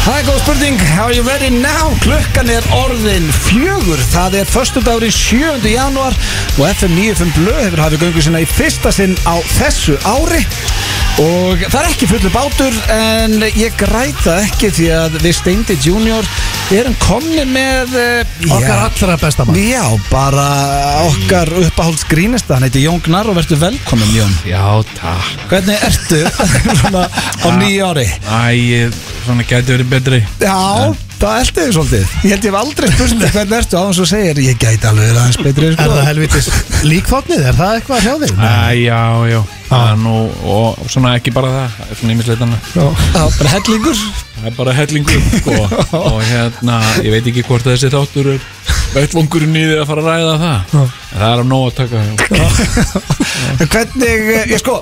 Það er góð spurning, are you ready now? Klukkan er orðin fjögur, það er förstu dagurinn 7. januar og FM 95 Blö hefur hafið göngu sinna í fyrsta sinn á þessu ári og það er ekki fullu bátur en ég græta ekki því að við Steindi Junior erum komni með eh, Okkar já, allra besta mann Já, bara okkar uppáhaldsgrínasta, hann heitir Jón Gnar og verður velkomin Jón Já, takk Hvernig ertu svona á nýju ári? Æ, ég- svona gæti verið betri Já, það eldi þig svolítið Ég held ég hef aldrei spurt þig hvernig ertu á hans og segir Ég gæti alveg verið aðeins betri Er sko. það helvitis líkþóknir? Er það eitthvað hjá þig? Æ, já, já Það er nú, og svona ekki bara það Það er Svona ímislegt annað Já, bara hellingur Það er bara hellingur sko. Og hérna, ég veit ekki hvort þessi þáttur er Vettvongurinn í því að fara að ræða það En það er á nóg að taka já. En Hvernig, eh, ég sko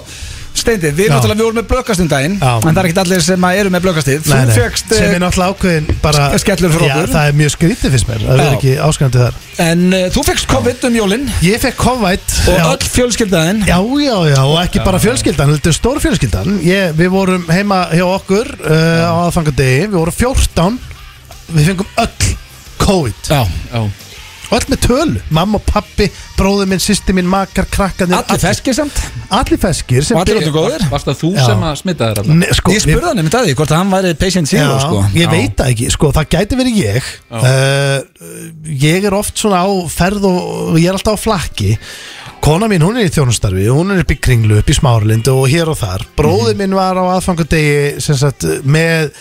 Steindi, við Já. náttúrulega við vorum með blökast um daginn Já. En það er ekkert allir sem að eru með blökastíð Þú eh, fegst, sem er náttúrulega ákveðin bara ske- skellur frá okkur. Já, það er mjög skrítið fyrst mér Það Já. er ekki áskrandi þar en uh, þú fegst COVID um jólin Ég fekk COVID Og já, öll fjölskyldaðinn já, já, já, og ekki bara fjölskyldan Þetta er stór fjölskyldan ég, Við vorum heima hjá okkur uh, á aðfangadegi Við vorum 14 Við fengum öll COVID Já, Já. Öll með tölu Mamma og pappi, bróður minn, sýsti minn, makar, krakkanir allir feskir samt Allir feskir sem Og allir byrja- öllum góðir Varst það þú Já. sem að smita þér alltaf? Nei, sko, Ég spurði hann um daginn hvort að hann væri patient zero Já, sko. Ég Já. veit það ekki, sko, það gæti verið ég uh, Ég er oft svona á ferð og og ég er alltaf á flakki Kona mín, hún er í þjónustarfi, hún er upp í kringlu, upp í smárlind og hér og þar Bróði Mhm. minn var á aðfangadegi sem sagt með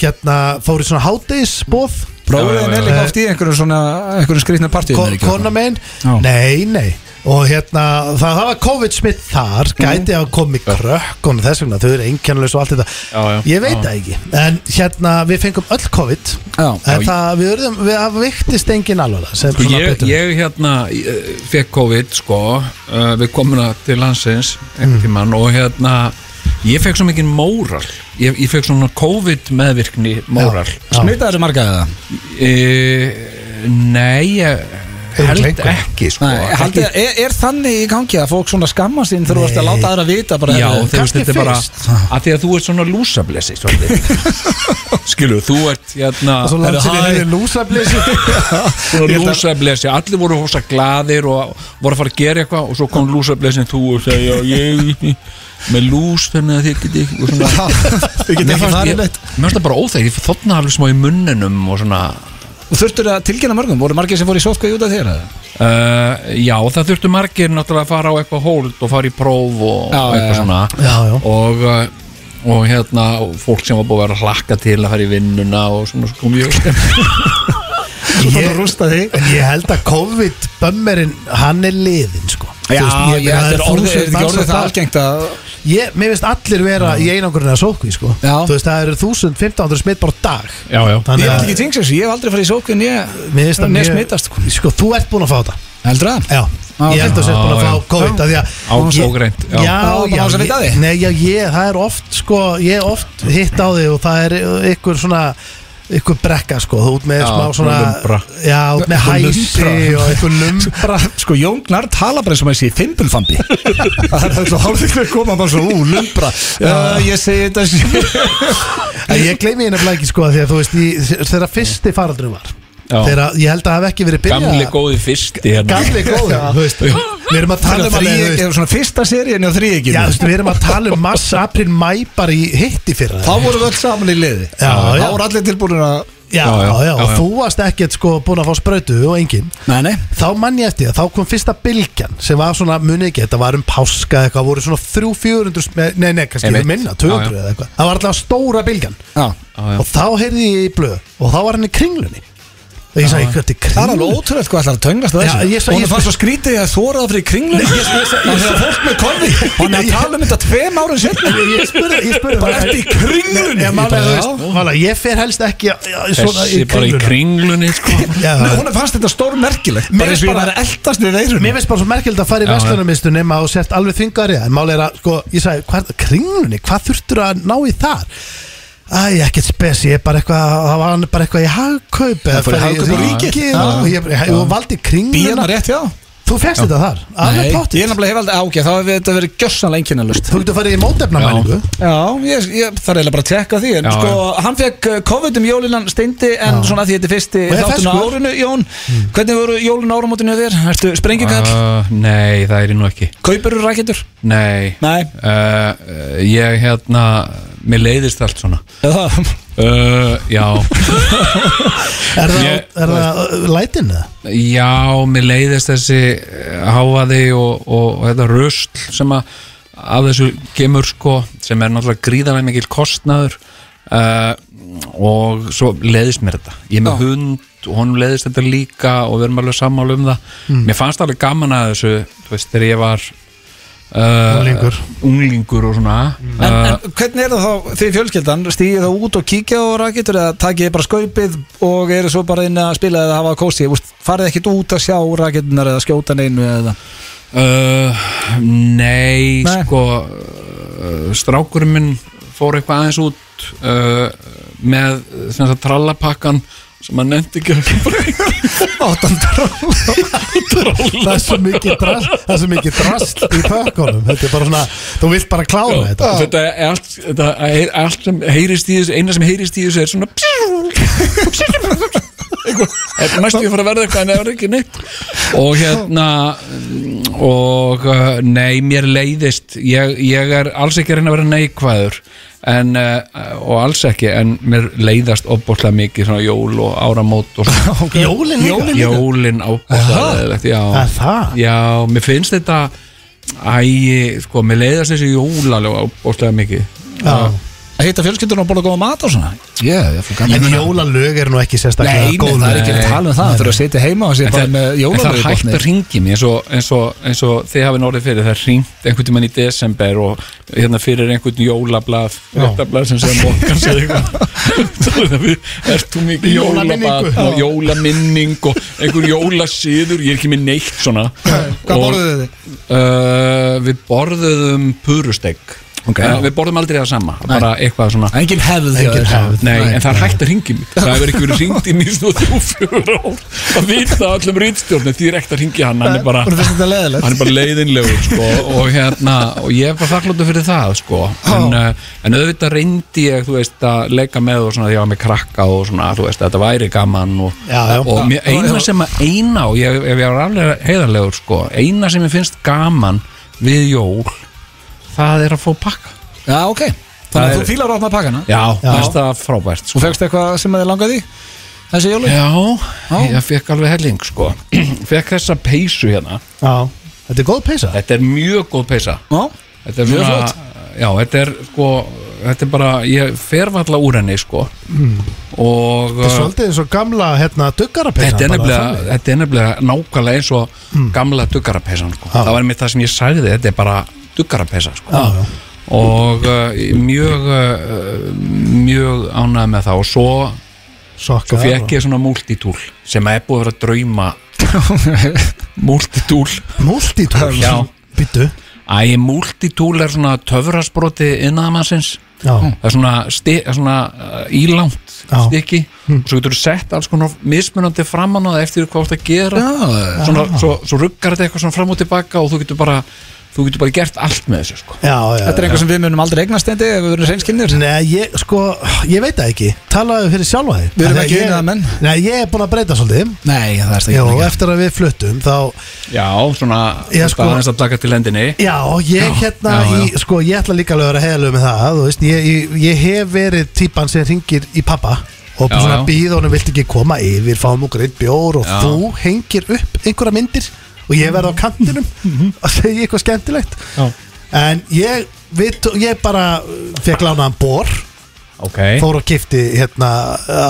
hérna, fór í svona hádegisbóð Já, já, Bróðin já, er já. líka oft í einhverjum svona einhverjum skrýtna partíum Ko er ekki? kona minn, Já. nei, nei og hérna, það, það var COVID-smitt þar Mhm. gæti að komi krökk og þess vegna, þau eru einkennulegs og allt þetta Já, já. ég veit Já. það ekki, en hérna við fengum öll COVID Já. En það, við urðum, við það viktist engin alvarlega sem Sko, svona ég, betur ég hérna fekk COVID sko, uh, við komum það til landsins Mm. einhvern tímann og hérna ég fekk svo mikið móral ég, ég fekk svona COVID meðvirkni móral Já. Smitaður marga eða? e, nei ég held Örugglega einhver. ekki sko Nei, Eh, haldið, er, er þannig í gangi að fólk svona skamma sín þegar þú ert að Nei. láta aðra vita bara Já, herðu, þú veist, kannski þetta er bara fyrst. að því að þú ert svona lúsablesi skilu, þú ert hérna Svo langt sem ég hefði lúsableysi svona lúsablesi, allir voru hósa glaðir og voru að fara að gera eitthvað og svo kom lúsablesin þú og segja já, ég með lús þannig að þið geti og svona Við getum Mér ekki fannst- farið ég- neitt. mér finnst það bara óþæg, ég þotna alveg smá í munninum og svona Og þurftur að tilkynna mörgum, voru margir sem fóru í sótkvæði út af þér? eða? uh, já, það þurftu margir náttúrulega að fara á eitthvað hold og fara í próf og Já, já, já. og eitthvað svona Já, já. og uh, og hérna, og fólk sem var búið að vera að hlakka til að fara í vinnuna og svona svo kom ég Þú fór Ég- að rústa þig En ég held að COVID-bömmerinn, hann er liðinn sko Þú Já, veist, ég, þetta það er orðið, er þúsund þetta ekki manns orðið á það dag. algengt að Ég, mér finnst allir vera í einangurinn að sókví sko Já. Þú veist, það eru 1000-1500 smitt bara á dag já, já, Ég Þannig held að, ekki tengst þessu, ég hef aldrei farið í sótkvæði en mér ég finnst að Nei mjög- smitast sko. Sko, þú ert búin að fá þetta Heldur það? Já, Já, ég held að þú sért búin að Já, fá já. COVID af því að- Á- Ég- ógreint, já. Já, Já, bara já, án þess að vita af ég- því. Nei, já, ég, það er oft sko, ég oft hitt á þig og það er ykkur svona ykkur brekka sko, þú út með Já, smá svona lumbra. já, út með Ykkur hæsi lumbra. og ykkur lumbra Bara, sko, Jóngnar tala bara eins og maður sé fimpulfambi Það er svo hálfið hver koma bara svo, ú, lumbra Já, ég segi þetta sé- En ég gleymi hérna blæki sko, af því að þú veist í- þegar fyrsti faraldurinn var Já. þegar ég held að það hef ekki verið byrjað gamli góði fyrsti hérna. gamli góð þú veist, við erum að tala um að Þríeykið, leið, svona fyrsta seríin á þríeikinu já, þú veist, við erum að tala um mars, april, mæ bara í hitti fyrra Þá vorum við öll saman í liði Já, já. Þá voru allir tilbúin að já, já, Já, já, já, já, og já. þú varst ekkert sko búin að fá sprautu og enginn Nei, nei þá mann ég eftir það, þá kom fyrsta bylgjan sem var svona, muni ekki, þetta var um páska eitthvað, voru svona 300-400 nei, nei, kannski Einmitt. Einmitt. minna, 200 Já, já. eða eitthvað það var alltaf stóra bylgjan Já Já, já. og þá heyrði ég í blöð og þá var hann í kringlunni og ég sagði, hvað er Það er alveg kringlunni? ótrúlegt hvað ætlar að tönglast að þessu Já, ég- Og hún ég- fann svo skrítið að þóraða fyrir kringlun Það er fólk með korfi Hún er að tala um þetta tveim árun setna ég spurði, ég spurði Bara ertu í kringlunni? ég, málega, Bara, þú veist, málega, ég fer helst ekki já, já, svona þessi í bara í kringlunni kringlunni sko. Já. Hún fannst þetta stór merkilegt Mér Bara eins og finnst ég bara- var að eldast við veirun Mér finnst bara svo merkilegt að fara í Já, já. vestlunarmistu nema og sért alveg þvingari en málega er að, sko, ég sagði, hvað, kringlunni, hvað þurftur að ná í þar? Æ, ekkert spes, ég er bara eitthvað, það var hann bara eitthvað í hagkaup eða fór í fer hagkaup og ríkið og ég, ég, ég valdi Bíðan kringluna rétt, já Þú fegst þetta þar, alveg ég er pottið nefnilega hef aldrei ágæð Þá hefur þetta verið gjössanlega einkennalust Þú getur farið í mótefnamælingu Já, ég, ég þarf eiginlega bara að tekka því En Já, sko, hann fekk eh, COVID um jólinan steindi En svona því þetta er fyrsti Og er sko- Hmm. þáttun á ferskur. árinu Jón, hvernig voru jólin á áramótinu þér? Ertu sprengikall? Uh, nei, það er ég nú ekki Kaupurur rækjendur? Nei, Nei. Uh, Ég hérna, mér leiðist allt svona Það uh, Já Er það, Ég- er það uh, lætin eða? Já, mér leiðist þessi eh, hávaði og, og, og þetta rusl sem að af þessu gemur sko sem er náttúrulega gríðarlega mikil kostnaður uh, og svo leiðist mér þetta ég er með Já. hund og honum leiðist þetta líka og við erum alveg sammála um það mér fannst alveg gaman að þessu þú veist, þegar ég var uh, Unglingur. unglingur og svona En, uh, en hvernig er það þá þið fjölskyldan? Stýðið það út og kíkja á rakettur eða takið þið bara skaupið og eru svo bara inn að spila eða hafa kósi? Úst, farið ekkit út að sjá rakettunar eða skjóta neinu eða? Uh, nei, Nei. sko uh, strákurinn minn fór eitthvað aðeins út uh, með sem sagt, trallapakkan sem hann nefndi ekki að breyta Áttandar Það er svo mikið drast, það er svo mikið drast í pökkunum Þetta er bara svona, þú vilt bara klára þetta þetta er allt, þetta er allt sem heyrist í þessu, eina sem heyrist í þessu er svona Eitthvað. Þetta er næstu ég fara að verða eitthvað en það er ekki neitt og hérna mm, og uh, nei, mér leiðist ég, ég er alls ekki að reyna að vera neikvæður en, uh, og alls ekki en mér leiðast opbóðlega mikið svona jól og áramót og svona Jólin líka jólin ábóðlega Það er það Já, mér finnst þetta Æ, sko, mér leiðast þessi jólalega óslega mikið Já. Að hitta fjölskyldan og borða góða mat og svona? Yeah, ég fyrir En jólalög eru nú ekki sérstaklega Nei, nei, það er ekki að nei. tala um það Það er að sitja heima og En sitja bara það- með en það jólalög er hægt að ringi mér eins og, eins, og, eins og þið hafið norðið fyrir það er ringt einhvern tímann í desember og hérna fyrir einhvern jólablað réttablað sem segja morgan segja eitthvað er þú mikið Jólaminningu. jólablað og jólaminning og einhvern jólasýður ég er ekki með neitt svona Hvað borðuðu þið? Uh, við borðuðum purusteg Ok. uh, Við borðum aldrei það sama bara eitthvað svona Engin hefð hjá Engin þér. hefð. Nei, Nei, en það er hægt að ringi mig Það hefur ekki verið ringt í mér svona þrjú, fjögur ár Það vita öllum rítstjórnum Því er ekkert að ringi hann Hann er bara, Hún finnst þetta hann leðilegt er bara leiðinlegur sko, og, hérna, og ég er bara þakkláttu fyrir það sko. en, uh, en auðvitað reyndi ég þú veist, að leika með og svona, því að ég var með krakka og svona, þú veist, að þetta væri gaman og, Já, já. og mér, eina sem að eina og ég, ef ég var aflega heiðarlegur sko, eina sem ég finnst gaman við jól það er að fá pakka Já, ok Þannig Það að er- þú fílar að opna pakkana já, Já. finnst það frábært sko. Þú fegst eitthvað sem þið langaði í Þessi jólu? Já, Já. ég fekk alveg helling sko Fekk þessa peysu hérna Já, þetta er góð Eh, peysa Þetta er mjög góð peysa Já Þetta er Mjög svona- flott. Já, þetta er sko Þetta er bara, ég fer valla úr henni sko Og Hmm. uh, Þetta er svolítið eins og gamla hérna duggarapeysa Þetta er, nefnilega, þetta er nefnilega nákvæmlega eins og gamla duggarapeysan sko. Hmm. Já. Það var einmitt það sem ég sagði, þetta er bara duggarapeysa sko. Já, já. Og uh, mjög uh, mjög ánægð með það og svo, Sokka svo fekk ég svona multitool sem er búið að vera að drauma multitool Multitool Já. Býttu Æ, multitool er svona töfrasbroti innaðmannsins Já, Hm. það er svona, sti, svona uh, ílangt Já. Hm. stykki og svo getur þú sett alls konar mismunandi framan á það eftir hvað þú ert að gera Já. svona, svo, svo ruggar þetta eitthvað svona fram og tilbaka og þú getur bara, þú getur bara gert allt með þessu sko. já, já Þetta er eitthvað sem við munum aldrei eignast endi ef við verðum reynskinnir Nei, ég, sko, ég veit það ekki Talaðu fyrir sjálfa þig Við erum Af því að ekki ég- iðnaðarmenn. Nei, ég er búin að breyta svolítið Nei, það er Já, ekki og eftir að við fluttum þá já, svona Já, þetta sko. aðeins að taka til hendinni Já, ég hérna, já, já. Í, sko, ég ætla líka alveg að vera heiðalög með það þú veist, ég, ég, ég hef verið típan sem ringir í pappa og Já, svona já. býð honum vilt ekki koma yfir fáum okkur einn bjór og Já. þú hengir upp einhverja myndir og ég verð á kantinum Mhm. og segi eitthvað skemmtilegt en ég, við, tó- ég bara fekk lánaðan bor ok, fór og kifti hérna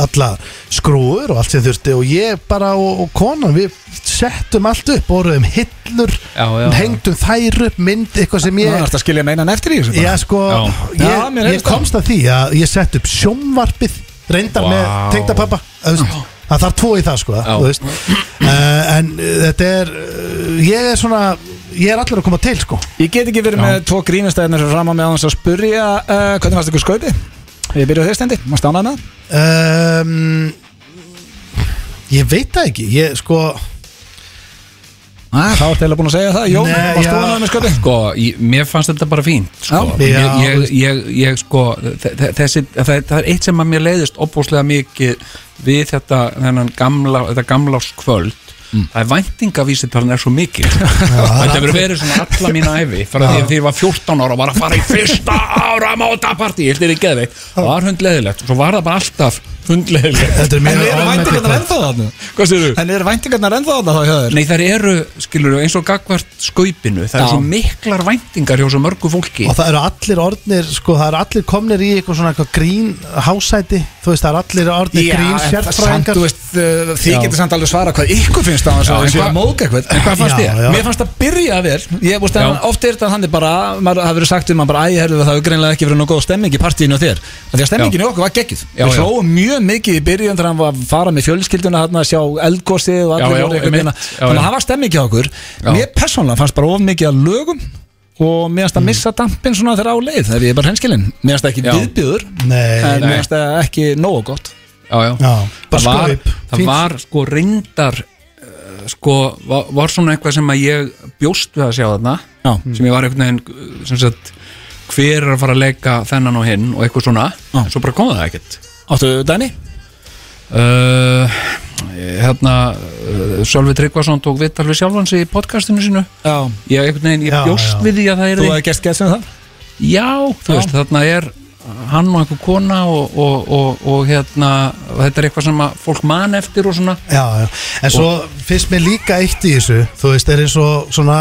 alla skrúur og allt sem þurfti og ég bara og, og konan við settum allt upp, orðum hillur Já, já, já. hengdum þær upp, mynd eitthvað sem Það ég er þetta að skilja meinan eftir í þessu bara. Já, sko, Já. ég, Já, mér ég heyrðist það. komst að því að ég sett upp sjómvarpið reyndar Vá. með tengdapappa þú veist, það þarf tvo í það sko þú veist. uh, en uh, þetta er uh, ég er svona, ég er allir að koma til sko Ég get ekki verið með tvo grínastæðinir sem fram að með á hans að spurja uh, hvernig fannst ykkur skaupi? Ég byrjuð þér stendi, maður stánaði með það Ehm, um, ég veit það ekki ég sko Þá ertu heila búin að segja það, Jón, Nei, varst já. þú annað með sköpi? sko, ég, mér fannst þetta bara fínt sko. Já. ég, Já. ég, ég, ég sko þe- þe- þessi, það, það er eitt sem að mér leiðist opbúslega mikið við þetta þennan gamla, þetta gamláskvöld Mm. það er væntingavísitalan er svo mikið þetta hefur verið svona alla mína æfi frá því að því ég var 14 ára og var að fara í fyrsta ára mótapartí, ég held þér í geðveik það var hundleðilegt, svo var það bara alltaf hundleðilegt, Þetta er En mjög eru væntingarnar ámættikvæmt. ennþá þarna? hvað séðu? En eru væntingarnar ennþá þarna þá hjá þér? Nei, þær eru, skilur eins og gagvart skaupinu, það Já. eru svo miklar væntingar hjá svo mörgu fólki Og það eru allir orðnir, sko, það eru allir komnir í eitthvað svona eitthvað grín hásæti Þú veist, það eru allir orðnir grín en það- samt, sérfræðingar þú veist, uh, þið Já. getur samt alveg svara hvað ykkur finnst á þess Já, að en þessi hvað- að móðga eitthvað en hvað fannst Já, ég? já. Mér fannst að byrja vel ég, veist, en Já. oft er þetta að hann er bara maður hafi verið sagt um hann bara æ, herðu það hefur greinlega ekki verið nóg góð stemming í partíinu og þér en því að stemmingin í okkur var geggjuð Já, við já. hlóum mjög mikið í byrjun þegar hann var að fara með fjölskylduna hann að sjá eldgósið og Já, allir já, voru einhvern einmitt. veginn að- Já, þannig að já. það var stemming hjá okkur Já. mér persónlega fannst bara of mikið að lögum og mér finnst að missa dampin svona þegar á leið ef ég er bara henskilinn, mér finnst það ekki Mm. Já. viðbjöður en Nei, mér finnst það ekki nógu gott já, já. já, bara það, var, skaup það var sko reyndar eh, sko, var, var svona eitthvað sem að ég bjóst við að sjá þarna Já. sem ég var einhvern veginn eh, sem sagt, hver er að fara að leika þennan og hinn og eitthvað svona, Já. en svo bara kom það ekkert Áttu Dani? uh, hérna uh, Sölvi Tryggvason tók vital við sjálfan sig í podcastinu sínu Já ég, einhvern veginn, ég Já, bjóst já. við því að það er Þú hefði gert sketsið um það? Já, þú Já. veist, þarna er hann og einhver kona og, og, og, og hérna, þetta er eitthvað sem að fólk man eftir og svona Já, já, en svo finnst mér líka eitt í þessu Þú veist, er eins og svona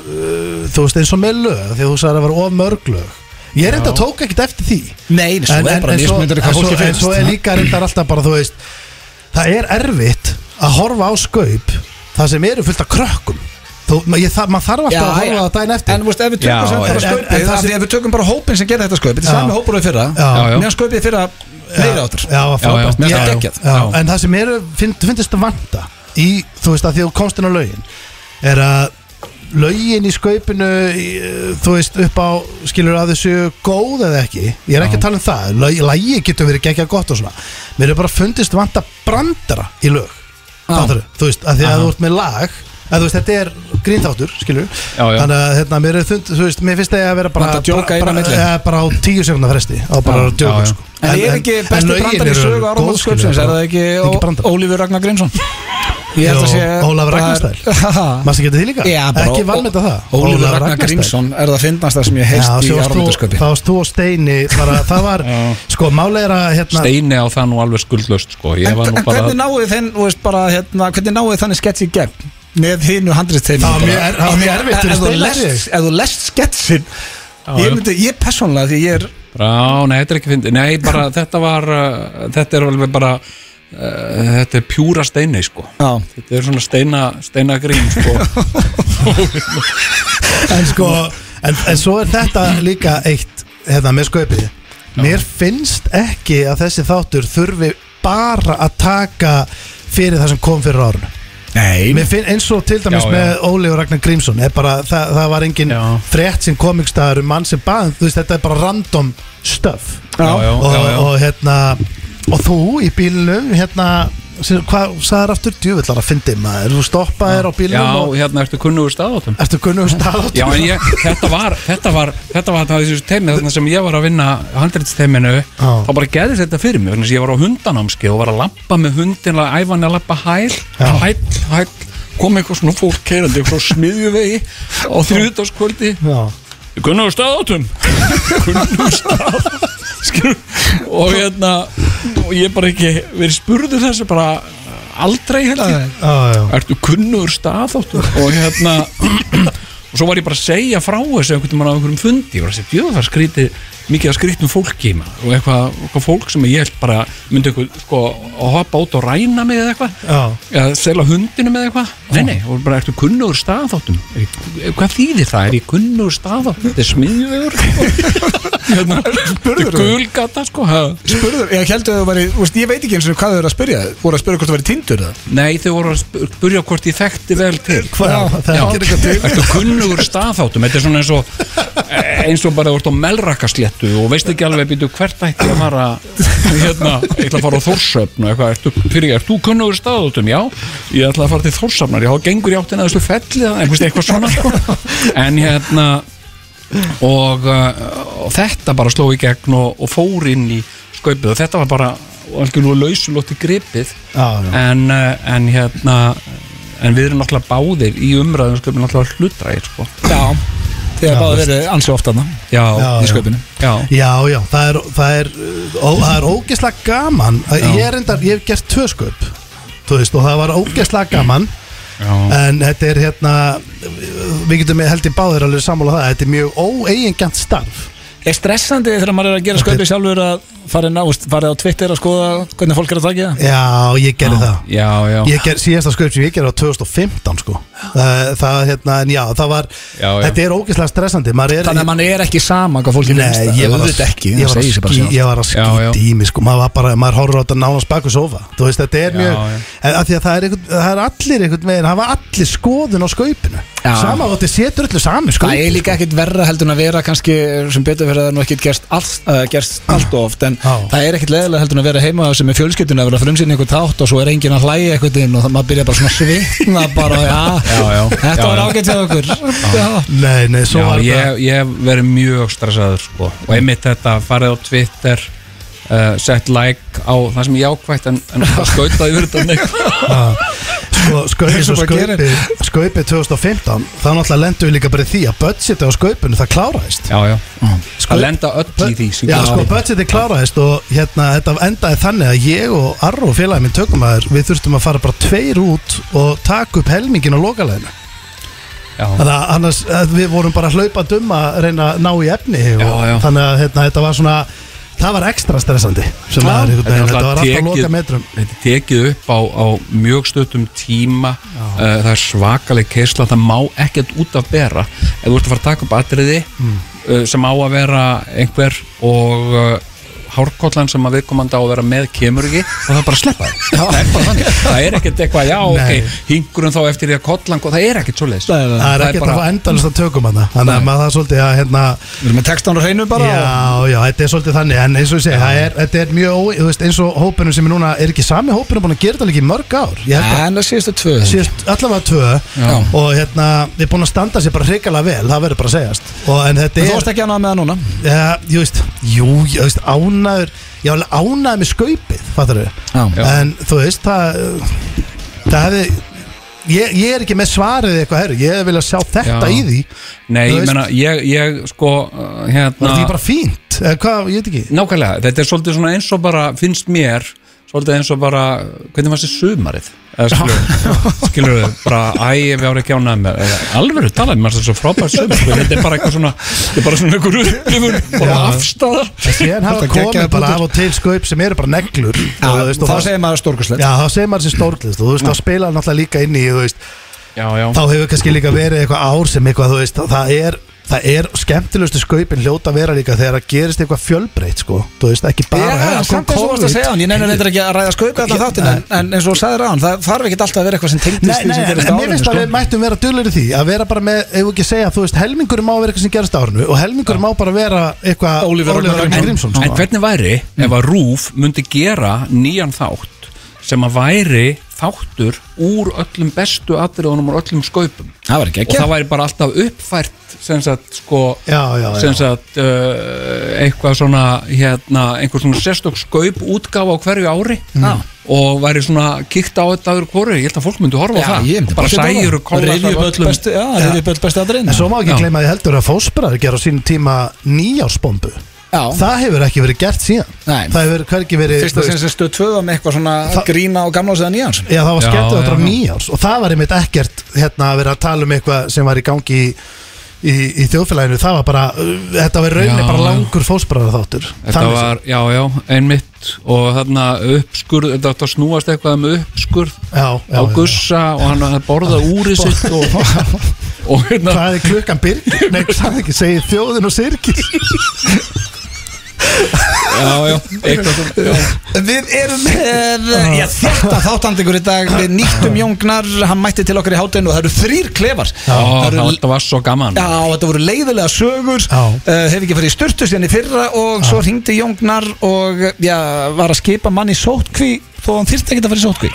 uh, Þú veist, eins og með lög Því að þú sagði að það var of mörg lög Ég reynda tók ekkert eftir því Nei, svo en, er en, bara en, svo, mismundur en, hvað svo, fólki en finnst svo er líka reyndar alltaf bara þú veist það er erfitt að horfa á skaup það sem eru fullt af krökkum þú, ma- ég, það, maður þarf alltaf að horfa á það daginn eftir En þú veist, ef við tökum Já, sem bara en- skaupið en það af því Ef við tökum bara hópin sem gerði þetta skaupið Þetta er Já. sami hópur við fyrra Já. Já, já. Meðan skaupið í fyrra meira áttur já, já, finnst frábært. mér Já, það já, geggjað. já. en það sem eru finn, finnst að vanta í, þú veist að því að þú komst inn á lögin er að lögin í skaupinu í, eh, þú veist upp á skilur að þessu góð eða ekki ég er ekki að tala um það, Lög, lægi getur verið geggjað gott og svona, mér er bara fundist vanta brandara í lög Fattarðu? þú veist, að því að þú ert með lag að þú veist, þetta er grínþáttur, skilur Já, já. þannig að hérna, mér er þund þú veist, mér finnst það að vera bara Vantar djóka inn á bara, milli. bara, bara á tíu sekundar fresti á bara Já, já, djóka, já. sko En ég er ekki besti lögin brandar í eru sögu góð, áramóð skilur, sko. skaupsins Er það ekki bara- Ó- brandari. Ólífur Ragnar Grímsson? Ég held að Jó, sé Ólafur bara- Ragnarstæl Mástu geta því líka? Já, bara ekki Ó- valmeta það Ólífur Ragnar Grímsson er það finnast það sem ég Já, heist í svo varst þú- áramóðskaupi þá varst þú og Steini bara, það var, sko, málega er að hérna, Steini á það nú alveg skuldlaust sko. ég En var nú en bara hvernig náðu þenn, þú veist bara hérna, Hvernig náðu þannig sketsi í gegn? Með hinu handriðsteinu Það var mjög er- það var mjög erfitt fyrir Ef þú Steina lest- þig. ef þú lest sketsin Ég já. myndi, ég persónlega því ég er Já, nei, þetta er ekki fyndi Nei, bara þetta var uh, þetta er alveg bara uh, þetta er pjúra Steini sko. Já, þetta er svona steina, steina grín sko. en sko en, en svo er þetta líka eitt hérna, með sköpið mér finnst ekki að þessi þáttur þurfi bara að taka fyrir það sem kom fyrir árun Nei, Mér finn eins og til dæmis Já, já. með Óli og Ragnar Grímsson er bara, það, það var engin Já. frétt sem komikstaður um mann sem baðum þú veist þetta er bara random stuff Já, já, og, já, já. og hérna og þú í bílnum hérna sem- hvað sagðar aftur djúvillar að fyndi maður þú stoppaðir á Já, bílnum og hérna ertu kunnugur staðáttum ertu kunnum stað Já, en ég, þetta var þetta var, þetta var það þessu teimi þarna sem ég var að vinna handreitsteiminu Já. þá bara gerðist þetta fyrir mig, þannig að ég var á hundanámski og var að lappa með hundin að æfa hann að lappa hæl, Já. hæl, hæl kom eitthvað svona fólk keirandi frá smiðjuvegi á þriðudagskvöldi Já. Gunnar staðátum Gunnar staðátum og hérna og ég bara ekki verið spurður þessu bara aldrei held ég Já, já. ertu kunnur staðáttur og hérna og svo var ég bara að segja frá þessu einhvern tímann á einhverjum fundi ég var að segja, jú það skríti mikið að skrítnum fólki maður, og eitthvað, eitthvað fólk sem ég held bara myndi eitthvað sko að hoppa út og ræna mig eða Já. eitthvað eða selja hundinu með eitthvað nei nei, og bara ertu kunnur staðáttum Er ég- hvað þýðir það, er ég kunnur staðáttum þetta er smiðjur hérna, þetta er gulgata sko ha. spurður, ég heldur að þú væri, þú veist, ég veit ekki eins og hvað þau eru að spyrja Þú voru að spyrja hvort þú væri tindur það Nei, þau voru að spur- spurja hvort ég þekkti vel til Hvað? Það Já, gerir eitthvað til. ertu kunnugur staðháttum Þetta er svona eins og eins og bara þú ert á melrakaslétt burtu og veist ekki alveg býtu hvert ætti ég að fara hérna, ég ætla að fara á Þórsöfn og eitthvað, ertu, fyrir ég, ert þú kunnugur staðutum, já ég ætla að fara til Þórsöfnar, já, gengur ég áttina að þessu felli, eða einhvers eitthvað svona sko. en hérna og, uh, og þetta bara sló í gegn og, og fór inn í skaupið og þetta var bara algjörlega lausulótt í gripið Já, já. En, uh, en hérna en við erum náttúrulega báðir í umræðum sköpum náttúrulega hlutræðir sko. Já, þegar báðið verið ansið ofta þarna já, Já, í já. sköpunum já, Já, já, það er, það er, ó, það er ógeðslega gaman ég, er endar, ég hef gert tvö sköp þú veist, og það var ógeðslega gaman já. en þetta er hérna við getum held í báðir alveg sammála um það þetta er mjög óeigengjant starf Er stressandi þegar maður er að gera sköpið sjálfur að fara, ná, veist, fara á Twitter að skoða hvernig fólk er að taka það? Já, ég gerði það já, já. Ég ger, síðasta skaup sem ég gerði á 2015 sko. það, það, hérna, en já, það var Já, já. þetta er ógeðslega stressandi maður er, Þannig að mann er ekki sama hvað fólk er Nei, ég var, að, auðvitað ekki, ég það var að, segir sig bara skí, sjálft. ég var að Já, já. skýti í mig sko, maður, var bara, maður horfður á þetta nánast baku sofa þú veist, þetta er Já, mjög já. en af því að það er, einhvern, það er allir einhvern veginn, hafa allir skoðun á skaupinu Já. sama og þetta setur öllu Það sami er skaupinu líka ekkit verra heldur en að vera kannski sem betur fyrir að það er nú ekkit gerst allt, uh, gerst allt of oft en Já. það er ekkit leðilega heldur en að vera heima sem er fjölskyldun að vera að frumsýna einhvern þátt og svo er enginn að hlæja einhvern veginn og það maður byrja bara svona að svitna bara, já, Já, já. þetta Já, var já. ágætt hjá okkur já. nei, nei, svo já, var ég, ég hef verið mjög stressaður sko. og einmitt þetta farið á Twitter uh, sett like á það sem ég ákvætt en, en skautaði yfir þetta neikvæð. sko, skaupið, Eins og svo bara gerir. skaupið, skaupið 2015 þá náttúrulega lendum við líka bara í því að budgetið á skaupinu það kláraðist já, já, Sko- að lenda öll í því sem Já, gerist. sko, budgetið kláraðist og hérna, þetta endaði þannig að ég og Arro félagin minn tökum aður, við þurftum að fara bara tveir út og taka upp helmingin á lokaleginu. já, Þannig að annars, að við vorum bara hlaupað um að reyna að ná í efni og Já, já. þannig að hérna, þetta var svona, það var ekstra stressandi sem það er einhvern Þetta er veginn, þetta var náttúrulega alltaf tekið- loka metrum. Þetta er tekið upp á, á mjög stöttum tíma uh, Það er svakaleg keisla Það má ekkert út af bera Ef þú ert að fara að taka upp atriði uh, sem á að vera einhver og uh, hárkollan sem að viðkomandi á að vera með kemur ekki og það er bara að sleppa þér. það er bara þannig það er ekkert eitthvað, já Nei. ok, hingurinn þá eftir því að kollan það er ekkert svoleiðis Nei, nei. Það er ekkert að fá endalist að tökum hana, þannig að maður það er svolítið að hérna, Við erum með textan á hreinu bara og- já, já, þetta er svolítið þannig, en eins og ég segi, það er, þetta er mjög, ói- þú veist, eins og hópunum sem er núna, er ekki sami hópunum búin að gera þetta líka í mörg ár, ég held að En það síðustu tvö síðust allavega tvö Já. og hérna, við erum búin að standa sér bara hrikalega vel, það verður bara að segjast og en þetta En Þú er, varst ekki annað með það núna ja, jú veist jú, ég veist, ánæður ég var alveg ánæður með skaupið, fattar við Já, en þú veist, það það hefði ég, ég er ekki með svarið eitthvað herru, ég vilja sjá þetta Já. í því Nei, Þú ég veist- meina, ég, ég sko uh, var hérna þetta ekki bara fínt, eða hvað, ég veit ekki Nákvæmlega, þetta er svolítið svona eins og bara finnst mér, svolítið eins og bara hvernig var þessi sumarið skilur þau, bara æ, við ára ekki ánæðum með, eða, alveg talaði mér svo frábært sumar, sko, þetta er bara eitthvað svona þetta er bara svona einhver upplifun bara Já. afstæða en síðan hafa Þetta komið geggjaði punktur. bara af og til skaup sem eru bara neglur og, þú veist, og Þá það- segir maður stórkurslegt Já, þá segir maður sér stórklist og þú veist, þá spilaði náttúrulega líka inn í, þú veist, Já, já, þá hefur kannski líka verið eitthvað ár sem eitthvað, þú veist, það er það er skemmtilegustu skaupin hljóta að vera líka þegar að gerist eitthvað fjölbreytt sko, þú veist, ekki bara Já, "Herra, kom samt eins og varst að COVID." segja hann, ég nefnir neitt ekki að ræða skaupa allan þáttinn en, en eins og þú sagðir án, það þarf ekki alltaf að vera eitthvað sem tengdist Nei, því nei, sem en gerist á mér árinu finnst að við sko. mættum vera dullir í því að vera bara með, ef við ekki segja, þú veist helmingur má vera eitthvað sem gerast á árinu og helmingur má bara vera eitthvað Ólíver Ragnar sko. Ragnar Grímsson sko. en hvernig væri ef að Rúf myndi gera nýjan þátt sem að væri þáttur úr öllum bestu atriðunum og öllum skaupum Það var ekki og ekki það væri bara alltaf uppfært sem sagt sko Já, já, já. sem sagt uh, eitthvað svona hérna, einhver svona sérstök skaup útgáfa á hverju ári Mm. og væri svona kíkt á þetta aður hvoru, ég held að fólk myndi horfa á það bara sæjur og kolla Reyðjum öll bestu, já, reyðjum öll bestu aðrein En svo má ekki Já. gleyma því heldur að fósbræður gera á sínum tíma nýjársbombu Já, Það hefur ekki verið gert síðan Nei. Það hefur hvergi verið þú fyrsta veist, sem sem stöð tvöða með eitthvað svona Það- grína og gamla ásiða nýjans Já, það var Já, skemmtilegt að já, draga já. nýjárs og það var einmitt ekkert hérna að vera að tala um eitthvað sem var í gangi í, í, í þjóðfélaginu það var bara, uh, þetta var í rauninni Já, bara já. langur fósbræðar þáttur Þetta var, já, já, einmitt og þarna uppskurð, þetta átti að snúast eitthvað um uppskurð já, já, á já. gussa og hann hafði borðað úrið sitt og, og hérna Hvað er klukkan byrgir? Nei, hvað er ekki, segir þjóðin og sirkir já, já, eitthvað svona, já. Við erum með já, þetta þáttandingur í dag Við nýttum Jóngnar, hann mætti til okkar í hátinu og það eru þrýr klefar Ó, Það eru- það var svo gaman Já, þetta voru leiðilega sögur Já. uh, Hef ekki farið í styrtu síðan í fyrra og svo hringdi Jóngnar og já, var að skipa mann í sótkví þó hann þyrfti ekki að fara í sótkví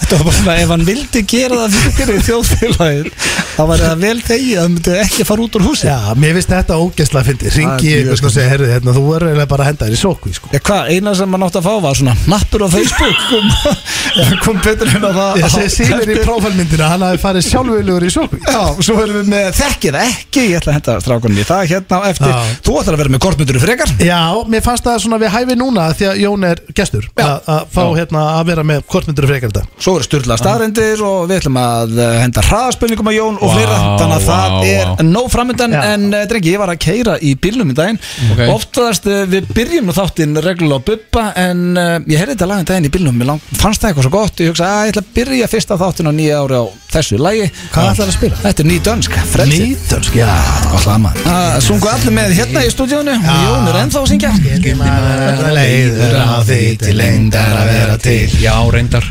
Þetta var bara, ef hann vildi gera það fyrir þjóðfélagið þá var það vel þegið að hann myndi ekki fara út úr húsi Já, mér finnst þetta ógeðslega að fyndi Það er Ringi mjög ég sko og segja, herru, hérna, þú er eiginlega bara að henda þér í sókvi sko. Já, hvað, eina sem maður nátti að fá var svona Nappur á Facebook kom, kom betur en að það Ég segi síðan í prófælmyndina, hann hafi farið sjálfurlegur í sókvi Já, svo erum við með þekkið ekki Ég ætla að henda strákunni í það hérna á eftir Já. Þú ætlar að vera með kortmyndur frekar Já, mér fannst það svona við hæfi núna því að Jón er gestur að að fá hérna að vera með kortmyndur og frekar þetta Svo eru styrla staðrendir og við ætlum að eh, henda hraðaspurningum að Jón og Vá, fleira Þannig að vá, það er vá. nóg framöndan Já. En eh, drengi, ég var að keira í bílnum í daginn Ok. Oftast eh, við byrjum nú þáttinn reglulega á bubba En eh, ég heyrði þetta lagin daginn í bílnum Mér lang- fannst það eitthvað svo gott Ég hugsa að ég ætla að byrja fyrsta þáttinn á nýja ári á þessu lagi Ah. Hvað ætlarðu að spila? Þetta er ný dönsk, frelsi Ah, Nýtönsk, já Gott lama Það sungu allir með hérna í stúdíónu og Jón er ennþá að syngja Skildi maður að leiður á því til lengdar að vera til já, reyndar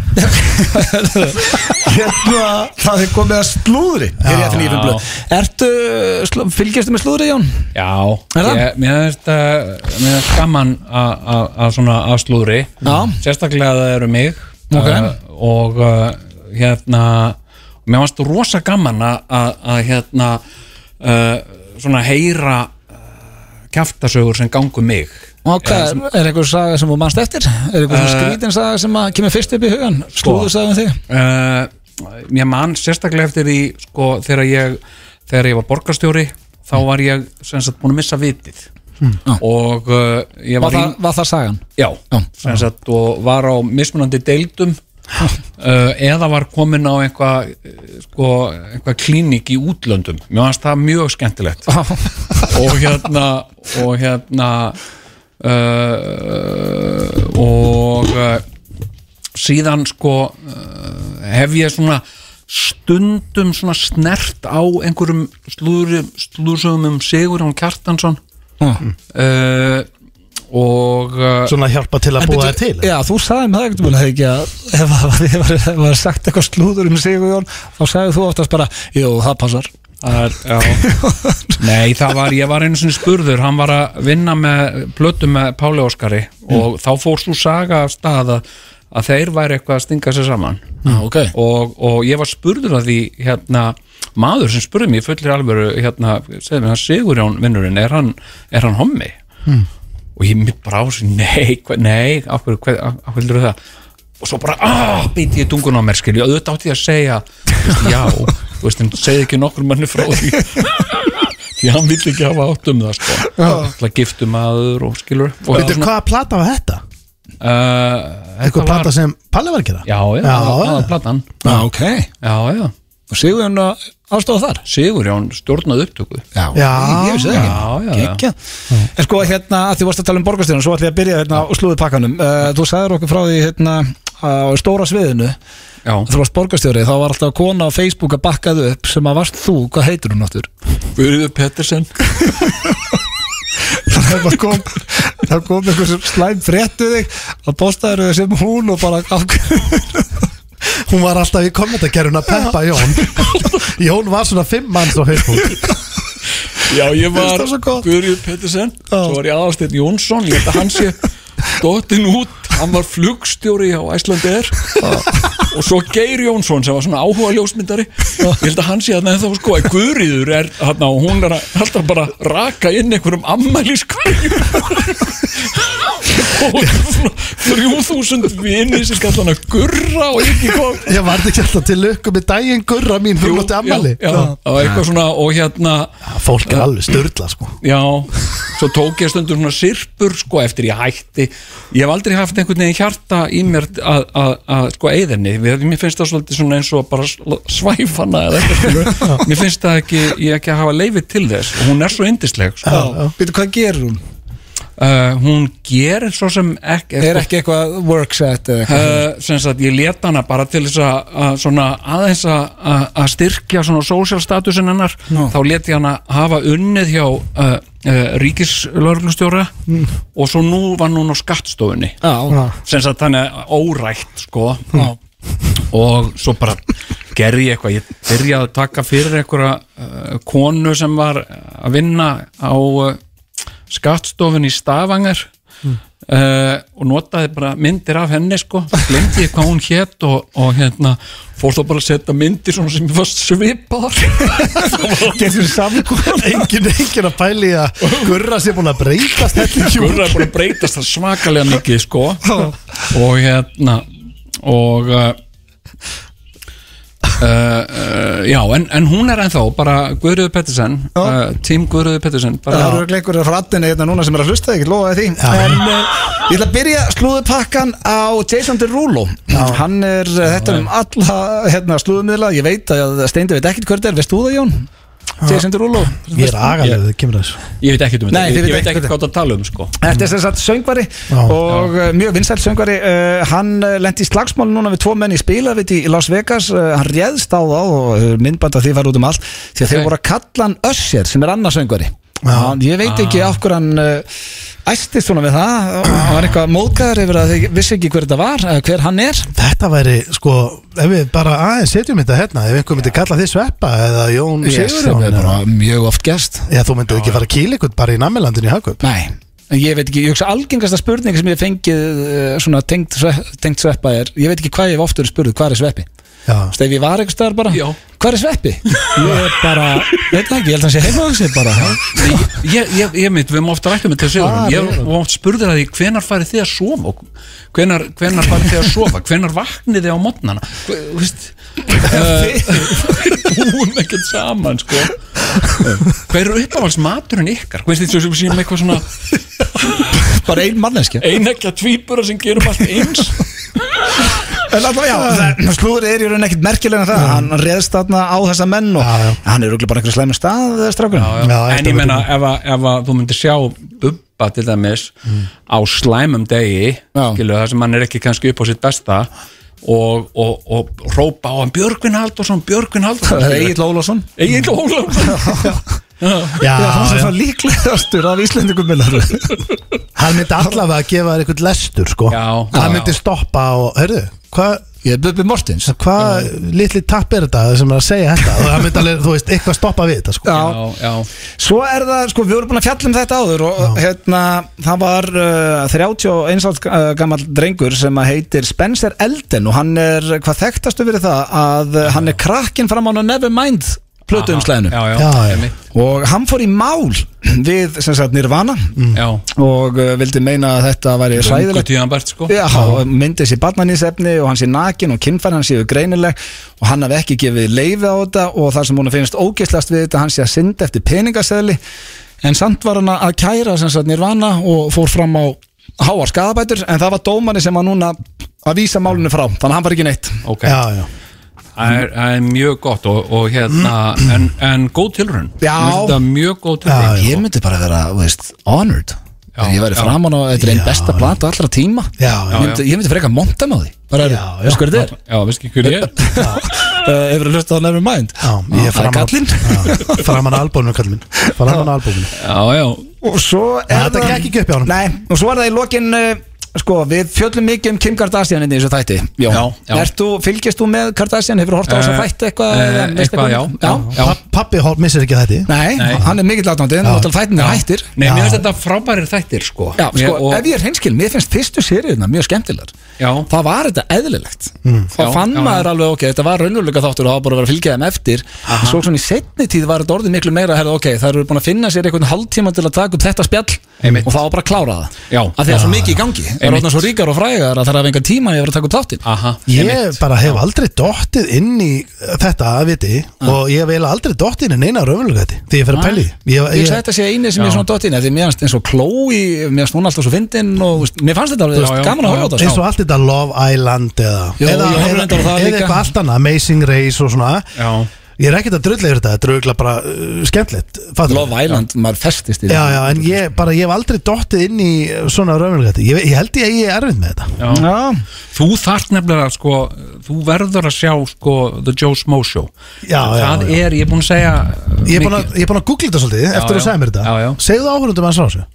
Hérna, það er komið að slúðri Hér í FNÍ blöð Ertu, slú, fylgjastu með slúðri Jón? já, Er það? ég, mér finnst það mér finnst gaman a- a- að svona að slúðri Já. sérstaklega að það eru mig Ok. uh, og uh, hérna mér fannst þú rosa gaman að- að að, hérna uh, svona heyra uh, kjaftasögur sem gangu mig Og hvað, er eitthvað saga sem þú manst eftir? Er eitthvað uh, skrítin saga sem að kemur fyrst upp í hugan? Slúður sagði um þig? uh, ég man sérstaklega eftir því sko, þegar ég þegar ég var borgarstjóri þá var ég sem sagt búin að missa vitið og uh, ég Hmm. Var, var, það, var það sagan? í já, Já. sem sagt og var á mismunandi deildum uh, eða var komin á einhvað sko, einhvað klínik í útlöndum mér fannst það mjög skemmtilegt og hérna og hérna uh, og uh, síðan sko uh, hef ég svona stundum svona snert á einhverjum slúður slúðsögum um Sigur án Kjartansson uh, og uh, Svona hjálpa til að búa þér til Já, þú sagði með það ekkert búin að ekki að ef það var, ef var, ef var sagt eitthvað slúður um sig Jón þá sagði þú oftast bara Jú, það passar Það er, já Nei, það var, ég var einu sinni spurður hann var að vinna með plötu með Páli Óskari og þá fór svo saga af stað að, að þeir væri eitthvað að stinga sér saman ah, okay. og, og ég var spurður að því hérna, maður sem spurði mér í fullir alvöru, hérna, segði mér hann Sigurjón vinnurinn, er hann, er hann hommi? Og ég mitt bara á sig nei, hva, nei, af hverju, hver, af, af hverju heldur það? Og svo bara, ah, beint ég dungun á mér, skilju, auðvitað átti ég að segja, þú veist, já, þú veist, en segði ekki nokkur manni frá því því hann vill ekki hafa átt um það, sko alltaf giftum aður og skilur og Veitur, hvaða plata var þetta? uh, Eitthvað plata sem Palli var að gera? já, já, Já, já, já, já. platan ah, ok já, já Og Sigurjón ástóð þar? Sigurjón stjórnaði upptöku Já, Já. ég- ég vissi það Já, já, ekki já. Gekja. En sko hérna, að því varst að tala um borgarstjóðan Svo ætlum ég að byrja hérna á slúðupakkanum uh, Þú sagðir okkur frá því hérna á stóra sviðinu Já, Þú varst borgarstjóri, þá var alltaf kona á Facebook að bakkað upp sem að varst þú, hvað heitir hún áttur? Guðriður Pettersen Það kom, það kom einhver sem slæm fréttuð þig að postaður þau sem hún og bara Hún var alltaf í kommentarkerfuna Peppa Jón Jón var svona fimm manns á Facebook Já, ég Finnst var það svo gott. Guðriður Pettersen Svo var ég aðalsteinn Jónsson Ég held að hann sé dottin út Hann var flugstjóri á Æslandeir Og svo Geir Jónsson sem var svona áhuga ljósmyndari Ég held að hann sé að þá sko að Guðriður er hann og hún er að- alltaf bara að raka inn einhverjum ammæliskveðjum og svona 3000 vini sem kallar hann að gurra og ekki hvað Ég var þetta ekki alltaf til lukku með daginn gurra mín Jú, Þú lótti ammali já, já, og eitthvað svona og hérna, Fólk er alveg störla sko já svo tók ég stundum svona sirpur sko eftir ég hætti, ég hef aldrei haft einhvern veginn hjarta í mér að, að, að sko eigðinni, mér finnst það svolítið svona eins og bara sl- svæfana eða eitthvað skilur, mér finnst það ekki ég ekki að hafa leifið til þess og hún er svo yndisleg sko. Býtu, hvað gerir hún? uh, hún gerir svo sem ekki, sko, Er ekki eitthvað workset eða eitthvað Uh, sem sagt ég let hana bara til þess að- að svona aðeins að- að að styrkja svona social statusin hennar Nú. þá let ég hana hafa unnið hjá uh, uh, ríkislörglustjóra Mm. og svo nú var hún á skattstofunni Já, sem sagt þannig að órætt sko og svo bara gerði ég eitthvað ég byrjaði að taka fyrir einhverja uh, konu sem var að vinna á uh, skattstofun í Stavangar uh, og notaði bara myndir af henni sko, glemdi ég hvað hún hétt og, og hérna fór þá bara að setja myndir svona sem ég var svipaðar getur samkvæm engin, engin að pæli að gurra sér búin að breytast hérna. þetta Gurra er búin að breytast það svakalega mikið sko og hérna og uh, uh, uh, já en, en hún er ennþá bara Guðröður Pettersen uh, Team Guðröður Pettersen Það bara, eru örugglega einhverjar frá addinni hérna núna sem er að hlusta, ég get lofaði því En uh, ég ætla að byrja slúðupakkan á Jason Derulo Hann er, uh, þetta er um alla hérna, slúðumiðla Ég veit að Steindi veit ekkert hvað þetta er, veist þú það Jón? Jason Derulo ég er agalið, það kemur að þessu ég veit ekki um Nei, þetta, þið veit ég, ég veit ekkert ekki hvað það tala um sko Þetta er sem sagt söngvari Já. og já. mjög vinsæl söngvari uh, Hann uh, lendi í slagsmál núna við tvo menn í spilaviti í Las Vegas uh, Hann réðst á þá og uh, myndband að því var út um allt Því að þeir Ok. voru að kalla hann Össir sem er annars söngvari Hann- Ég veit ekki af hverju hann uh, æstist svona við það Hann var eitthvað móðgæður yfir að þeir vissi ekki hver þetta var eða hver hann er Þetta væri, sko, ef við bara aðeins setjum þetta hérna, ef einhver myndi kalla þið Sveppa eða Jón Sigurðsson eða- mjög oft gest Já, þú myndir ekki fara að kýla ykkur bara í namilandinu í Hagkaup Nei, en ég veit ekki, ég hugsa algengasta spurning sem ég hef fengið eh, svona tengt, svepp, tengt sveppa er, ég veit ekki hvað ég hef oft verið spurðið, hvað er sveppi? Já, Þú veist, ef ég var einhvers staðar bara Já. Hvar er sveppi? Ég er bara, veit það ekki, ég held að hann sé heima á sig bara ég, ég, ég mynd, við erum ofta rættum Ah, þetta Sigurður, ég Sigurður. var ofta spurður að því hvenar farið þið að sofa og hvenar, hvenar farið þið að sofa hvenar vaknið þið á mótnana þú veist uh, búum ekkert saman sko hver eru uppáhalds maturinn ykkar hvað veist þið sem séum eitthvað svona Bara ein manneskja einægja tvíbura sem gerum allt eins En alltaf já, það- slúður er í raun ekkert merkilega en það Hann reðst þarna á þessa menn og Já, já. hann er örugglega bara einhverjum slæmum stað eh, strákurinn já. þetta en ég verður meina ef, að, ef að þú myndir sjá Bubba til dæmis á slæmum degi Já. skilu, það sem hann er ekki kannski upp á sitt besta og, og, og rópa á hann Björgvin Haldursson, Björgvin Það er Haldursson Egil Ólafsson Egil Ólaf já, Já, hann sem já. það líklegastur af Íslendingum minnar hann myndi allavega að gefa þér eitthvað lestur, sko Já, já, Hann myndi já. stoppa og, hörðu, hvað Ég er Bubbi Mortens hvað litli tapp er þetta sem er að segja þetta og hann myndi alveg, þú veist, eitthvað stoppa við þetta, sko Já, já, já, Svo er það, sko, við vorum búin að fjalla um þetta áður og hérna, það var uh, 31 árs uh, gammal drengur sem að heitir Spencer Elden og hann er, hvað þekktastu fyrir það að uh, hann er krakkinn fram á Nevermind plötuumslæðinu já, já, Já, já. einmitt. og hann fór í mál við, sem sagt, Nirvana já. og uh, vildi meina að þetta væri Mm. Löngu sæðilegt tíðan bært sko Já, og myndið sér barnanísefni og hann sé nakin og kynfæri hann séu greinileg og hann hafi ekki gefið leifi á þetta og það sem hún finnst ógeðslast við þetta hann sé að synda eftir peningaseðli en samt var hann að kæra sem sagt nirvana og fór fram á háar skadabætur en það var dómani sem var núna að vísa málinu frá, þannig að hann var ekki neitt ok, Já, já, það er, það er mjög gott og, og hérna, en, en góð tilrun Já. Mér finnst það mjög Já, góð tilrun Ég myndi bara vera, þú veist, honored Já, Ef ég væri já. framan á, þetta er einn Já, besta já. plata allra tíma Já, já. Ég myndi, ég myndi freka monta með því bara, Já, já. Veistu hvað þetta er? já, veist ekki hver ég er Uh, Hefur að hlusta á Nevermind já, ég Það er er framan kallinn Já, Framan á albúinu, kallinn minn Framan á albúinu já, já, og svo er Þetta gekk ekki upp hjá honum. Nei, og svo er það í lokin uh, sko, við fjöllum mikið um Kim Kardashian inni í þessu þætti Jón. Já, já. Ert þú, fylgist þú með Kardashian, hefur hort á þessu Eh, þætti eitthvað eh, eða veist eitthvað, já, um- já. Papp- Pabbi hol- missir ekki þetta Nei, Nei. hann er mikill aðnándið en Já. náttúrulega þættin er hættir Nei, mér Já. finnst þetta frábærir þættir sko Já, sko, Mér- og, ef ég er hreinskil, mér finnst fyrstu sériðna mjög skemmtilegar Já. Það var þetta eðlilegt Mm. Þá Já, fann já, já. maður alveg, ok, þetta var raunveruleika þáttur og það var bara að vera að fylgja þeim eftir En Svo svona í setni tíð var þetta orðið miklu meira herrðu, Ok, það eru búin að finna sér einhvern hálftíma til að taka upp þetta spjall Einmitt. Og það var bara að klára það Já. Af því að svo mikið í gangi Það er Einmitt. orðin svo ríkar og frægar að það er að venga tíma yfir að taka upp þáttin Ah, Aha, Ég einmitt. bara hef aldrei dottið inn í uh, þetta að viti og ég hef eiginlega aldrei dottið inn í neina raunverulega þetta því ég fer að pæli ég, Ég hugsa að þetta sé eini sem Já. ég svona dottin Því mér fannst eins og Chloe, mér fannst hún alltaf svo fyndin og, þú veist, Mér fannst þetta alveg Já, þú veist, já, gaman að já, horfa á já. þetta eins og allt þetta Love Island eða, Jó, eða, ég horfði eða, reyndar á það eða líka. eitthvað allt annað Amazing Race og svona Já. Ég er ekkert að drulla yfir þetta, þetta er auðvitað bara uh, skemmtilegt fattar þú? Love Island, maður festist í Já, já, en ég, bara, ég hef aldrei dottið inn í svona raunverulegati ég, ég held ég að ég er erfitt með þetta Já. Þú þart nefnilega sko, þú verður að sjá sko, The Joe Smo Show Já, Það já, já. er, ég er búin að segja Ég er búin að, ég er búin að googla þetta svolítið eftir já. að segja mér þetta Já, já. Segðu áhverjum að þessu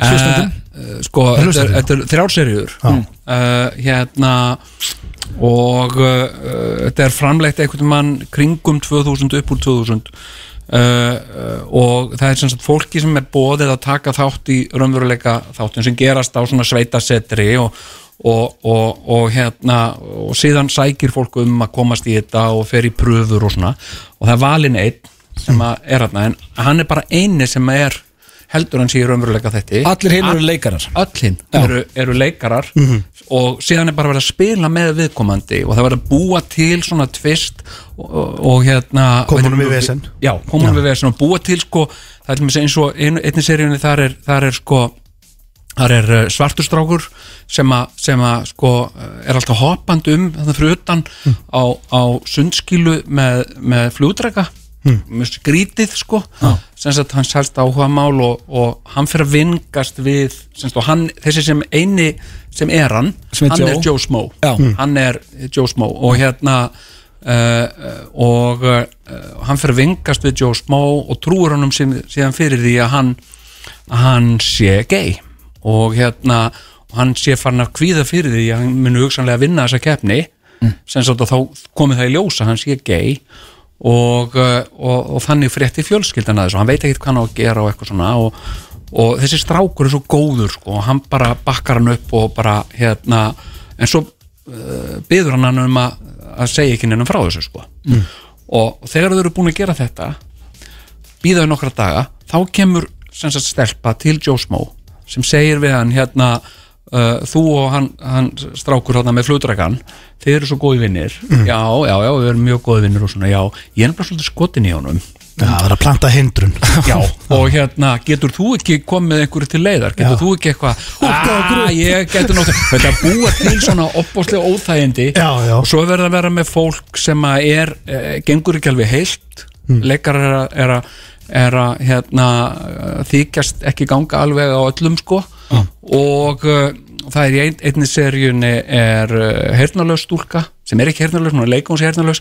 Hlustundum Eh, Sko, þetta er- Hlustendum. þetta er þrjárserjur Já. uh, Hérna Og uh, þetta er framleitt einhvern mann kringum 2000 upp úr 2000 Uh, uh, og það er sem sagt fólki sem er boðið að taka þátt í raunveruleika þáttum sem gerast á svona sveitasetri og, og, og, og hérna og síðan sækir fólk um að komast í þetta og fer í pröfur og svona og það er valinn einn sem að er hérna en hann er bara eini sem er heldur hann sé í raunveruleika þetta Allir hinn eru leikarar öll hinn eru, eru leikarar og síðan er bara verið að spila með viðkomandi og það verið að búa til svona tvist og, og, og hérna Koma honum í veitum- vesen. já, komunum við vesen og búa til sko, það er til dæmis eins og ein, einni seríunni þar er, þar er sko þar er uh, svartur strákur sem að, sem að sko uh, er alltaf hoppand um þannig fyrir utan Hm. á, á sundskilu með, með flugdrega Hm. mjög skrítið sko sem sagt hann sælst áhuga mál og, og hann fyrir að vingast við sem sagt, og hann, þessi sem eini sem er hann, Sem er hann Joe. er Joe Smo Já. Mm. hann er Joe Smo og hérna Uh, og uh, hann fyrir að vingast við Joe Smó og trúur honum sem, síðan fyrir því að hann að hann sé gay og hérna og hann sé farin að kvíða fyrir því að hann muni hugsanlega vinna þessa keppni sem sagt að þá komið það í ljósa hann sé gay og, uh, og, og þannig frétti fjölskyldan að þessu hann veit ekkert hvað hann á að gera og eitthvað svona og, og þessi strákur er svo góður sko, og hann bara bakkar hann upp og bara hérna en svo uh, byður hann hann um að, að segja ekki nefnum frá þessu sko. og þegar þau eru búin að gera þetta býðaði nokkra daga þá kemur sem sagt stelpa til Joe Smó sem segir við hann hérna uh, þú og hann, hann strákur hérna með flutrækan, þið eru svo góði vinnir já, já, já, við erum mjög góði vinnir og svona, já, ég er bara svolítið skotin í honum Já, það er að planta hindrun já, og hérna, getur þú ekki komið einhverju til leiðar, getur þú ekki eitthvað aaa, ég getur náttúrulega þetta búa til svona opbóðslega óþægindi Já, já. og svo er verið að vera með fólk sem að er, e, gengur ekki alveg heilt Hmm. mm. leikar er að er að er að hérna, eh, þykjast ekki ganga alveg á öllum sko og uh, það er í ein, einni seríunni er uh, hernalaus stúlka sem er ekki hernalaus, hún er leikum sem hernalaus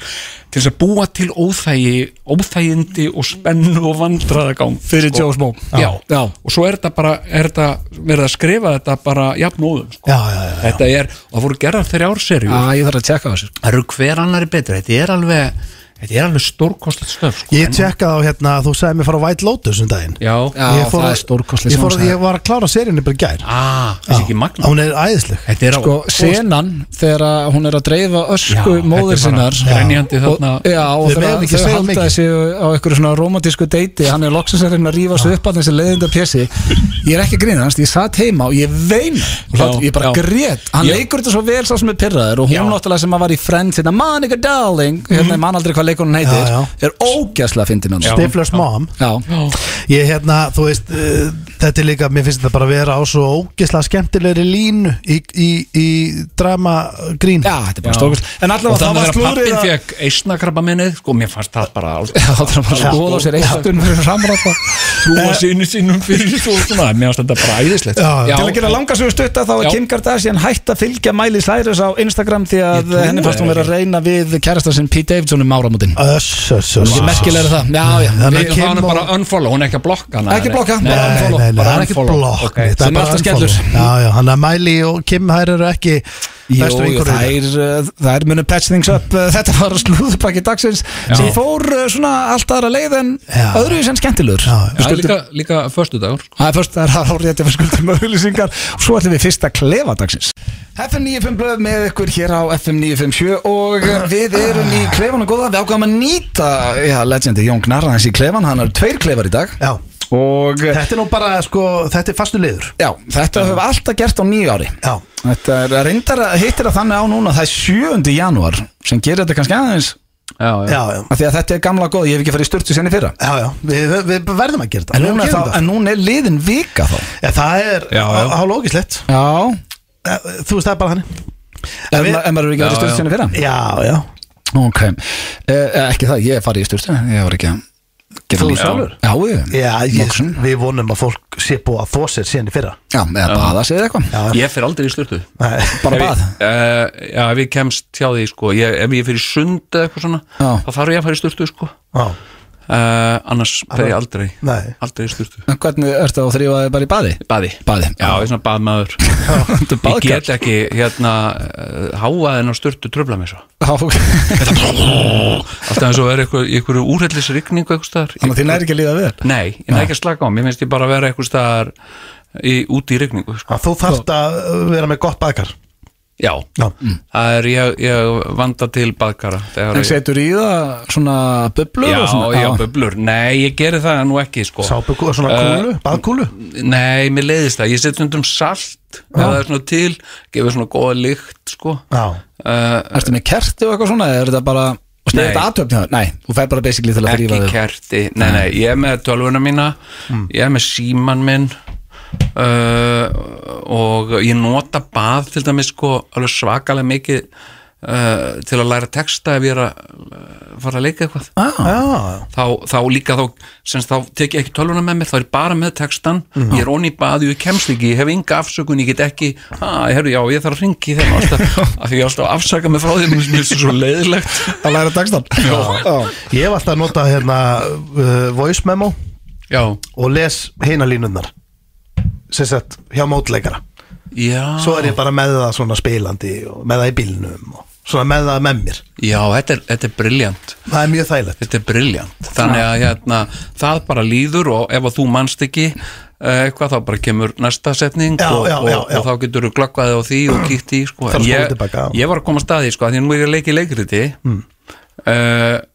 til þess að búa til óþægi óþægindi og spennu og vandraðagang Fyrir Joe Smó Já. já og svo er þetta bara er þetta, verið að skrifa þetta bara jafnóðum sko. Já, já, já, já. þetta er, og það fóru gerða þrjár serjur Ah, ég þarf að tjekka þessu það eru hver annari betur, þetta er alveg þetta er alveg stórkostlegt stöf sko. Ég tjekkaði á hérna, þú sagði mér fara á White Lotus um daginn já, Já, Ég fór það að- er stórkostlega ég, fór að- ég var að klára seríunni bara í gær Ah, þessi ekki magna Hún er æðisleg Þetta er á Sko, senan þegar að hún er að dreifa ösku Já, þetta móður er bara sinnar grenjandi og, þarna já, og Við þegar megum ekki þau segja halda mikið. þessi á einhverju svona romantísku deiti hann er loksins að reyna að rífa svo upp að þessi leiðinda pjessi ég er ekki að grínast, ég satt heima og ég vein ég bara já. grét, hann Já. leikur þetta svo vel sá sem er pyrraður og hún Já. Mhm. náttúrulega sem að var í Friends hérna, Monica Darling, hérna ég man aldrei hvað leikunum heitir Já, já. er ógæslega fyndin hann Já. Stifler's Mom Já. Ég hérna, þú veist, uh, þetta er líka, mér finnst þetta bara að vera á svo ógislega skemmtilegri línu í, í, í drama grín já, þetta er bara stórkast en og allavega það þannig var að slúrið pappin að- fekk eisnakrabba sko, mér fannst það bara alveg Já, það er bara að skoða á sér eittun fyrir samráta trúa sinni sínum fyrir svo svona, mér fannst þetta bara æðislegt Já, Til að gera langarsögu stutta þá er Já. Kim Kardashian hætt að fylgja Miley Cyrus á Instagram því að trúi henni fannst hún vera að reyna við kærastan sinn Pete Davidson um áramótin Öss, öss, öss Ég merkilega það, já, já Þannig Ég- Kim Það er og- bara unfollow, hún er ekki að blokka hana, Ekki nei. blokka, Nei, bara nei, Nei, unfollow, nei, nei, bara það er ekki unfollow. blokk Ok, þetta er sem bara alltaf unfollow. skellur. Já, já, hann að Miley og Kim hær eru ekki Jú, bestu jú, vinkonur í dag. þær, uh, þær munu patch things up Uh, Þetta var slúðupakki dagsins sem fór uh, svona allt aðra leið en Já. öðru sem skemmtilegur Já, Já, líka, líka föstudagur Það er fyrst, það er hár rétt ef við skuldum auðlýsingar og svo ætlum við fyrst að klefa dagsins FM 95 blöð með ykkur hér á FM 957 og eh, við erum í klefan og góða, við ákvæðum að nýta já, legendi Jón Gnarr hans í klefan, hann er tveir klefar í dag já, og eh, þetta er nú bara, sko, þetta er fastu liður já, þetta höfum við alltaf gert á nýju ári Já, Þetta er reyndar að hittir það þannig á núna það er 7. janúar sem gerir þetta kannski aðeins já, já, af því að þetta er gamla góð, ég hef ekki farið í sturtu senni fyrra já, já. Við, við verðum að gera þetta en Við núna, gerum þá, þetta. en núna er liðin vika þá Já, það er Já, já. hálógislegt Já, Þú veist, það er bara hann ef við- ma- ef maður hefur ekki Já, verið í sturtu já. senni fyrra Já, já Ok, eh, ekki það, ég fari í styrstu Ég var ekki að gera Þú lítið. sjálfur? Já, ég, Já, ég, Moxun. við vonum að fólk sé búið að þó sér síðan í fyrra já eða baða sig eða eitthvað Ég fer aldrei í styrtu Nei. Bara bað Eh, Já, ef ég kemst hjá því sko ég, Ef ég fer í sund eða eitthvað svona Já. þá þarf ég að fara í styrtu sko Já, uh, Annars fer ég aldrei Nei. Aldrei í styrtu En Hvernig ertu að þrýfa þig bara í baði? Baði Baði, Já, ég er svona baðmaður Þú er Ég baðkar get ekki hérna uh, háaðin á styrtu tröfla mér svo Já, ok. Alltaf eins og er eitthvað, eitthvað úrhellisrigningu eitthvað staðar Þannig að þið næri ekki að líða vel Nei, ég næ ekki að slaka á Mér finnst ég bara að vera eitthvað staðar í, út í rigningu sko. þú þarft að vera með gott baðkar Já, Já, Mm. það er ég, ég vanda til baðkara þegar En ég- setur í það svona bublur Já, og svona já, bublur Nei, ég geri það nú ekki sko. sápu, svona kúlu, baðkúlu Nei, mér leiðist það Ég set stundum salt ef það er svona til, gefur svona góða lykt sko. Já, uh, Ertu með kerti og eitthvað svona? eða Er þetta bara Og snegir Nei. þetta aðtöfn hjá þér? Nei, þú fær bara basically til að Ekki þrýfa þig kerti Nei, nei, ég er með tölvuna mína Ég er með síman minn uh, Og ég nota bað til dæmis sko alveg svakalega mikið uh, til að læra texta ef ég er að uh, fara að leika eitthvað Ah. Já, já, þá, þá líka þá, sem sagt, þá tek ég ekki tölvuna með mér, þá er ég bara með textan ég er onni í baði, ég kemst ekki, ég hef enga afsökun ég get ekki, að, herru, já, ég þarf að ringi þeim alltaf, af því ég er alltaf að afsaka mig frá þeim, mér finnst það svo leiðilegt að læra dagstan Já, ég hef alltaf notað hérna uh, voice memo já, og les hina línunnar sem sett hjá mótleikara já svo er ég bara með það svona spilandi og með það í bílnum og svona með það með mér já, þetta er, þetta er briljant það er mjög þægilegt þetta er briljant, þannig að hérna, það bara líður og ef að þú manst ekki eh, eitthvað, þá bara kemur næsta setning Já, og, já, já, og, já. og þá getur þú glöggvaði á því og kíkt í sko. Þarf að spóla ég, tilbaka, já. Hmm. ég var að koma að staði, sko, af því að nú er ég að leika í leikriti mm.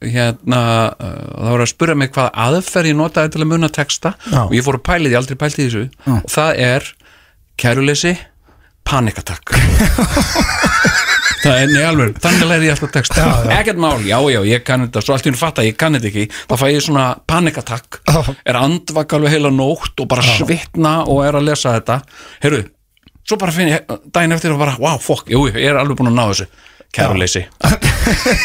hérna uh, þá var að spura mig hvað aðferð ég notaði til að muna texta Já. og ég fór að pæli því, aldrei pælt í þessu og það er kæruleysi panikatakk Það er nefnir, þannig læri ég alltaf text Ekkert mál, já, já, ég kann þetta Svo allt í hún fatt að ég kann þetta ekki Þá fæ ég svona panikatakk Er andvak alveg heila nótt og bara svitna Og er að lesa þetta Heyrðu, svo bara finn ég daginn eftir og bara Wow, fuck, jú, ég er alveg búin að ná þessu Kæruleysi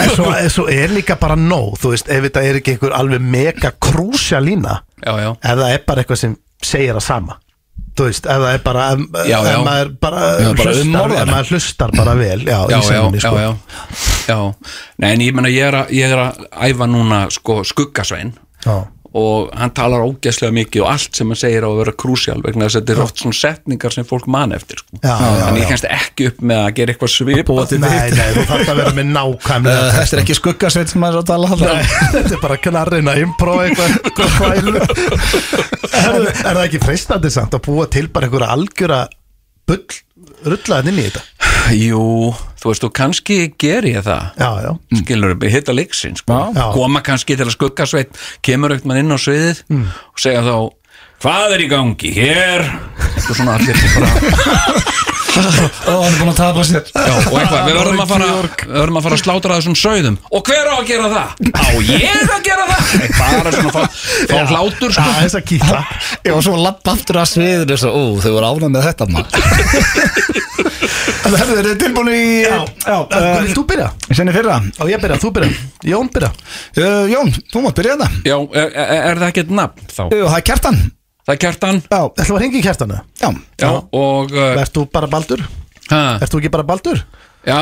en svo, en svo er líka bara nóg þú veist, ef þetta er ekki einhver alveg mega krúsja lína Já, já, ef það er bara eitthvað sem segir það sama þú veist, ef það er bara ef, Já, já. um ef maður bara, Já, bara hlustar, umorðar. ef maður hlustar bara vel já, já, í já, senninni, sko. já, já Já, nei, en ég meina ég er að, ég er að æfa núna sko skuggasvein Já. og hann talar ógæslega mikið og allt sem hann segir á að vera krúsjál vegna þess að þetta er oft svona setningar sem fólk man eftir sko. Já, já, já. en ég kennst ekki upp með að gera eitthvað svip búa til nei, vitt nei, þú þarf að vera með nákvæmlega Eh, Þetta er ekki skuggasveit sem maður er að tala um. Nei, alltaf þetta er bara knarrin að improv eitthvað eitthvað kvælu er, er það ekki freistandi samt að búa til bara einhverja algjöra bull rullaðin inn í þetta Jú, þú veist, og kannski ger ég það já, já, skilur, hitta leiksin sko. Mm. Já. koma kannski til að skuggasveit kemur aukt mann inn á sviðið Mm. og segja þá hvað er í gangi hér og svona allir bara, Ó, hann er búin að tapa sér já, og eitthvað, við verðum að fara við verðum að fara að slátra þessum sauðum og hver á að gera það? á ég að gera það? Nei, bara svona fá, fá hlátur sko. það er þess að kýta Ég var svo lappa aftur að sviðinu svo, ó, þau voru ánægð með þetta maður Það er þetta tilbúin í já, já, uh, eh, vil þú byrja? Senni fyrra á ég byrja, þú byrja, Jón byrja uh, Jón, þú mátt byrja þetta Já, er, er, er það ekkert nafn þá? Jú, Það er kjartan Það er kjartan Já, ætlum að ringi kjartana já Já, og uh, ert þú bara baldur? ha, ert þú ekki bara baldur? Já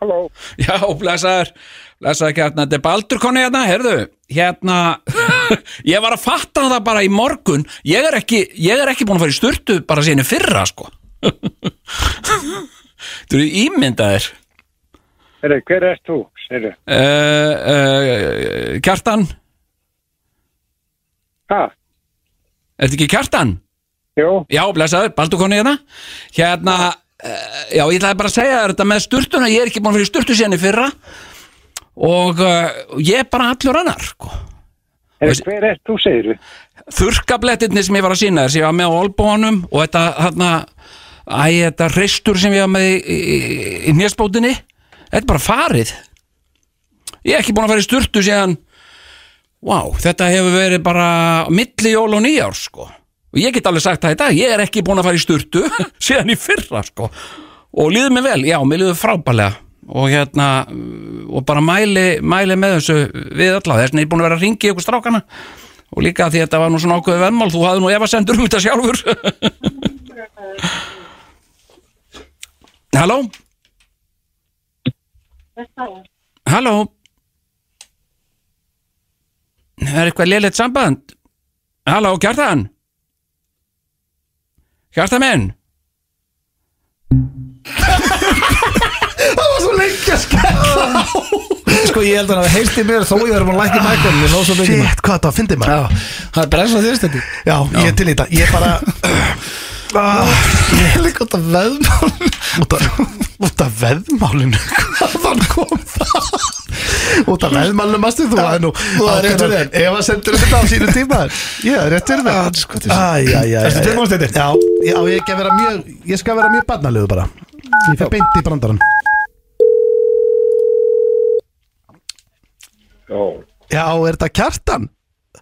Halló, Já, blessaður Blessaður kjartan, þetta er Baldur konni hérna, heyrðu Hérna, ég var að fatta það bara í morgun Ég er ekki, ég er ekki búin að fara í sturtu bara síðan í fyrra, sko Þú eru ímyndaðir uh, heyrðu, hver ert þú? Heyrðu, uh, Kjartan, ha, ertu ekki kjartan? jú, Já, blessaður, Baldur konni hérna Hérna, uh, já, ég ætlaði bara að segja þér þetta með sturtuna Ég er ekki búin að fyrir sturtu síðan í fyrra Og uh, ég er bara allur annar sko. heyrðu, hver ert þú, segirðu? Þurkablettirni sem ég var að sína þér sem ég var með á olbónum Og þetta, hérna, æ, þetta reistur sem ég var með í, í, í nésbótinni Þetta er bara farið Ég er ekki búin að fara í sturtu síðan Vá, þetta hefur verið bara milli jól og nýjár sko og ég get alveg sagt það í dag, ég er ekki búin að fara í sturtu síðan í fyrra sko og líður mér vel, já, mér líður frábælega og hérna og bara mæli, mæli með þessu við alla, þess vegna ég er búin að vera að ringi ykkur strákana og líka því að þetta var nú svona ákveðu vennmál, þú hafði nú efa sendur um þetta sjálfur Halló Halló Það er eitthvað léleitt samband Halló, Kjartan Kjartan minn Sko ég held að það heilti mér þó ég er búin að lækja mækjum Ég lóð svo mikið Shit, hvað það, fyndi maður Já, það er brensla þér stendi Já, ég er til í þetta Ég bara ah, Ég er líka út af veðmálinu Út af, út af veðmálinu Hvaðan kom það? Út af veðmálinu, mastu þú að nú þú hafðir rétt fyrir þér. Ef að sendur þetta á sínu tíma Já, rétt fyrir það sko, Æ, æ, æ Ertu tilbúin, Steindi? Já, já, ég skal vera mjög Ég skal vera mjög barnalegu bara Ég fer beint í brandaran Já, Já, er þetta kjartan?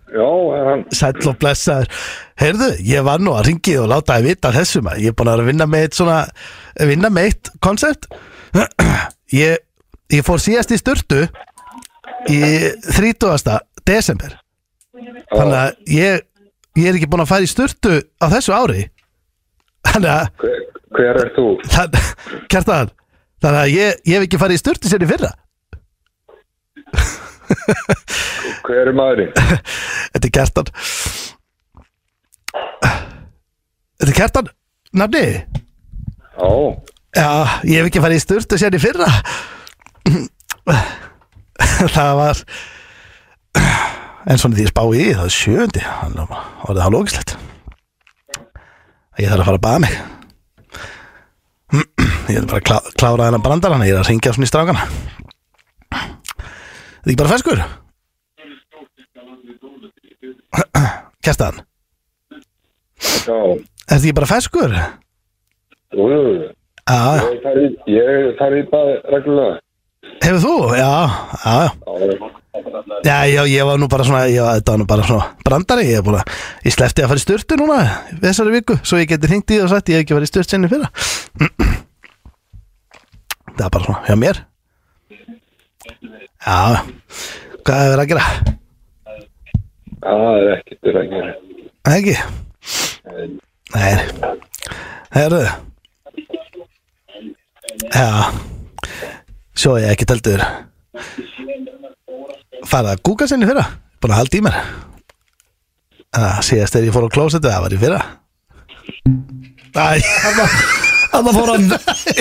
já, það er hann. Sæll og blessaður Heyrðu, ég var nú að ringið og láta þið vita af þessu maður Ég er búin að vera að vinna með eitt svona Vinna með eitt koncept ég, ég fór síðast í styrtu Í 30. desember Þannig að ég, ég er ekki búin að fara í styrtu Á þessu ári Þannig að Hver, hver er þú? þann, Kjartan Þannig að ég, ég hef ekki farið í styrtu sér í fyrra Hver er maðurinn? Þetta er Kjartan Þetta er Kjartan Nafniði Já, Já, ég hef ekki farið í sturtu sér í fyrra Það var En svona því ég spá í því, það er sjöndi Og það er lókislegt Ég þarf að fara að baða mig Ég er bara að klá, klára þennan brandarana Ég er að ringja svona í strákana Það er ekki bara ferskur Kjartan já. Er þetta ekki bara ferskur? Já, Ú, já. ég þarf í, ég þarf í bað reglulega. hefur þú? Já, já, já Já, Já, já, ég var nú bara svona, já, þetta var nú bara svona brandari, ég er búin að, ég slefti að fara í styrtu núna þessari viku, svo ég geti hringt í það og sagt ég hef ekki farið í styrtu sinni fyrra Það er bara svona, hjá mér Já, hvað hefur verið að gera? það er ekkert verið að gera. Það ekki? Nei, herðu Já, svo ég ekki teltur farið að gúka sinni fyrra, búin að halda í mér Það síðast þegar ég fór á klósetu, það var í fyrra Æ, Þannig fór hann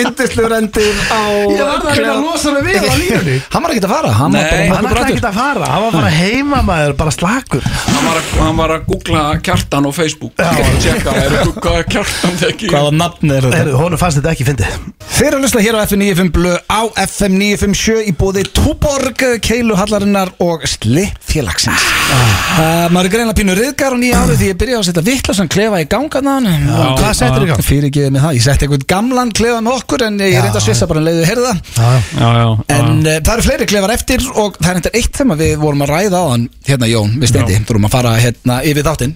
yndislegur endir á Ég varð að reyna að losa mig við á línunni. Hann var ekki að fara Hann var Nei, bara hann ætlaði ekki að fara, hann var bara heima maður, bara slakur hann var, að, hann var að googla kjartan og Facebook og tjekka, er það kjartan þekki Hvaða nafn er þetta? Heru, Honum fannst þetta ekki fyndið Þeir eru að hlusta hér á FM 95 Blu á FM 957 í bóði Túborg, Keilu Hallarinnar og Sli félagsins Ah. uh, Maður er greinlega pínu riðgar á nýja ári því ég byrjaði að setja vittlasan klefa í gangaðan Já, hvað settirðu í gang? Fyrirgeðið mig það, ég setti einhvern gamlan klefa með okkur en ég Já, reyndi að svissa bara en leiðu heyrða Já, já, já, En uh, það eru fleiri klefar eftir og það er eitthvað eitt sem að við vorum að ræða á hann hérna Jón, við stendi, þú erum að fara hérna yfir þáttinn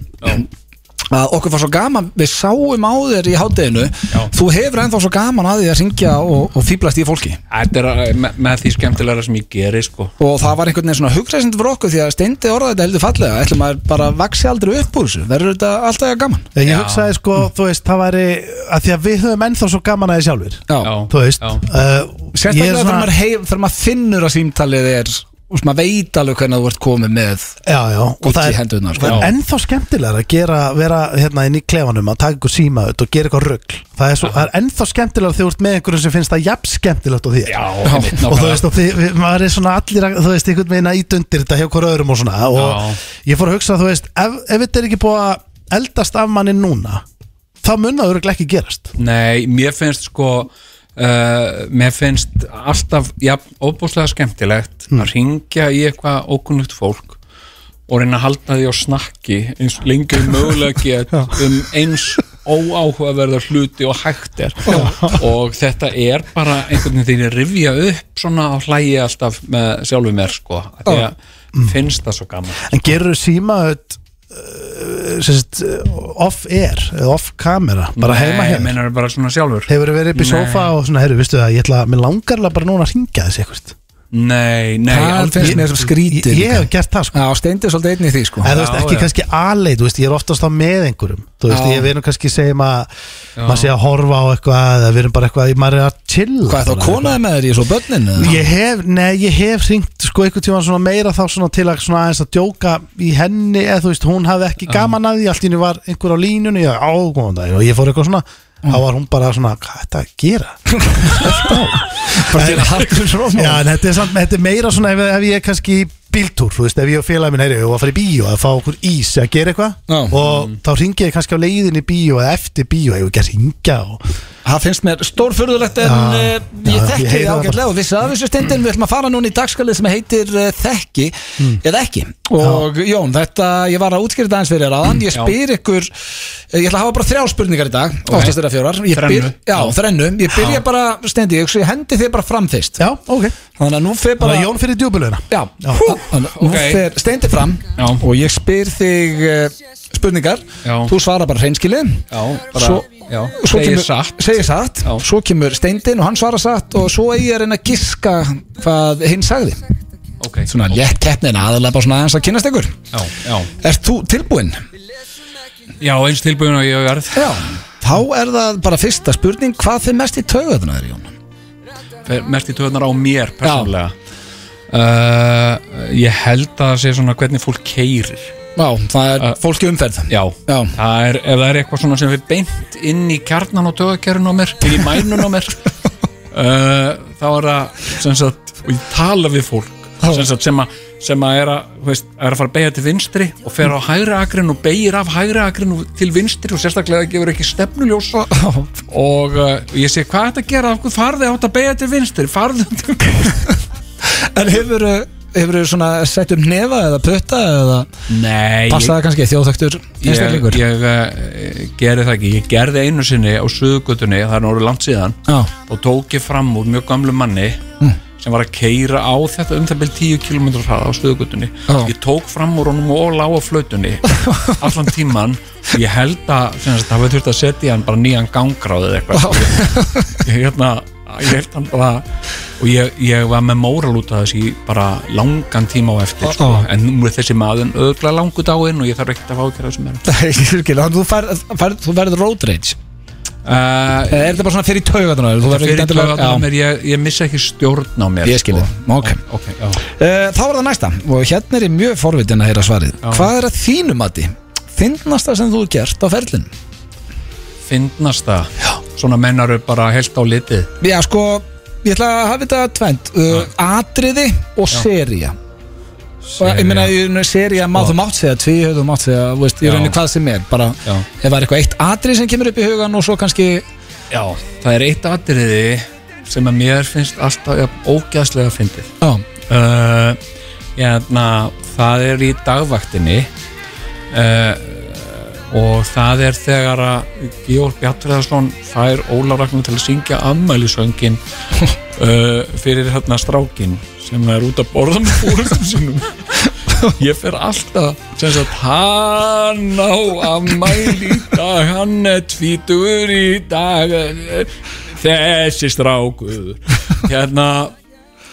að okkur var svo gaman, við sáum á þér í hátteginu, þú hefur ennþá svo gaman að því að syngja og, og fýblast í fólki Þetta er að- me, með því skemmtilega sem ég geri sko. og það var einhvern veginn svona hugreisend fyrir okkur því að steindi orðaði þetta heldur fallega ætlum maður bara vaksi aldrei upp úr þessu verður þetta alltaf gaman Ég Já. hugsaði sko, þú veist, það væri að því að við höfum ennþá svo gaman að þið sjálfur Já. Þú veist Já. uh, ég er sérstaklega þegar maður, hef, þegar maður finnur að símtalið er og svona veit alveg hvernig þú ert komið með Já, já, og Gucci það er, hendurnar, sko. það er Já. ennþá skemmtilega að gera, vera hérna inn í klefanum að taka ykkur síma auðvitað og gera eitthvað rögl það er, svo, það er ennþá skemmtilega þegar þú ert með einhverjum sem finnst það jafn skemmtilegt og þér einmitt, og þú nákvæmlega. veist, og þið, við- maður er svona allir að, þú veist, einhvern veginn að ítundir þetta hjá hver öðrum og svona og Já. ég fór að hugsa, þú veist, ef, ef þetta er ekki búið að eldast af manni núna þá mun það örugglega ekki gerast Nei, mér finnst sko Uh, mér finnst alltaf ja, óbúslega skemmtilegt Hmm. að ringja í eitthvað ókunnugt fólk og reyna að halda því á snakki eins lengi og mögulega get um eins óáhugaverðar hluti og hægt er og þetta er bara einhvern veginn þegar ég rifja upp svona og hlægi alltaf með sjálfu mér sko af því að finnst það svo gaman En gerur síma öll sérst, off-air eh, eða off-kamera, bara heima Nei, ég heim meinar bara svona sjálfur hefur verið upp í sófa og svona, heyrðu, veistu það ég ætla, mér langarlega bara núna að ringa þessi eitthvað Nei, nei, Það aldrei finnst mér sem ég, skrítið ég hef gert það sko Já, steindið er svolítið einnig í því sko En þú veist, Já, ekki já. kannski aleit, þú veist, ég er oftast á með einhverjum Þú veist, Já. ég verðum kannski segjum að Já. maður sé að horfa á eitthvað eða við erum bara eitthvað, maður er að chilla Hvað er bara þá konaði með þér í svo börnin? eða? Ég hef, nei, ég hef hringt sko einhvern tíma svona meira þá svona til að svona aðeins að djóka í henni eða þú veist, hún hafði ekki gaman að því, allt í henni var einhver á línunni, ég ágóðan dag og ég fór eitthvað svona, þá Mm. var hún bara svona hvað er þetta að gera? Þetta á Bara til að harkum Já, svona en þetta er, samt, þetta er meira svona ef, ef ég er kannski í bíltúr, þú veist, ef ég og félagin minn heyri, við varum að fara í bíó að fá okkur ís að gera eitthvað Já. Mm. og þá ringi ég kannski á leiðinni í bíó eða eftir bíó, ég hef ekki að ringja og Það finnst mér stórfurðulegt en Já, já, já, ég ég þekki heyri þið það ágætlega og vissi af þessu stundin við ætlum að fara núna í dagskalið sem heitir uh, þekki eða ekki og Jón, þetta, ég var að útskýrta aðeins fyrir þér aðan ég já. spyr ykkur, eh, ég ætla að hafa bara þrjá spurningar í dag, oftast er það fjórar Ég Þrennu. byr- Já, þrennu, ég byrja bara stendi, ég, ég hendi þið bara fram fyrst Já, ok, þannig að nú fer bara bara Jón fyrir djúbulöðina Já, Já. Hú, þannig að nú ok. fer steindi fram Já. og ég spyr þig uh, spurningar Já. þú svara bara hreinskilið Já, bara, Svo- já, svo segir kemur- satt segir satt, Já. svo kemur steindin og hann svarar satt og svo eigi ég að reyna að giska hvað hinn sagði Ok, svona létt keppnin aðalega bara svona aðeins að kynast ykkur Já, já, Ert þú tilbúinn? já eins tilbúin og ég hef verið Já Þá er það bara fyrsta spurning hvað þið mest í taugatuna þér Jón? Fer mest í töðunar á mér persónulega uh, ég held að það sé svona hvernig fólk keyrir Já, það er Uh, fólki umferð já, Já. Það er, ef það er eitthvað svona sem við beint inn í kjarnan og töðakerun á mér inn í mænun á mér uh, þá er það sem sagt, og ég tala við fólk sem, sagt, sem, að, sem að er að, þú veist, er að fara að beigja til vinstri og fer á hægri akrin og beigir af hægri akrin og- til vinstri og sérstaklega gefur ekki stefnuljós og uh, ég sé hvað er þetta að gera af hverju farði átt að beigja til vinstri farði til En hefur hefur þú svona sett um nefa eða putta eða Nei, passaði kannski þjóðþöktur ég, einstaklingur? ég uh, gerði það ekki ég gerði einu sinni á söðugutunni það er orðið langt síðan Já, og tók ég fram úr mjög gamlu manni Hmm. sem var að keira á þetta um það byrjum 10 km hraða á stöðugutunni Já. ég tók fram úr honum og lág á flautunni allan tíman ég held að sem sagt, það var þurft að setja í hann bara nýjan gangráðið eitthvað ég, hérna, ég held hann bara og ég, ég var með móral út af þessi bara langan tíma á eftir sko. Já. en nú er þessi maður öðgla langu dáin og ég þarf ekkert að fá ekki þessum meira það er ekki fylgilega Þú, fær, fær, þú verður road rage uh, Eða er þetta bara svona fyrir taugatuna? Þú verður ekki Eh, fyrir endilega- Já. taugarnar á mér, ég, ég missa ekki stjórn á mér Ég skil þig. sko. Ok. ok, já Eh, Þá er það næsta og hérna er ég mjög forvitin að heyra svarið Hvað er að þínu mati? Fyndnasta sem þú er gert á ferlin Fyndnast það? Svona mennaru bara heilt á litið Já sko, ég ætla að hafa þetta tvend uh, Atriði og sería Og ég meina, ég meina, sería má þú mátt segja Tvíhauð þú mátt segja, þú veist, ég Já. reynir hvað sem er Bara, Já. ef það er eitthvað eitt atrið sem kemur upp í hugan Og svo kannski, Já, það er eitt atriði sem að mér finnst alltaf jafn ógæðslega fyndið já, uh, Jæna, það er í dagvaktinni uh, og það er þegar að Georg Bjartfriðarsson fær Ólar Ragnar til að syngja ammælisöngin uh, fyrir hérna strákin sem er út að borða með fórustum sínum ég fer alltaf sem sagt hann á ammæli í dag hann er tvítur í dag þessi strákur hérna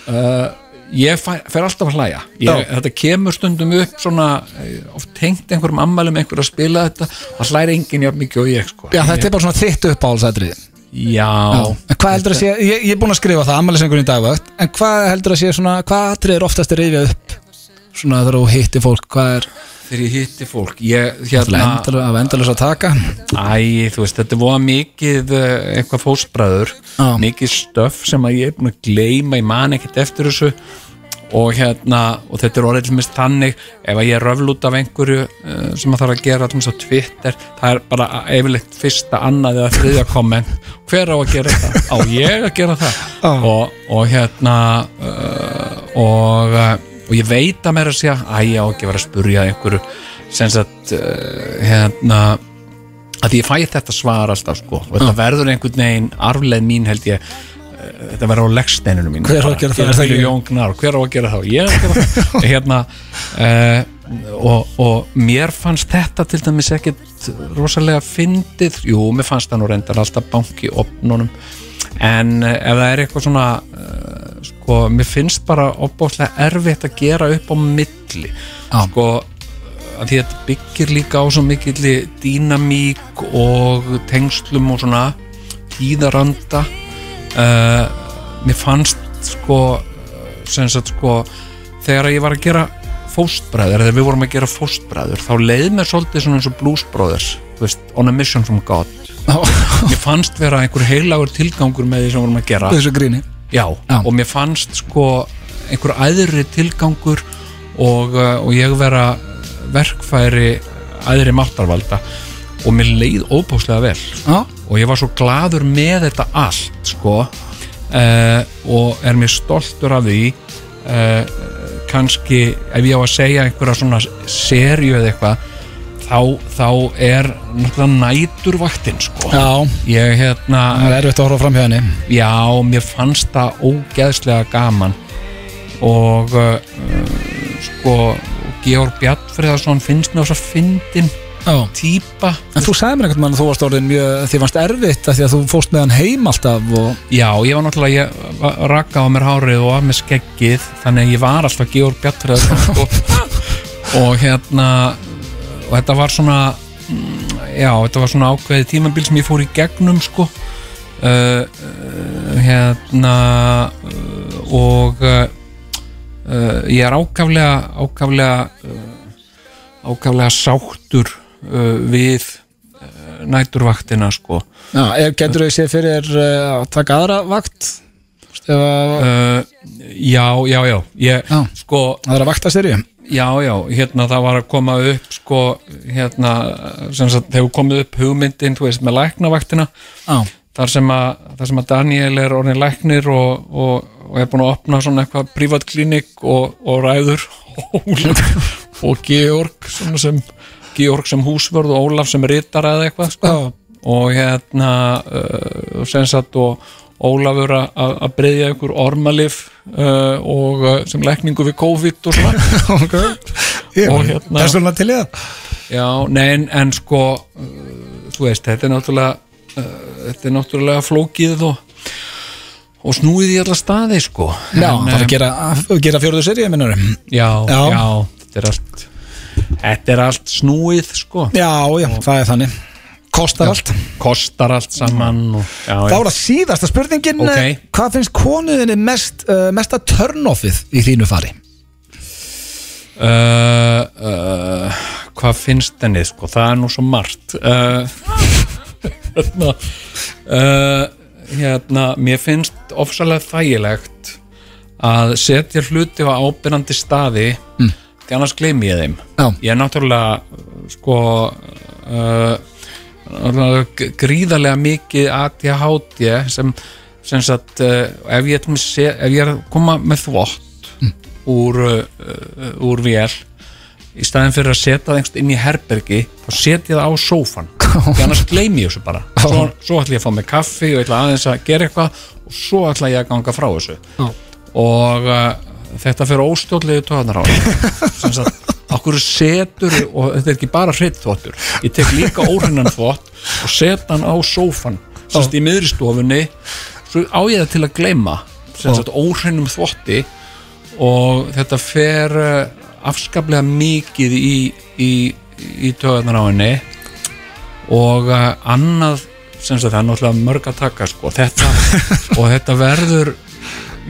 uh, ég fæ, fer alltaf að hlæja ég, þetta kemur stundum upp svona eh, oft tengt einhverjum ammælum einhver að spila þetta það hlæri enginn jafn mikið og ég sko já, þetta er bara svona þitt uppáhalsatrið já, En hvað heldur að sé, ég, ég er búinn að skrifa það ammælisengurinn í dagvögt, en hvað heldur að sé svona, hvað atrið er oftast að reyfja upp svona þegar þú hittir fólk, hvað er þegar ég hitti fólk ég, Alla hérna, endal, af endalus að taka Æ, þú veist, þetta er voða mikið eh, eitthvað fóstbræður Já. mikið stöf sem að ég er búin að gleyma ég man ekkert eftir þessu og hérna, og þetta er orðið til mist þannig ef að ég röfl út af einhverju uh, sem að þarf að gera allir svo Twitter það er bara yfirleitt fyrsta, annað eða þriðja komment, hver á að gera það á ég að gera það og, og hérna uh, og, uh, og ég veit að mér að segja, æ, ég á ekki að vera að spurja einhverju sem sagt uh, hérna að því ég fæ þetta svar alltaf sko og þetta verður einhvern veginn arfleð mín held ég eh, þetta verður á leggsteinunum mín Hver á að gera það? Er það ekki- Jón Gnar, hver á að gera það? Ég á að gera það hérna uh, og, og mér fannst þetta til dæmis ekkit rosalega fyndið, jú, mér fannst það nú reyndar alltaf banki opnunum en eh, ef það er eitthvað svona uh, sko, mér finnst bara opbóðslega erfitt að gera upp á milli Já. sko að því að þetta byggir líka á svo mikilli dýnamík og tengslum og svona tíðaranda uh, mér fannst sko eh, sem sagt sko þegar ég var að gera fóstbræður þegar við vorum að gera fóstbræður þá leið mér svolítið svona eins og Blues Brothers þú veist, on a mission from God mér fannst vera einhver heilagur tilgangur með því sem við vorum að gera þessu gríni Já, Já. og mér fannst sko einhver æðri tilgangur og, uh, og ég vera verkfæri æðri máttarvalda og mér leið óbáslega vel Já. og ég var svo gladur með þetta allt sko uh, og er mér stoltur af því uh, kannski ef ég á að segja einhverja svona serju eða eitthvað þá, þá er náttúrulega næturvaktin sko Já, ég hérna það er erfitt að horfa fram hjá henni Já, mér fannst það ógeðslega gaman og uh, sko Georg Bjartfriðarsson finnst mér þess að fyndin Já. típa En þú sagði mér einhvern mann að þú varst orðin mjög því fannst erfitt að því að þú fórst með hann heim alltaf og Já, ég var náttúrulega, ég va- rakkaði á mér hárið og af mér skeggið þannig að ég var alltaf Georg Bjartfriðarsson sko. og hérna og þetta var svona mm, já, þetta var svona ákveðið tímabil sem ég fór í gegnum sko uh, uh, hérna uh, og uh, uh, ég er ákaflega ákaflega uh, ákaflega sáttur uh, við uh, næturvaktina sko Já, ef getur þau séð fyrir þér, uh, að taka aðra vakt Þú veist, ef að uh, já, já, já, ég, Já. sko aðra vakta serju Já, já, hérna það var að koma upp sko, hérna sem sagt, hefur komið upp hugmyndin þú veist, með læknavaktina Já, þar sem að, þar sem að Daniel er orðin læknir og, og, og er búin að opna svona eitthvað privat klinik og, og ræður Ólaf og Georg svona sem, Georg sem húsvörð og Ólaf sem rittar eða eitthvað sko. og hérna uh, sem sagt og Ólafur að- að að breyðja ykkur ormalif uh, og uh, sem lækningu við COVID og svona ok Ég Og hérna- er svona til í það Já, nei, en, en sko uh, þú veist, þetta er náttúrulega uh, þetta er náttúrulega flókið og, og snúið í alla staði sko Já, en, bara eh, gera, gera fjóruðu serju minnur já, já. Já. þetta er allt þetta er allt snúið sko Já, já, það er þannig Kostar allt kostar allt saman og, já, Þá já. er það síðasta spurningin Ok. eh, Hvað finnst konuðinni mest, uh, mesta turn-offið í þínu fari? Uh, uh, hvað finnst henni sko, það er nú svo margt uh, hérna uh, hérna, mér finnst ofsalega þægilegt að setja hluti á ábyrrandi staði mm. því annars gleymi ég þeim Já. ég er náttúrulega uh, sko uh, náttúrulega g- gríðarlega mikið ADHD sem, sem sagt, uh, ef, ég, til dæmis se- ef ég er að koma með þvott úr, uh, uh, úr vél í staðin fyrir að setja það einhvern inn í herbergi þá setja það á sófan því annars gleymi ég þessu bara svo, svo ætla ég að fá mig kaffi og ætla aðeins að gera eitthvað og svo ætla ég að ganga frá þessu og uh, þetta fyrir óstjórnlegu tóðanar á sem sagt, okkur setur og þetta er ekki bara hreitt þvottur ég tek líka óhrinnan þvott og set hann á sófan sem sagt í miðri stofunni svo á ég það til að gleyma sem sagt óhrinnum þvotti og þetta fer uh, afskaplega mikið í, í, í töðunar á henni og uh, annað sem sagt það er náttúrulega mörg að taka sko, þetta, og þetta verður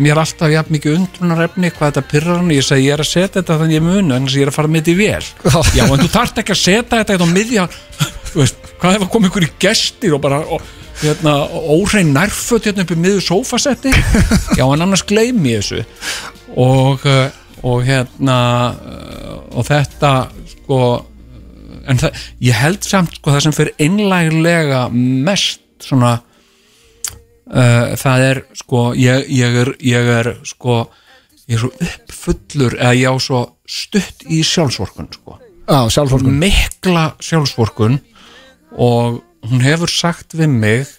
mér alltaf jafn mikið undrunarefni hvað þetta pyrrar hann, ég segi ég er að setja þetta þannig ég mun, en ég er að fara með þetta í vel já, en þú þarft ekki að setja þetta þetta á miðja, þú veist, hvað ef að koma ykkur í gestir og bara og, hérna, óhrein nærföt hérna upp í miður sófasetti, já, en annars gleymi ég þessu og uh, og hérna uh, og þetta, sko eh, en það, ég held samt, sko, það sem fyrir einlæglega mest svona uh, það er sko ég, ég, er, ég er sko ég er svo uppfullur eða ég á svo stutt í sjálfsvorkun sko. Já, sjálfsvorkun mikla sjálfsvorkun og hún hefur sagt við mig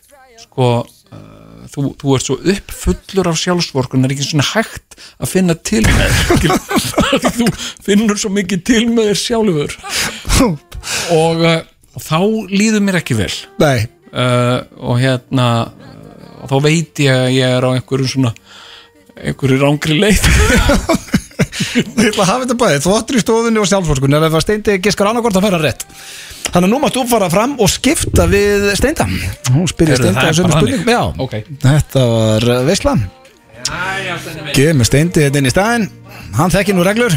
sko uh, þú, þú ert svo uppfullur af sjálfsvorkun það er ekki svona hægt að finna til með þér Skil- þú finnur svo mikið til með þér sjálfur og uh, þá líður mér ekki vel Nei, uh, og hérna uh, og þá veit ég að ég er á einhverju svona einhverju rángri leið ég ætla að hafa þetta bæði Þvottur í stofunni og sjálfsvorkun Ef að steindi giskar annarkort að fara rétt Þannig að nú mátt þú fara fram og skipta við steinda Hún spyrir Heyrðu, steinda það er að sömu bara spurning þannig. Já, Ok. þetta var uh, veisla Gef mig steindi þetta inn í staðinn Hann þekki nú reglur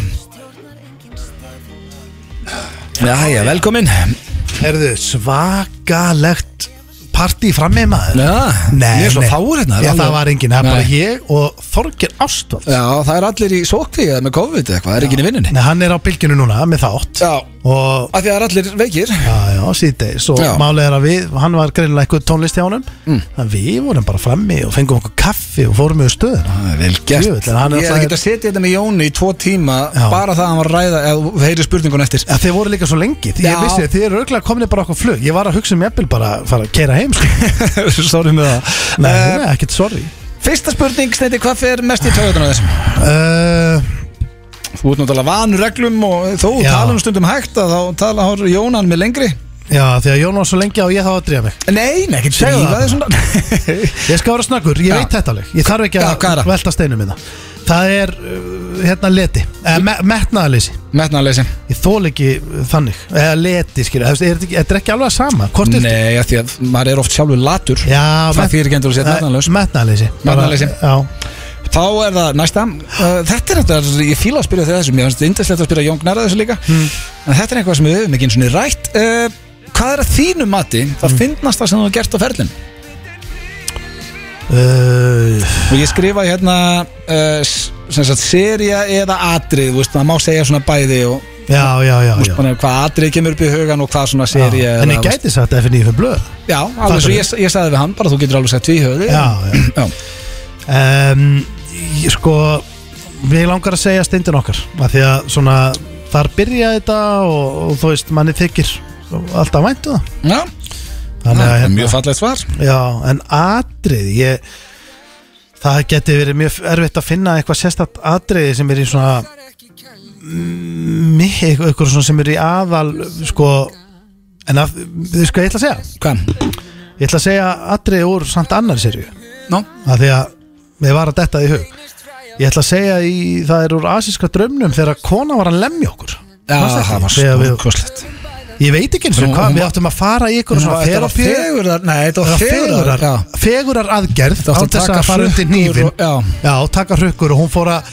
Jæja, velkomin Herðu, svakalegt partí frammi maður Já, Nei, ég er svo nei. fáur hérna Já, það alveg- var engin, það er bara Nei. ég og Þorger Ástóð Já, það er allir í sókví eða með COVID eða eitthvað, það er ekki í vinninni Nei, hann er á bylginu núna með þátt Já, Og, af því að það er allir veikir já, já, síðdeis Og Já. málið er að við, hann var greinilega eitthvað tónlist hjá honum mm. Við vorum bara frammi og fengum okkur kaffi og fórum við stöðuna Vel gert Jú, Ég þannig að hann er er alltaf- ekki að setja þetta með Jóni í tvo tíma Já. bara það að hann var að ræða eða þú heyrir spurningun eftir Já, þeir voru líka svo lengi, því ég Já. vissi að þið eru auðvitað komin bara okkur flug Ég var að hugsa um jafnvel bara að fara að keira heim sko. Sorry með það Nei, Eh, nei, ekkert sorry Fyrsta spurning, Steindi, hvað fer mest í töðunar þessum? uh, Þú ert náttúrulega vanur reglum og þó Já. tala um stundum hægt að þá tala hór Jónan með lengri Já, því að Jón var svo lengi á ég þá að drífa mig Nei, nei, ekki Segðu drífa það þig svona Ég skal vera snakkur, ég Já. veit þetta alveg Ég þarf ekki Já, hvað er að það? velta steinu minna Það er, uh, hérna, leti eh, me Metnaðaleysi, Metnaðleysi ég þól ekki uh, þannig Eða leti, skilja, þetta er, þetta er ekki alveg sama Hvort er Nei, af því að maður er oft sjálfur latur Já, Það þýðir ekki endur að setja metnaðarlaus. Metnaðaleysi Bara- Metnaðarleysi. Já, Þá er það næsta uh, Þetta er þetta, ég fíla að spyrja þig þessu Mér finnst indislegt að spyrja Jón Gnarra þessu líka Hmm. En þetta er eitthvað sem við höfum ekki eins og rætt uh, Hvað er að þínu mati Hmm. Það finnast það sem þú hefur gert á ferlin uh, Og ég skrifa hérna uh, s- sem sagt, Seria eða atrið þú veist, Það má segja svona bæði og, já, já, já, þú já. veist, bara Hvað atrið kemur upp í hugan og hvað svona seria já. eða, En ég þú veist- gæti sagt FNI fyrir blöð Já, alveg svo ég, ég sagði við hann bara Þú getur alveg sett tvíhöði Já, já Já. um, ég, sko mér langar að segja stundin okkar að því að svona þar byrja þetta og, og þú veist manni þykir alltaf væntu það Já, þannig að það er hérna, mjög fallegt svar já, en atrið ég, það geti verið mjög erfitt að finna eitthvað sérstætt atriði sem er í svona mm, eitthvað eitthvað svona sem er í aðal sko en að, þú sko ég ætla að segja Hvað? ég ætla að segja atriði úr samt annar serju Nó? að því að mér var að detta í hug ég ætla að segja í, það er úr asíska draumnum þegar kona var að lemja okkur Já, Manstu ekki? það var Þegar við- stórkoslegt ég veit ekki eins Hún- og hvað, hún- við áttum að fara í ykkur svona Þetta var terapíu fegurðar- Nei, þetta var eða fegurar fegurar, fegurar aðgerð Þetta átti á að þess taka að fara undir hrukkur nýfin og- já. taka hrukkur og hún fór að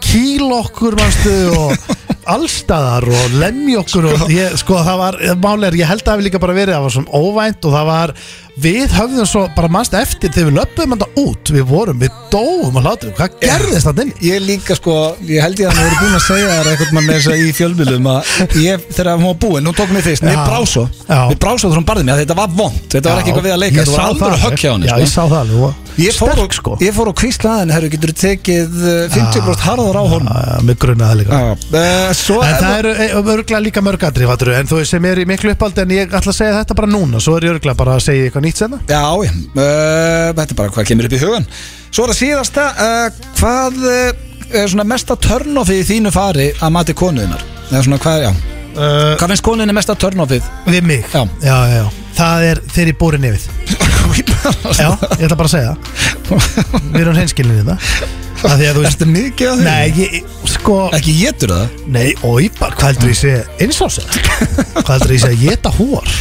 kýl okkur manstu, og allstaðar og lemja okkur og ég, sko það var, málegar, ég held að hafi líka bara verið það var svona óvænt og það var við höfðum svo, bara manst eftir þegar við löpum þetta út, við vorum, við dóum að hlátur, hvað gerðist það inn Ég líka sko, ég held ég að hann voru búin að segja þær eitthvað mann með þess að í fjölmjölum að ég, þegar hún var búin, hún tók mig fyrst mér Já. brá svo, Já. mér brá svo þegar hún barði mig að þetta var vond, þetta var ekki eitthvað við að leika, þetta var alveg högg hjá henni já, sko. ég sá það alveg og- ég, fór og, sterk sko ég fór og kvíslaði henni, herru, getur þú tekið eh, 50% harðar á honum Já, já, mig grunaði það líka Já. Svo En er það eru örgulega líka mörgatri fattur, En þú veist sem er í miklu uppaldi En ég ætla að segja þetta bara núna Svo er ég örgulega bara að segja eitthvað nýtt senna Já, já, uh, þetta er bara hvað kemur upp í hugan Svo er það síðasta, uh, hvað eh, er svona mesta törnofið í þínu fari að mati konuðinnar? Eða svona hvað, já, uh, hvað finnst konuðinni mesta törnofið? Við mig Eh, Já. já, já, já. Það er þeirri búri nefið Já, ég ætla bara að segja það Við erum hreinskilinni þetta Að því að þú veist Ertu mikið að því? Nei, ég, sko Ekki getur það? Nei, oi, bara, hvað heldur ég sé Innsásið Hvað heldur ég sé að geta hór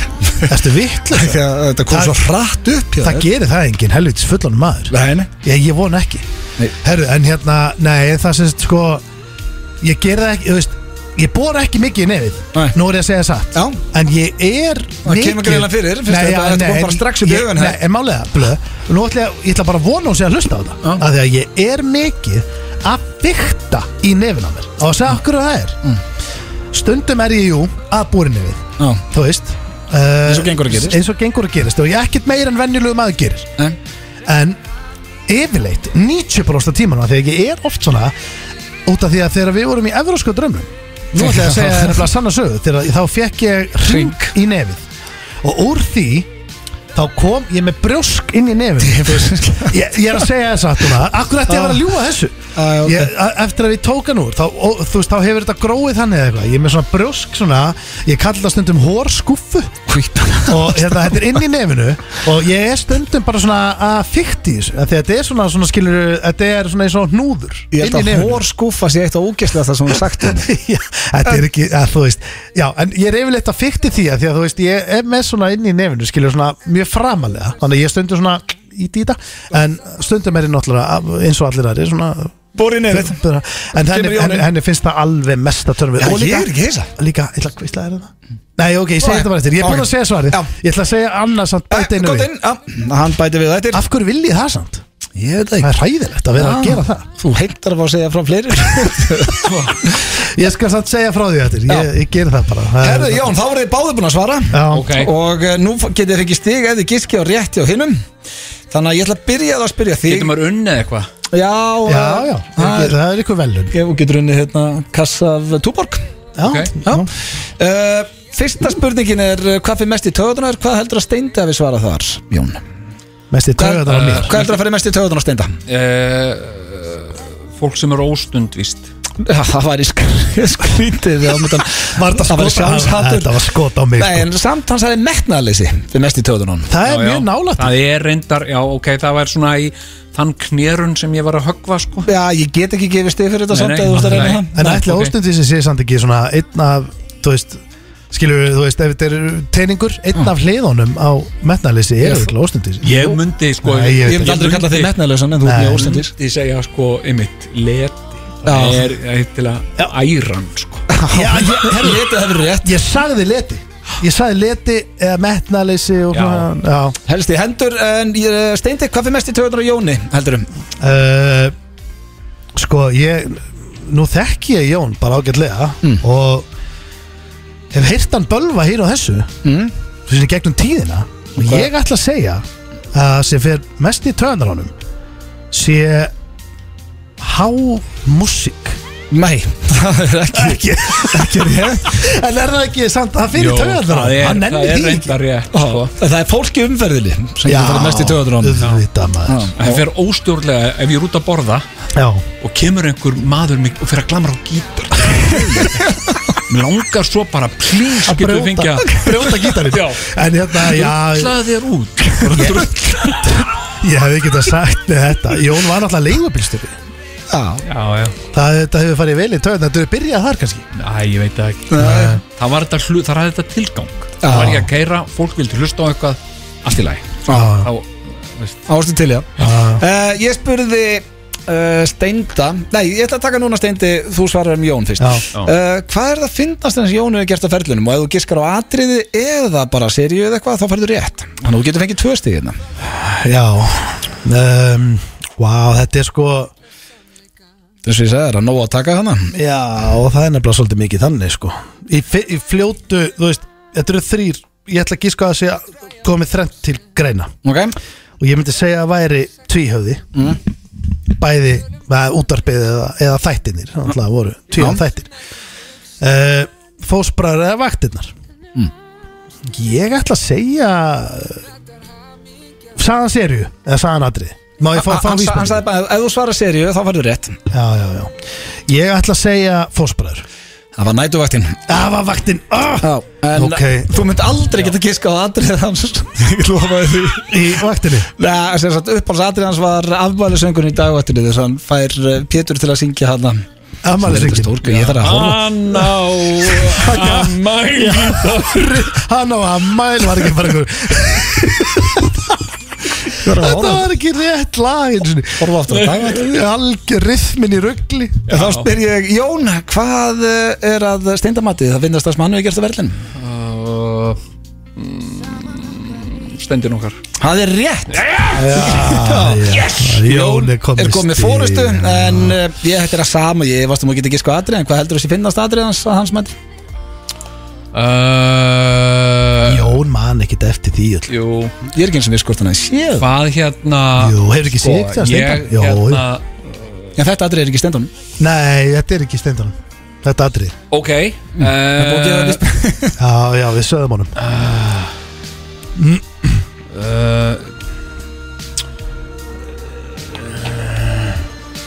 Ertu vitlega Ekki að þetta kom Það- svo hratt upp hjá Það gerir það enginn helvitis fullan maður Nei, nei Ég, ég von ekki Nei. Herru, en hérna, nei, það sem sagt, sko Ég ger það ekki, þú veist Ég bor ekki mikið í nefið Nei. Nú er ég að segja satt Já. En ég er Það kemur greinilega fyrir, fyrst Nei, þetta- já, þetta kom nei, bara strax upp í ég- augun, Nei, hef. en málega, blöð Nú ætla ég, ég ætla bara að vona hún sé að hlusta á það Já. Af því að ég er mikið að bykta í nefin á mér Og að segja okkur hvað það er Stundum er ég, jú, að búri nefið Mm. Já, Þú veist Uh, og gengur og gerist. eins og gengur að gerist og ég er ekkert meir en venjulegum að gerist nei en yfirleitt 90% af tímanum af því að ég er oft svona út af því að þegar við vorum í evrósku drömmum nú ætla ég að segja nefnilega sanna sögu þegar þá fekk ég ring Hring. í nefið og úr því þá þá kom ég með brjósk inn í nefn ég, ég er að segja þess að núna akkur ætti ég að vera að ljúa þessu já, ok. ég, a- eftir að ég tók hann úr þá, og, þú veist, þá hefur þetta gróið þannig eða eitthvað ég er með svona brjósk svona ég kalli það stundum hórskúffu og hérna, þetta er inn í nefinu og ég er stundum bara svona að fykti þessu af því að þetta er svona, svona skilur þetta er svona eins og hnúður Ég held inn í að nefinu hór skúfa sé eitt og ógæslega það sem hún sagt um. Já, þetta er ekki, að, þú veist Já, en ég er yfirleitt að fykti því að því að þú veist ég er með svona inn í nefinu, skilur svona mjög framalega, þannig að ég stundum svona í dýta, en stundum er ég náttúrulega eins og allir aðri, svona Borið nefn en henni, Kemur Jón henni, inn. henni finnst það alveg mesta törnum Já, ég er ekki hissa. Líka, ég ætla að kvistla þér það Nei, ok, ég segi Ok. þetta bara eftir, ég er búin Ok. að segja svarið Já. Ég ætla að segja annars að bæta einu Gótt við inn, já, hann bæti við það eftir Af hverju vil ég það samt? Ég veit það Það er hræðilegt að vera Ah. að gera það Þú heimtar að fá að segja frá fleiri Ég skal samt segja frá því eftir, ég, ég ger það bara Það er- Herðu Jón, þá voruð þið báðið búin að svara Já. Ok. Og eh, nú getið þið fengið stig eða giski á rétti á hinnum Þannig að ég ætla að byrja að spyrja þig Getur maður unnið eitthvað Já, Já, eh, já, það er- það er ykkur velun Ef þú getur unnið hérna kassa af túborg Já, Ok. Já Eh, Fyrsta spurningin er eh, Hvað fyrir mest í töðunar? Hvað heldur að steinda við svara þar, Jón? mest í taugarnar á Eh, Hvað mér heldur að fyrir mest í töðunar að steinda? uh, Fólk sem er óstundvist Já, Það væri skr- skrítið já, myndum- Það væri sjálfshattur Þetta var skot á mig Nei, sko. en samt hann sagði metnaðleysi fyrir mest í töðunum Það er mjög nálægt Það er reyndar, já ok, það var svona í þann knérun sem ég var að höggva sko Já, ég get ekki gefið stið fyrir þetta Nei, samt nei, eða þú ert að reyna nei. það En Nei, ætla ok. okay. óstundin sem sé samt ekki svona einn af, þú veist skilur við, þú veist, ef þetta er teiningur einn af hliðunum á metnalisi er Ég- auðvitað óstundin Ég myndi sko Nei, ég- Ég myndi aldrei kalla þig metnaðleysan en þú Nei. ert mjög myndi óstendis ég segja sko ymmit, leti Það Já. er, er til að æran sko Já, ég, Herri, letið það verið rétt ég sagði leti Ég sagði leti eða metnalisi og Já. svona Já, Helst í hendur, en ég- Steindek, hvað fyrir mest í töðunar á Jóni, um? heldurum? Eh, Sko ég Nú þekki ég Jón bara ágætlega Og Hef heyrt hann bölva hér á þessu Mm. Þessi gegnum tíðina Og Hvað? ég ætla að segja Að sem fer mest í töðanar honum Sé Há músík Nei, það er ekki Ekki, ekki rétt En er það ekki samt, það fyrir töðanar það er, Hann það nennir er því ekki reyndar rétt Ó, sko. Það er fólk í umferðinni sem getur farið mest í töðunar á honum. auðvitað maður Það fer óstjórnlega ef ég er út að borða Já, og kemur einhver maður mig og fyrir að glamra á gítar Mér langar svo bara please að getur við fengið brjóta, að brjóta gítarinn Já. En hérna, já, Drullar þér út Bara drulla. Ég hefði getað sagt með þetta Jón var náttúrulega leigubílstjóri Já, Já, já, Það þetta hefur farið vel í töðun Þetta hefur byrjað þar kannski Æ, ég veit það ekki Það var þetta hlut, það var þetta tilgang Það var ekki að keira, fólk vildi hlusta á eitthvað Allt í lagi Já. Þá, ástu til, já Já. Eh, Ég spurði uh, Steinda Nei, ég ætla að taka núna Steindi Þú svarar um Jón fyrst Já. Já. Eh, Hvað er það að finnast eins Jón hefur gert á ferlunum og ef þú giskar á atriði eða bara seríu eða eitthvað, þá færðu rétt Þannig að þú getur fengið tvö stig hérna Já um, Vá, þetta er sko Þess að ég sagði, er að nóg að taka hana Já, og það er nefnilega svolítið mikið þannig sko Í, fi- í fljótu, þú veist Þetta eru þrýr Ég ætla að gíska að segja komið þrennt til greina Ok, Og ég myndi segja að væri tvíhöfði Mm. Bæði eða, útarpið eða, eða þættinir Þannig að voru tvíhöfð þættir uh, Fósbræður eða vaktinnar Mm. Ég ætla að segja eh, Sagan serju Eða sagan atrið Má ég fá, fá hann, sa- hann vísbæði sagði bara, ef þú svarar seríu þá færðu rétt Já, já, já Ég ætla að segja fósbræður Það var nætuvaktin Það var vaktin oh! Já, en Ok. þú mynd aldrei geta giskað á atriði hans Ég lofaði því Í vaktinni Nei, sem sagt, uppáhalds atrið hans var afmælisöngun í dagvættinu þess að hann fær eh, Pétur til að syngja hana Þetta Amali er syngin stórka, ég þarf að horfa Hann á Amæli Hann á Amali var ekki bara einhver Þetta Þetta var ekki rétt lag einu sinni. Horfa aftur á dagvættinu Algjör rithmin í ruggli Þá spyr ég, Jón, hvað eh, er að steindamatið? Það finnast það sem hann hefur gert að verðlun Stendir nokkar Það er rétt Jón er er komið komið stig. fórustu Eh, En uh, ég hættir að sama, ég varst um að geta giska á atrið En hvað heldur þessi finnast atrið hans að hans mæti? uh, Jón man ekkit eftir því öll Jú Ég er ekki eins og við skort hann að séð Hvað hérna Jú, hefur ekki sko, séð það Ég steindan Jú, hérna En þetta atrið er ekki steindan nei, þetta er ekki steindan Þetta er atrið Ok uh, Eh, uh, Ah, Já, já, við sögum honum uh,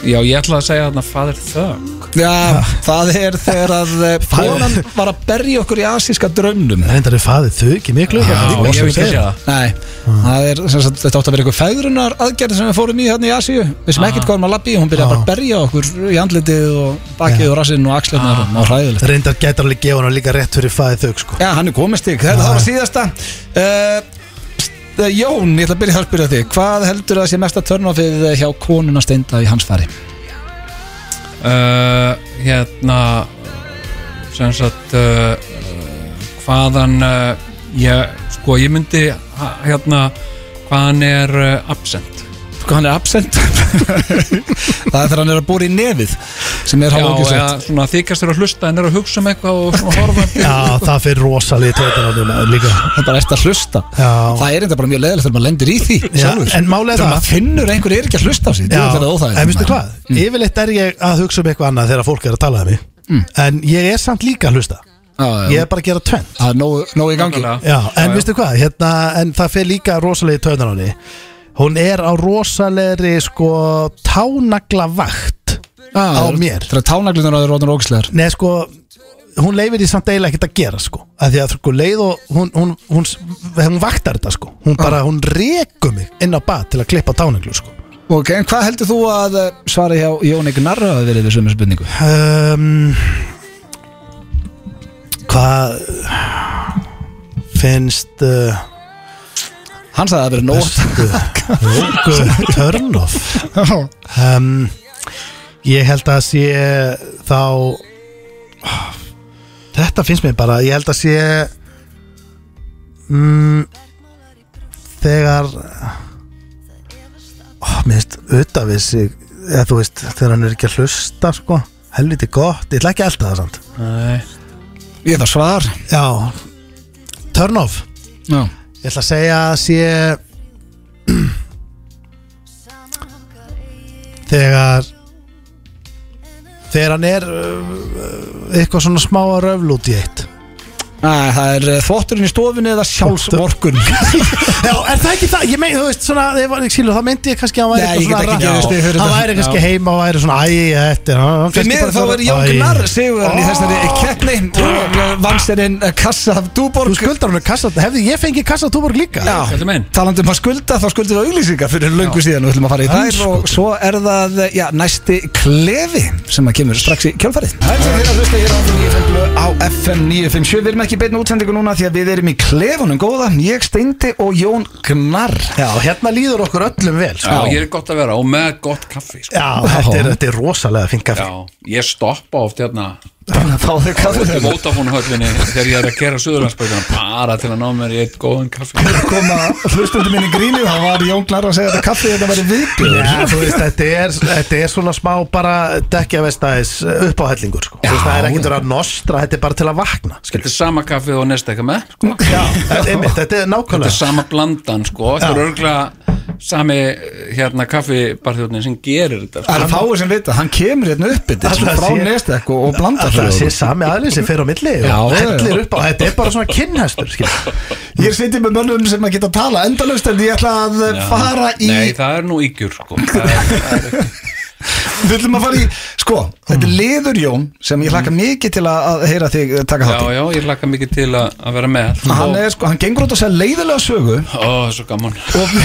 Já, ég ætla að segja þarna Father Thug Já, það er þegar að eh, konan var að berja okkur í asíska draunum Reyndar er faðið þau ekki miklu Já, ég hef ekki séð það Nei, Ah. það er, sem sagt, þetta átti að vera eitthvað feðrunar aðgerð sem við fórum í hérna í Asíu Við sem Ah. ekkert hvað um að labbi, í, hún byrjaði bara að berja okkur í andlitið og bakið og rassinn og Ah. axlirnar og maður hræðilegt Reyndar gætar alveg gefa hann líka rétt fyrir faðið þau sko Já, hann er komist ykkur, þetta var síðasta uh, st- Jón, ég ætla að byrja að spyrja þig Hvað heldur að sé mesta törnofið hjá konuna steinda í hans fari? uh, hérna sem sagt uh, hvaðan uh, ég, sko ég myndi ha- hérna hvaðan er uh, absent Hvað hann er absent Það er þegar hann er að búra í nefið sem er Já, hálfókjusett eða svona þykast er að hlusta en er að hugsa um eitthvað og svona horfandi Já, það fyrir rosalegi töðan á þeim líka það er bara eftir að hlusta Já. það er enda bara mjög leðilegt þegar maður lendir í því Já, sjálfur. en málið er þegar það- maður finnur að einhver er ekki að hlusta á sig Já, það er óþægilegt en veistu hvað, yfirleitt er ég að hugsa um eitthvað annað þegar fólk er að tala um mig En ég er samt líka að hlusta Já, já, Ég já. er bara að gera tvennt það er nógu- nógu í gangi Nákvæmlega. Já, en veistu hvað, hérna, en það fyrir líka rosalegi töðan á henni Hún er á rosalegri sko tánagla vakt á mér það er tánaglunar að það er rótan rókslegar Nei, sko, hún leifir því samt eiginlega ekkert að gera, sko að Því að sko, leið og hún, hún, hún, hún, hún vaktar þetta, sko Hún bara, hún rekur mig inn á bað til að klippa tánaglu, sko ok, en hvað heldur þú að eh, svara hjá Jóni Gnarra að verið við sömu spurningu um, Hvað finnst uh, hann sagði að það verið nóg bestu Róku Törnoff um, Ég held að sé þá Þetta finnst mér bara Ég held að sé mm, Þegar oh, Mér finnst auðvitað við sig eða þú veist, þegar hann er ekki að hlusta sko, helviti gott, ég ætla ekki að elda það samt Nei. ég þarf svar Já, turn off já. Ég ætla að segja að sé Þegar Þegar hann er uh, eitthvað svona smá að röfla út í eitt Æ, það er eh, þvotturinn í stofunni eða sjálfsvorkun Já, er það ekki það? Ég meina, þú veist, svona, ég var, sílu, það meinti ég kannski að hann væri Nei, ég get ekki gefist þig fyrir Hann það. væri kannski heima og væri svona, æ, þetta er hann Fyrir kannski mig bara þá svona, var Jón æ. Gnarr sigurinn í þessari keppni og vannsterinn eh, kassa af Þú Dúborg skuldar hann með kassa, hefði ég fengið kassa túborg líka? Já, Þetta meinn. talandi um að skulda þá skuldum við auglýsingar fyrir löngu síðan og við ætlum að fara í þær og svo er það já, næsti klefi sem að kemur strax í kjálfarið Það er að hlusta hér á FM 957 á FM 957 Við erum ekki í beinni útsendingu núna því að við erum í klefunum góða Ég Steindi og Jón Gnar Já, hérna líður okkur öllum vel sko. Já, ég er gott að vera og með gott kaffi sko. Já, þetta er, þetta er rosalega fín kaffi Já, ég stoppa oft hérna Fáðu þau í kaffið Vodafone höllinni þegar ég er að gera söðurlandsbæðina bara til að ná mér í eitt góðan kaffi koma hlustundi minni grínu þá var Jón Gnar að segja að þetta kaffið þetta væri viðbjörn Já, þú veist, þetta er, þetta er svona smá bara dekja vestæðis uppáhellingur sko. Þú veist, það er ekkert verið að nostra, þetta er bara til að vakna Þetta er sama kaffið og næst eitthvað með sko. þetta, einmitt, þetta er þetta er nákvæmlega sama blandan sko þetta er örgulega sami hérna kaffibarþjóðnin sem gerir þetta sko. Það er fáið sem vita, hann kemur hérna upp yfir Ætli svona það frá sé- nestek og, og blanda Það sé sami aðlið sem fer á milli Já, og já, já. hellir upp á, þetta er bara svona kynhestur skilur. Ég er sitið með mönnum sem að geta að tala endalaust en ég ætla að eh, Já. fara í Nei, það er nú ígjur sko. Það er- Við ætlum að fara í, sko, þetta Mm. er liður Jón sem ég hlakka mikið til að, að heyra þig eh, taka Já, þátt í. já, ég laka mikið til að, að vera með Hann er sko, hann gengur út að segja leiðilega sögu Ó, það er svo gaman og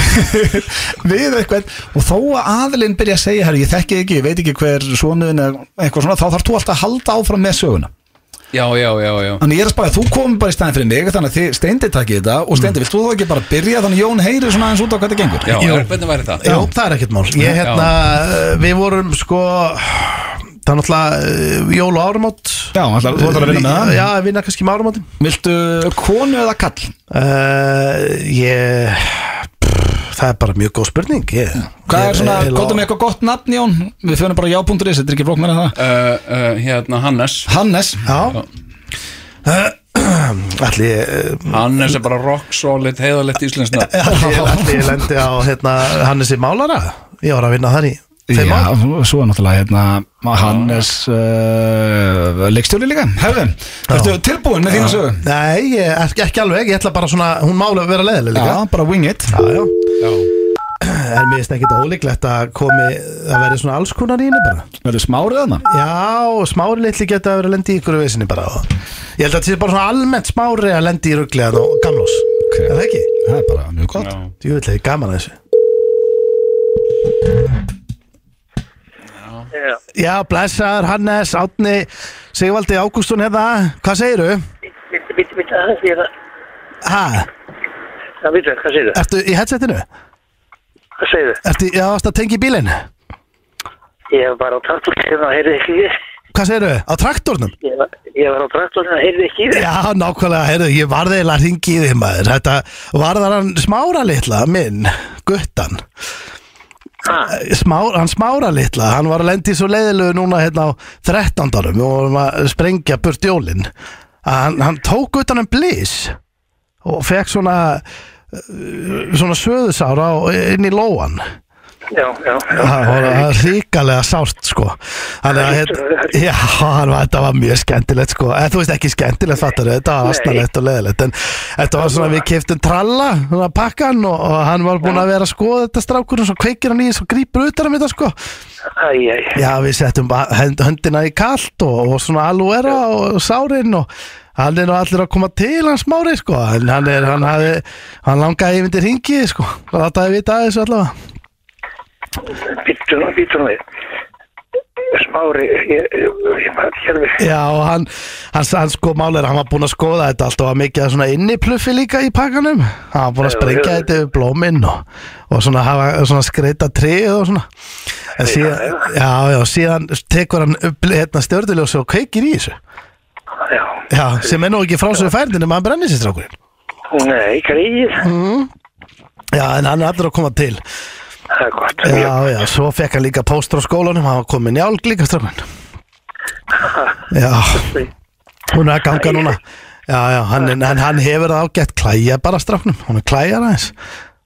við eitthvað og þó að aðilinn byrja að segja herri, ég þekki þig ekki, ég veit ekki hver svonuðin eða eitthvað svona, þá þarf þú alltaf að halda áfram með söguna. Já, já, já, já Þannig ég er að spara, þú komum bara í stæðin fyrir mig þannig að þið steindi takið þetta og steindi, vilt þú þá ekki bara byrja þannig að Jón heyri svona aðeins út á hvað þetta gengur? Já, er, hvernig væri það? Já, það er ekkert mál ég, hérna, Við vorum sko Það er náttúrulega eh, jól og árumót Já, ætlar- þú ætlar að vinna með það? Já, vinna kannski með árumótin Viltu konu eða kall? uh, Ég pff, Það er bara mjög góð spurning ég, Mm. Hvað ég- er svona, ég- gott með eitthvað gott nafn Jón? Við fjöðum bara já.is, þetta er ekki flók meira en það Uh, uh, hérna Hannes Hannes Já Eh, Ætli ég- Hannes er bara rock solid, heiðalegt íslensna ætli ég- ætli ég lendi á hérna, Hannesi Málara Ég var að vinna þar í fimm Já, ár svo er náttúrulega hérna Hannes uh, leikstjóri líka Herðum, ertu tilbúin með þína sögu? Nei, ég, ekki, ekki alveg, ég ætla bara svona Hún mála að vera leðileg líka Já, bara wing it Já, já. Já, en mér finnst ekkit ólíklegt að komi að verði svona alls konar í henni bara Verður smárið þarna? Já, og smári litli geta að vera að lendi í ykkur vesinni bara Ég held að þetta sé bara svona almennt smári að lendi í ruggli og gamlós Er það ekki? Það er bara mjög gott Ég vil hefði gaman að þessu Já, blessaður Hannes, Átni, Sigvaldi, Ágústun hérna, hvað segiru? Bitti, bitti, bitti, aðeins ég það. Ha, Það veitur, hvað segir þau? ertu í headsetinu? Hvað segir þau? Ertu, já, varstu að tengja í bílinn? Ég var bara á traktorinu og heyrði ekki í þér. Hvað segiru? Á traktornum? Ég var- Ég var á traktorinu og heyrði ekki í þér. Já, nákvæmlega, heyrðu, ég varði eiginlega að ringi í þig maður Þetta varðar hann smára litla, minn, guttan Ha, Smár, Hann smára litla, hann var að lendi svo leiðilegu núna hérna á 13. árum og varum að sprengja burt jólin að hann, hann tók utan um blís og fekk svona uh, svona söðusára á- inn í lóan já, já, já. Það var það var ríkalega sárt sko Þannig að hérna, já, hann var, þetta var mjög skemmtilegt sko En þú veist ekki skemmtilegt fattar þetta var Nei. astanlegt og leðilegt En þetta var svona við keftum tralla, svona pakkan og, og hann var búinn að vera að skoða þetta strákur og svo kveikir hann í þessu og grípur utan um þetta sko Æ, æ, æ. Já, við settum bara hönd, höndina í kalt og, og svona alúera og sárin og hann er nú allir að koma til hans mári sko En hann er, hann hafði, hann langaði yfir til ringi sko Þetta hefði vita að þessu allavega Bitti nú, bitti nú við. Smári, ég, ég, ég maður hérfi. Já, og hann, hann, hann sko málir, hann var búinn að skoða þetta allt og var mikið af svona innipluffi líka í pakkanum. Hann var búinn að Já, sprengja já. þetta yfir blóminn og, og svona, hafa, svona skreita trið og svona. En síðan, já, já, síðan tekur hann upp hérna stjörnuljósi og kveikir í þessu. Já. Já, sem er nú ekki frá sér færdinu, maður brennir sér strákurinn. Nei, greið. Mm. Já, en hann er allir að koma til. Það er gott. Já, já, svo fekk hann líka póstur á skólanum, hann var komin í álg líka strákurinn. Já. Ég- Hún er að ganga núna Já, já, hann, hann, hann hefur það ágætt klæja bara strafnum, hún er klæjar aðeins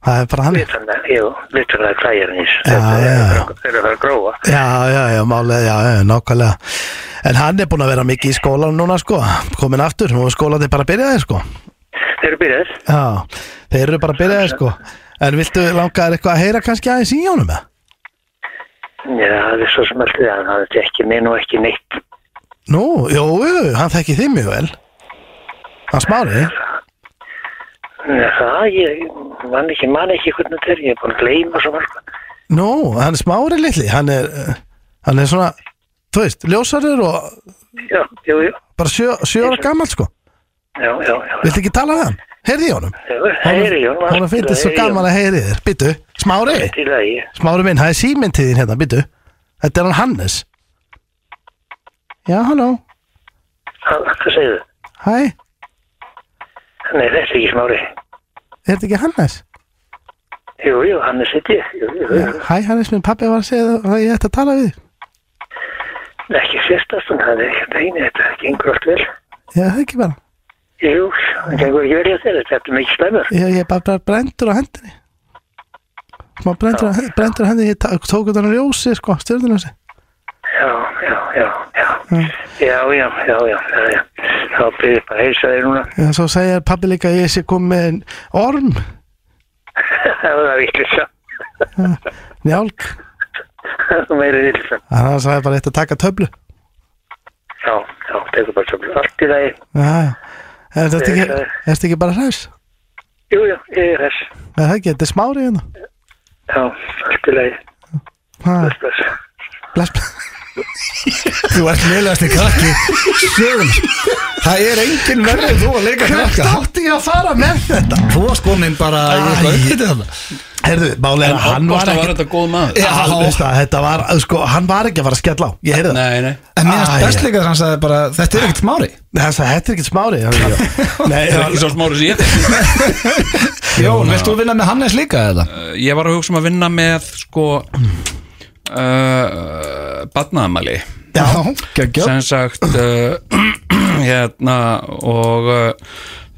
Það er bara hann Já, Vitur það, jú, vitur það klæjar nýs. Já, já, já. Þeir eru það að gróa. já, já, málið, já, já, nákvæmlega En hann er búinn að vera mikið í skólanum núna, sko Komin aftur, og skólan er bara að byrja þeir, sko Þeir eru byrjaðir. Já, þeir eru bara að byrja þeir, sko En viltu langa þér eitthvað að heyra kannski aðeins í honum, eða? Já, það er svo sem allt við hann. Það er ekki minn og ekki neitt. Nú, jú, jú, hann þekki þig mjög vel Hann smári Nei, það, ég man ekki, man ekki hvernig þetta er, ég er búin að gleyma svo mörg. Nú, hann er smári litli Hann er, hann er svona, þú veist, ljósarur og Já, jú, jú, bara sjö, sjö ára gammal sko já, já, já. Viltu ekki tala við hann? Heyrði í honum já, Heyri, Jón, var Hún finnst þetta svo Heyri, Jón, gaman að heyri í þér Byttu, smári Til að ég, Smári minn, það er síminn til þín hérna, byttu Þetta er hann Hannes Já, halló, hvað hvað segir þau? hæ, Nei, þetta er ekki smári. er þetta ekki Hannes? Jú, jú, hann er sitt ég, jú, jú, Já, hæ, Hannes minn, pappi var að segja það að ég ætti að tala við þig. jú. ekki sérstast, en það er ekki einu, þetta gengur allt vel. Já, það ekki bara Jú, það gengur ekki verið að þér, þetta er mikið slæmur. Ég, ég er bara bara brendur á hendinni Má brendur, á- brendur á hendinni, ég ta- tók utan á ljósi sko, stjörnuljósi Já, já, já, já, Hmm. já, já, já, já, já, já. Þá byrðið bara að heilsa þér núna, Já, svo segir pappi líka að ég sé komið orm, það var vittlisa, njálk meiri vittlisa. Þannig að hann sagði bara eitt að taka töflu Já, já, tekur bara töflu, allt í lagi. Já, er þetta Ég ekki, sagði- er þetta ekki bara hræs? Jú, já, ég er þess. Er það ekki, þetta er smári hérna Já, allt í lagi. Ha, Bless, bless. Bless, bless Þú ert meðlegasti krakki Sjögun Það er engin verðið þú að leika krakka átti ég að fara með þetta? Þú varst komin bara í Æ. eitthvað uppbytið þarna Herðu, málega, hann var Óbósta var ekki þetta góð maður Já. Hann, veist það, þetta var, sko, hann var ekki að fara að skella á Ég heyrði það Nei, En nei mér Æ. finnst best líka þegar hann sagði bara Þetta er ekkert smári Nei, hann sagði, þetta er ekki smári hann, Nei, Það er ekki svo smári sem ég þekki. Jón, vilt þú vinna með Hannes líka eða? Uh, Ég var að hugsa um að vinna með sko uh, Badnaðamæli Já, geggjör sem sagt uh, hérna og uh,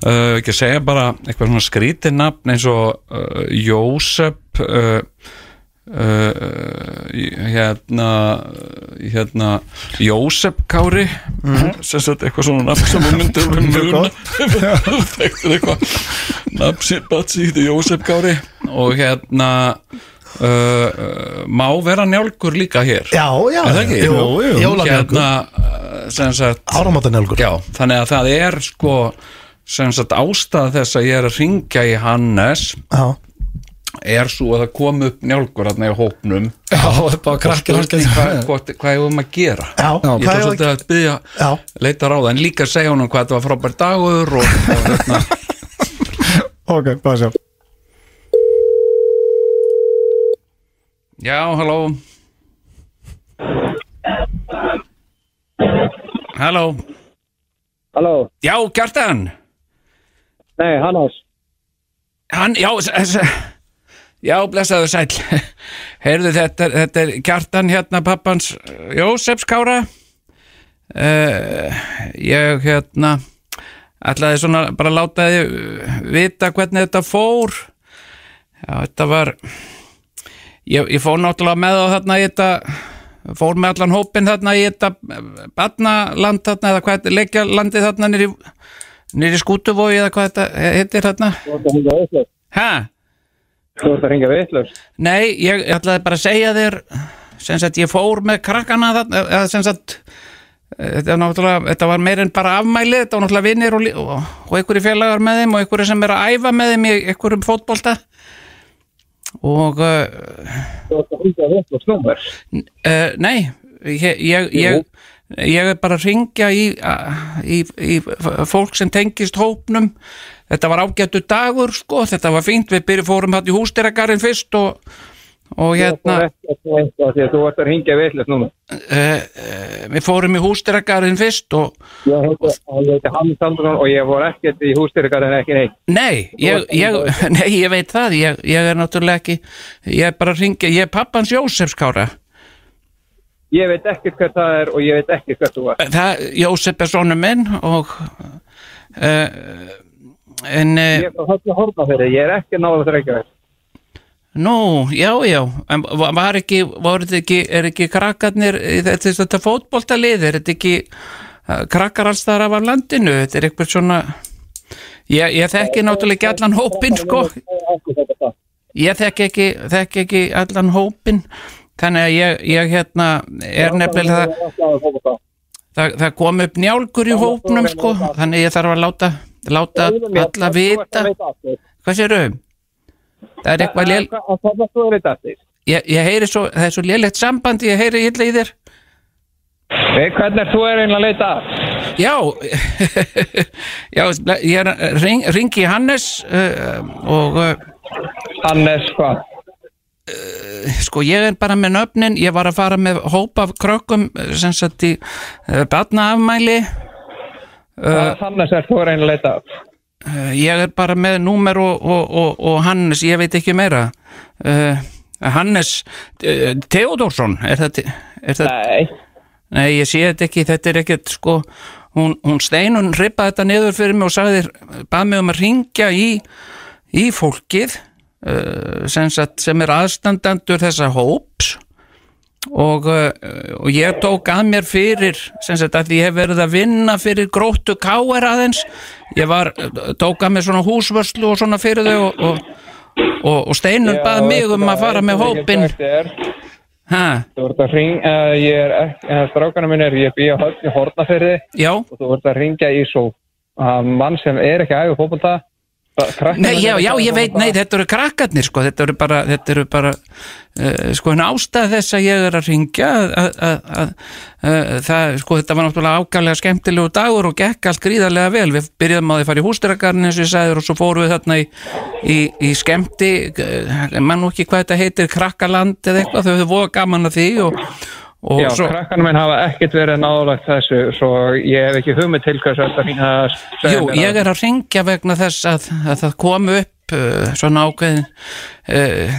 uh, ekki að segja bara eitthvað svona skrítið nafn eins og uh, Jósef uh, Uh, hérna hérna Jósef Kári sem sagt eitthvað svona nafn sem við myndum Mhm. Mjög muna gott. þekktur eitthvað nafn sem batsi hýtti Jósef Kári og hérna uh, uh, má vera njálgur líka hér Já, já, Er það ekki? jú, jú, jólanjálgur Hérna, uh, sem sagt Áramótanjálgur Já, þannig að það er sko sem sagt ástæða þess að ég er að ringja í Hannes Já, er svo að það kom upp njálgur þarna í hópnum Já, það er bara krakkir hans Spurning hvað, hvað, hvað hefum að gera já, ég hvað ætla er svolítið að byggja Já. leita ráða en líka segja honum hvað þetta var frábær dagur og, og hérna Ok, bara sjá já, halló halló Halló, já, Kjartan nei, Hannes hann, já s- s- já, blessaðu sæll heyrðu þetta, er- þetta er Kjartan hérna pappans Jósefs Kára uh, ég hérna ætlaði svona bara að láta þið uh, vita hvernig þetta fór já, þetta var ég, ég fór náttúrulega með á þarna í þetta fór með allan hópin þarna í þetta eh, barnaland þarna eða hvað leikja landið þarna nýri, nýri skútuvogi eða hvað þetta heitir þarna Þú ert að hringa vitlaus Hæ? Þú ert að hringa vitlaus Nei, ég ætlaði bara að segja þér sem sagt ég fór með krakkana þarna, eða sem sagt eh, þetta, er náttúrulega, þetta var meir en bara afmæli þetta var náttúrulega vinnir og, lí- og, og einhverju félagar með þeim og einhverju sem er að æfa með þeim í einhverjum fótbolta og uh, Þú ert að hringa vitlaus nummer uh, nei ég, ég, ég, ég er bara að ringja í, í, í fólk sem tengist hópnum þetta var ágættu dagur sko, þetta var fínt, við byrjum fórum þátt í hústýragarinn fyrst og, og hérna Þú ert að þú ert að hringa vitlaus nummer uh, við fórum í hústýragarinn fyrst og Ég heiti, ég heiti Hannes Andrún og ég fór ekkert í hústyrkarinn ekki neitt nei, ég, ég, nei, ég veit það ég, ég er náttúrulega ekki ég er bara að ringja, ég er pappans Jósefs Kára Ég veit ekkert hvað það er og ég veit ekkert hvað þú ert Eh, það, Jósef er sonur minn og uh, en uh, Ég er að höfna horfa fyrir, þig, ég er ekki náður að reykja þess nú, já, já en va- var ekki, voru þetta ekki er ekki krakkarnir, í þetta, þetta fótboltalið er þetta ekki eh, krakkar alls þar af af landinu þetta er eitthvað svona ég, ég þekki náttúrulega ekki allan hópin sko, ég þekki ekki, þekki ekki allan hópin þannig að ég, ég hérna er nefnilega það, það, það kom upp njálgur í hópnum sko, þannig að ég þarf að láta, láta alla vita hvað sér um? það er eitthvað lél, Það er þú að vita eftir ég, ég heyri svo það er svo lélegt samband, ég heyri illa í þér Nei, hvernig ert þú er einnig að leita að? já já, ég er að ring, ringi Hannes uh, og uh, Hannes, hvað? sko ég er bara með nöfnin ég var að fara með hóp af krökkum eh, sem sagt í uh, batnaafmæli Uh, Hannes, ert þú er einnig að leita að? Eh, Ég er bara með númer og, og, og, og Hannes, ég veit ekki meira. Uh, Hannes uh, Theodorsson, er það, er það? Nei, Nei, ég sé þetta ekki, þetta er ekkert sko, hún, hún steinun rippaði þetta niður fyrir mig og sagði, bað mig um að ringja í, í fólkið uh, sem, sagt, sem er aðstandandur þessa hóps og, uh, og ég tók að mér fyrir sem sagt að ég hef verið að vinna fyrir gróttu káer aðeins ég var, tók að mér svona húsvörslu og svona fyrir þau og, og, og, og steinun bað mig um að fara með hópin Þú ha, ert að ringa, uh, ég er ekki, uh, strákana minn er, ég býja höfn í Hortnafyrði já og þú ert að ringa í svo uh, mann sem er ekki æfið fókbalta. Nei, já, já, ég veit, nei, þetta eru krakkarnir, sko, þetta eru bara, þetta eru bara, uh, sko, en ástæð þess að ég er að ringja, að, að, að, uh, það, sko, þetta var náttúrulega ákvæmlega skemmtilegu dagur og gekk allt gríðarlega vel, við byrjum að þið fara í hústyrkarni, eins og ég sagður, og svo fórum við þarna í, í, í skemmti, eh, man nú ekki hvað þetta heitir, krakkaland eða eitthvað, þau höfðu voða gaman að því og, og Já, svo, krakkana minn hafa ekkert verið náðulegt þessu, svo ég hef ekki hugmynd til hversu þetta fín að segja Jú, ég er að ringja vegna þess að, að það kom upp uh, svona ákveðin uh,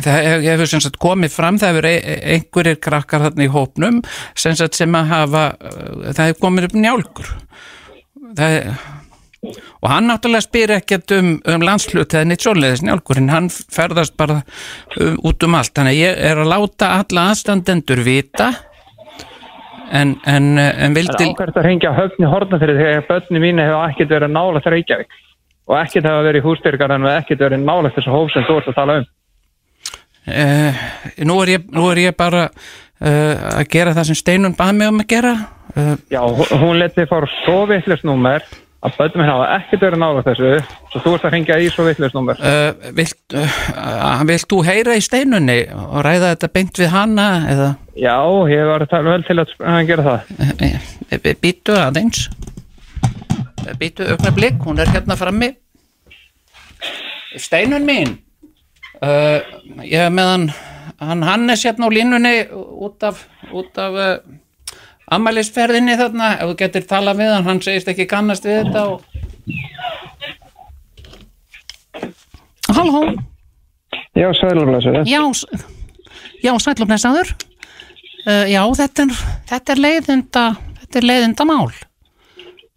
það hef- hefur sem sagt komið fram það hefur e- einhverjir krakkar þarna í hópnum sem sagt sem að hafa uh, það hefur komið upp njálgur það er og hann náttúrulega spyr ekkert um, um landslut eða neitt svoleiðis njálkurinn hann ferðast bara um, út um allt þannig að ég er að láta alla aðstandendur vita en, en, eh, en vildi ákvært að ringja höfn í Hortnafyrði þegar börnum mín hefur ekkert verið náðulegt Reykjavík og ekkert hafa verið í hústyrkarinn og ekkert verið náðulegt þessu hóf sem þú ert að tala um. uh, nú, er ég, nú er ég bara uh, að gera það sem Steinun bað mig um að gera uh, Já, hún- hún leti þig fara á svo vittlust númer að bönnum henni hafa ekkert verið nála þessu svo þú ert að hringja í svo vittlust númer uh, vilt, uh, vilt þú heyra í Steinunni og ræða þetta beint við hana eða Já, ég var að tala vel til að hann gera það býtu Eh, aðeins býtu augnablik, hún er hérna frammi Steinun mín uh, ég er með hann, hann Hannes hérna á línunni út af, út af uh, amælisferðinni þarna ef þú getur talað við hann, hann segist ekki kannast við þetta og... Halló Já, sælumlæsir Já, s- já sælum blessaður uh, Já, þetta er, þetta er leiðinda þetta er leiðinda mál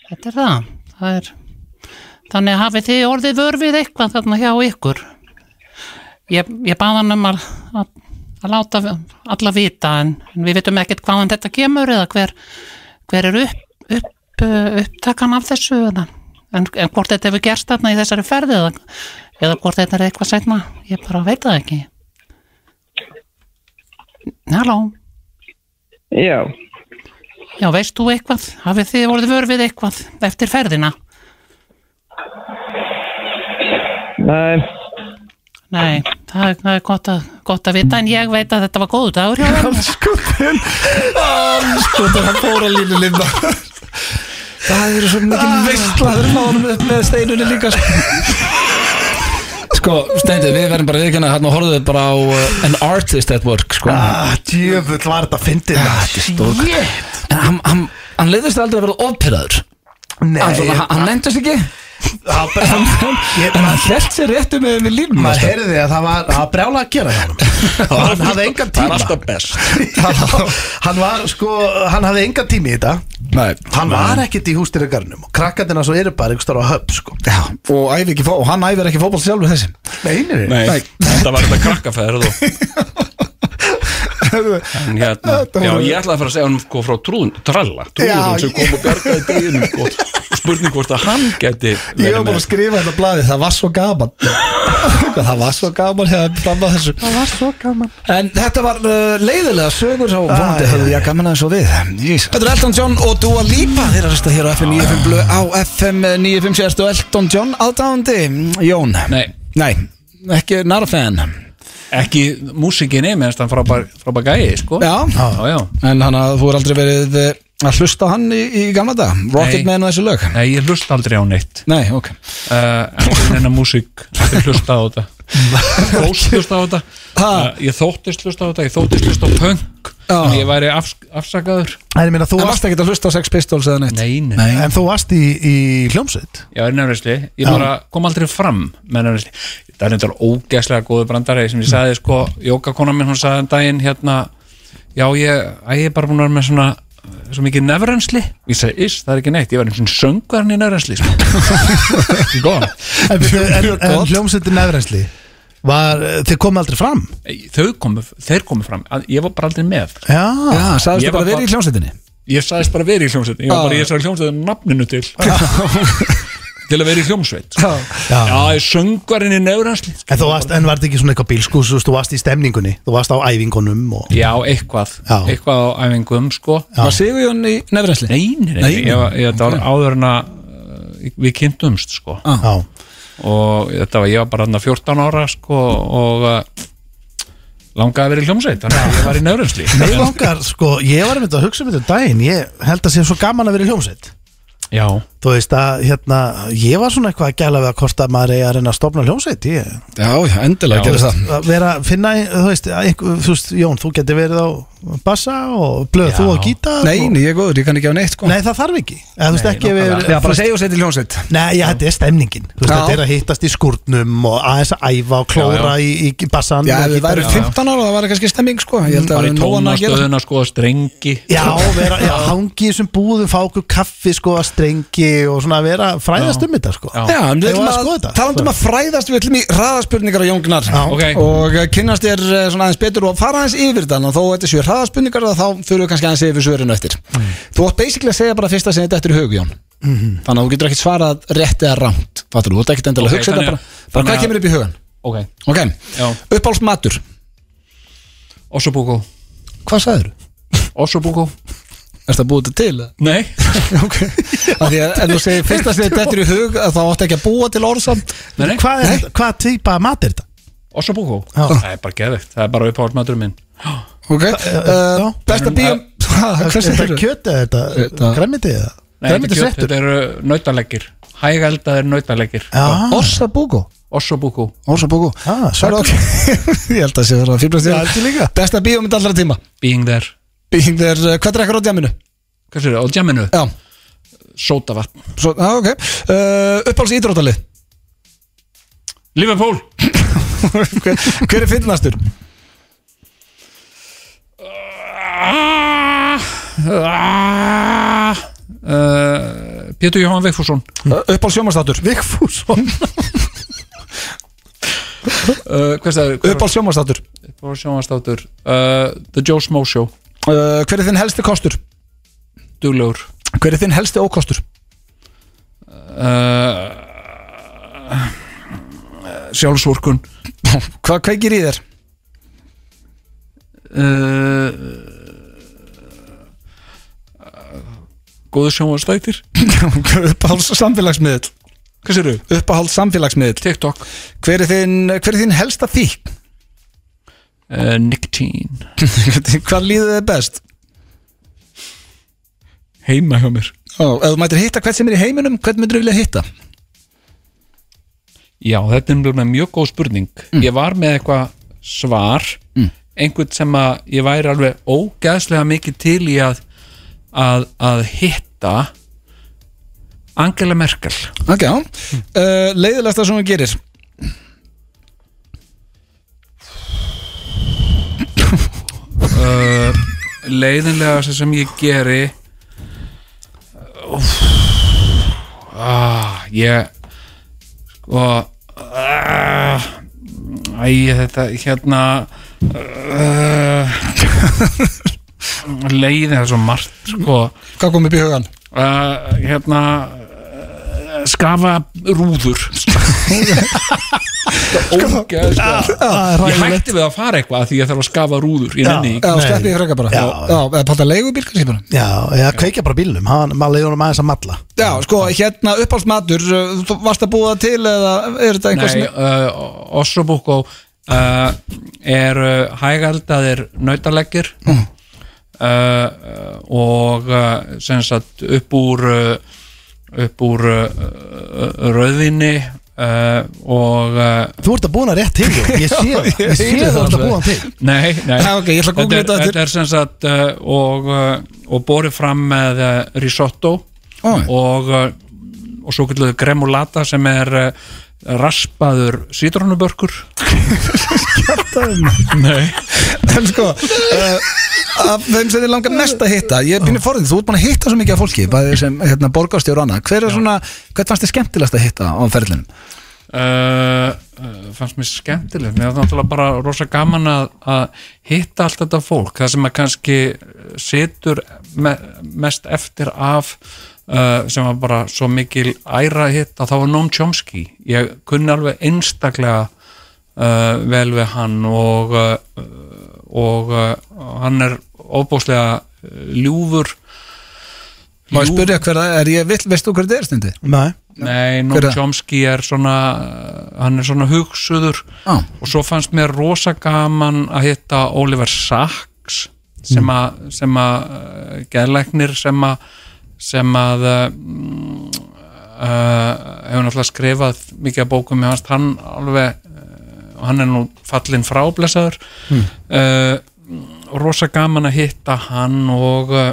Þetta er það, það er, Þannig hafið þið orðið vörfið eitthvað þarna hjá ykkur Ég, ég bað hann um að, að, að láta alla vita en, en við vitum ekkert hvaðan þetta kemur eða hver, hver er upp, upp, uh, upptakan af þessu eða En, en hvort þetta hefur gerst þarna í þessari ferði eða, eða hvort þetta er eitthvað setna, ég bara veit það ekki. Halló, Já, já veist þú eitthvað? Hafið þið voruð vörfið eitthvað eftir ferðina? nei, Nei, það, er- það er gott að, gott að vita en ég veit að þetta var góðu dagur hjá þeim. Skotin Skotin, hann fór Sko, að línu linda Það eru svo mikil veistlaður Náðum upp með steinunni líka sko. Sko, Steindi, við verðum bara viðkynna hérna og horfðum bara á uh, an artist at work, sko ah, Djöfull var þetta fyndið maður. En hann, hann, hann leiðist aldrei að vera ofpyrraður Nei, Ah, Hann, svona, hann, hann nefndast ekki það bara- Ég- En hann held sér réttu með við lífum maður heyrði að það var að brjála að gera hjá honum. og hann hafði engan tíma hann, hann var sko hann hafði engan tíma í þetta Nei, hann var ekkert í hústir í garnum og krakkarnir hans og eru bara einhverstaðar á höpp sko og, æfi ekki, fó- og hann æfir ekki fótboll sjálfur þessi Nei, nei. Nei, þetta var þetta krakkafæður og en hérna, Þetta já, voru- ég ætlaði að fara að segja hann sko frá trúðun, tralla trúðun Já, sem kom og bjargaði dýðinum sko, og spurning hvort að hann geti Ég var verið búin með að skrifa þetta blaði, það var svo gaman Það var svo gaman hefði fram að þessu Það var svo gaman En þetta var uh, leiðilega sögur og vonandi höfðu ég að gaman aðeins og við Jesus. Þetta er Elton John og Dua Lipa Þeir eru að hlusta hér á FM 95 blöð á FM 95 sérst og Elton John aðdáðandi Jón Nei. ekki not a fan ekki músikinni, mennst hann frábær frábær gæi, sko Já, já, já. en hann að þú er aldrei verið uh, að hlusta á hann í, í gamla dag Nei. Rocketman og þessu lög Nei, ég hlusta aldrei á neitt Nei, ok uh, en hennar músík ég hlusta á þetta þóttist hlusta á þetta Ha? uh, ég þóttist hlusta á þetta, ég þóttist hlusta á punk Já. en ég væri afs afsakaður En, meina, þú En varst, varst ekki að hlusta á Sex Pistols eða neitt? nei, nei, en þú varst í, í hljómsveit Já, er nefnilegsti, ég bara kom aldrei fram með nefnilegsti, það er nefnilega ógeðslega góðu brandari sem ég sagði sko jókakona minn, hún sagði en daginn hérna já, ég, æ, ég er bara búin að vera með svona eh, svo mikið nefrensli ég sagði, iss, það er ekki neitt, ég var einhvern söngarn í nefrensli sko. ekki góðan En, en, en gott. hljómsveitin nefrensli var, eh, þið komið aldrei fram þau komu, þeir komu fram Að- ég var bara aldrei með, Já, Já, sagðist Ég þú bara var verið í hljómsveitinni? ég sagðist bara verið í hljómsveit ég var bara í þessari hljómsveit nafninu til til að vera í hljómsveit sko. Já. já, ég er söngarinn í sko. nefrensli En, þú varst, en var þetta ekki svona eitthvað bílskús þú veist, þú varst í stemningunni, þú varst á æfingunum og... já, eitthvað, Já. eitthvað á æfingum sko Var Sigurjón í nefrensli? Nei, nei, nei, Nei, nei. Ég, ég, þetta var áður en að uh, við kynntumst sko Já, og þetta var, ég var bara hann 14 ára sko og uh, langaði að vera í hljómsveit þannig að ég var í nöðrensli Mér langar, sko, ég var einmitt að hugsa um þetta um daginn Ég held að sé svo gaman að vera í hljómsveit Já, Þú veist að, hérna, ég var svona eitthvað að gæla við að hvort að maður eigi að reyna að stopna hljómsveit Ég, Já, já, endilega Já. gerði það að vera, finna, þú veist, að einhver, þú veist, Jón, þú getur verið á bassa og blöð þú á gítar Nei, og, nei, ég er góður, ég kann ekki á neitt sko nei, það þarf ekki Eða, Þú veist, ekki ef við Já, bara segja og setja í hljómsveit Nei, já, þetta er stemningin Þú veist, Já. þetta er að hittast í skúrnum og aðeins að æfa og klóra í, í bassan Já, og ef við gítarinn. væri 15 ára, það væri kannski stemming sko Ég held að bara í við nóan að gera tónastöðuna sko strengi Já, vera, já, hangi í þessum búðum, fá okkur kaffi sko að strengi og svona vera fræðast um þetta sko Já, en við Eigum ætlum að skoða að, um þetta? talandum að fræðast, við ætlum í hraðaspurningar á Jóngnar ok. Og eh, kynnast þér eh, svona aðeins betur og fara aðeins yfir þannig að þó þetta séu hraðaspurningar þá þurfum við kannski aðeins yfir svörinu eftir Þú átt basically að segja bara fyrsta sem þetta eftir hug, Jón Þannig að þú getur ekkert svarað rétt eða rámt Fattur, þú ert ekkert endilega Ok, að hugsa þetta þannig að- bara Bara þannig að- hvað kemur upp í hugan? Ok, Ok, Já. uppáhalds matur Ossobuco Hvað sagður? Ossobuco Er það búið þetta til? eða? Nei ok Af því að en þú segir fyrsta sem þetta er í hug að þá átti ekki að búa til orðsamt Nei, nei Hvað er þetta? Hvað týpa af mat er þetta? Ossobuco Já. Það er bara geðvikt Það er bara uppáhaldsmaturinn minn ok uh, Eh, já. besta bíum Er hversu þetta þetta kjöt eða þetta Þetta- græmitið eða? Nei, þetta er kjöt Grænmetisréttur? Þetta eru nautaleggir Hægældaðir nautaleggir Já, Orsa Búko Ossobuco Orsa Búko Ah, svaka. ég held að sé verið að fýrbrast Já, held ég líka. besta bíum allra tíma Being there bíum þeir uh, hvað drekkar á djaminu Hvað sér það? Á jamminu já Sótavatn svo já ok uh, uppáls ídrótalið Liverpool hver, hver er fyndnastur Ah. uh, Ah. Pétur Jóhann Vigfússon Hm? uh, uppáls sjómanstátur Vigfússon uh, Hvað sagði? uppáls sjómanstátur Uppáhald sjónvastátur uh, The Joe Smo Show uh, hver er þinn helsti kostur Duglegur hver er þinn helsti ókostur uh, Sjálfsvorkun hvað kveikir í þér uh, Góðu sjónvastættir uppáls samfélagsmiðl Hvað sér þau? uppáhald samfélagsmiðl TikTok hver er þinn, hver er þinn helsta fík uh, Nicotine hvað líður þið best Heima hjá mér Ó, ef þú mætir hitta hvert sem er í heiminum hvern myndur þú vilja hitta Já, þetta er nefnilega mjög góð spurning Ég var með eitthvað svar einhvern sem að ég væri alveg ógeðslega mikið til í að að, að hitta Angela Merkel ok, já uh, leiðilegsta sem þú gerir uh, leiðinlega sem ég geri Úff. ah, ég sko ah, æ, þetta hérna uh, leiðin það er svo margt sko hvað kom upp í hugan uh, hérna uh, skafa rúður ógeðslega ég hætti við að fara eitthvað af því ég þarf að skafa rúður ég nenni já, ekki sleppi ég freka bara já, já eða panta leigubíl kannski bara Já, eða kveikja bara bílnum Hann, maður leiður honum aðeins að matla já, sko, hérna uppáhalds matur þú varst að búa það til eða er þetta eitthvað Nei, sem uh, Ossobuco uh, er uh, hægaldaðir nautaleggir mm. uh, og uh, sem sagt upp úr uh, upp úr uh, uh, rauðinni uh, og uh, Þú ert að búa hann rétt til Jón. Ég sé það, ég sé heyri það þú það ert að alveg. búa hann til Nei, nei Já, Ah, ok, ég ætla að googla er- þetta eftir. Þetta er sem sagt uh, og, uh, og borið fram með uh, risotto Ó. og, uh, og svo getur gremulata sem er uh, raspaður sítrónubörkur Nei en sko uh, af þeim sem þið langar mest að hitta ég er pínir forðið, þú ert búin að hitta svo mikið af fólki bæði sem hérna, borgarstjóru annað hver er svona, hvert fannst þið skemmtilegast að hitta á ferlinum? Uh, uh, fannst mér skemmtilegt mér var náttúrulega bara rosa gaman að, að hitta allt þetta fólk það sem að kannski uh, situr me, mest eftir af uh, sem var bara svo mikil æra að hitta, þá var Noam Chomsky ég kunni alveg einstaklega uh, vel við hann og uh, og uh, hann er óbúslega ljúfur Má ég spyrja hver það er, ég vill, veist þú hver þetta er stundi? Nei Hver er Nei, Noam það? Chomsky er svona uh, hann er svona hugsuður Já. og svo fannst mér rosa gaman að hitta Oliver Sacks Mm. sem að, sem að uh, geðlæknir sem að sem að uh, mm, uh, hefur náttúrulega skrifað mikið af bókum með hans hann alveg, uh, hann er nú fallin frá blessaður mm. rosa gaman að hitta hann og uh,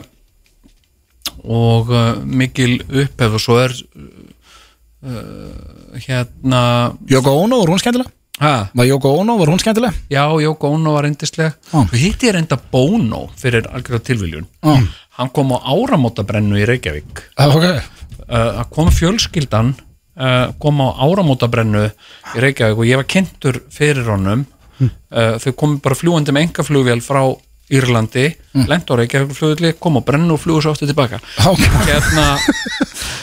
og uh, mikil upphef og svo er uh, hérna Jóko Ono, var hún skemmtilega? ha, Var Jóko Ono, var hún skemmtilega? já, Jóko Ono var reyndislega Ah. svo hitti ég reynda Bono fyrir algjörða tilviljun Ah. hann kom á áramótabrennu í Reykjavík Ah, ok. uh, að kom fjölskyldan uh, kom á áramótabrennu í Reykjavík og ég var kynntur fyrir honum uh, þau komu bara fljúandi með engaflugvél frá Írlandi mm. lent á Reykjavík flugulli, kom á brennu og flugu svo aftur tilbaka Ok. hérna,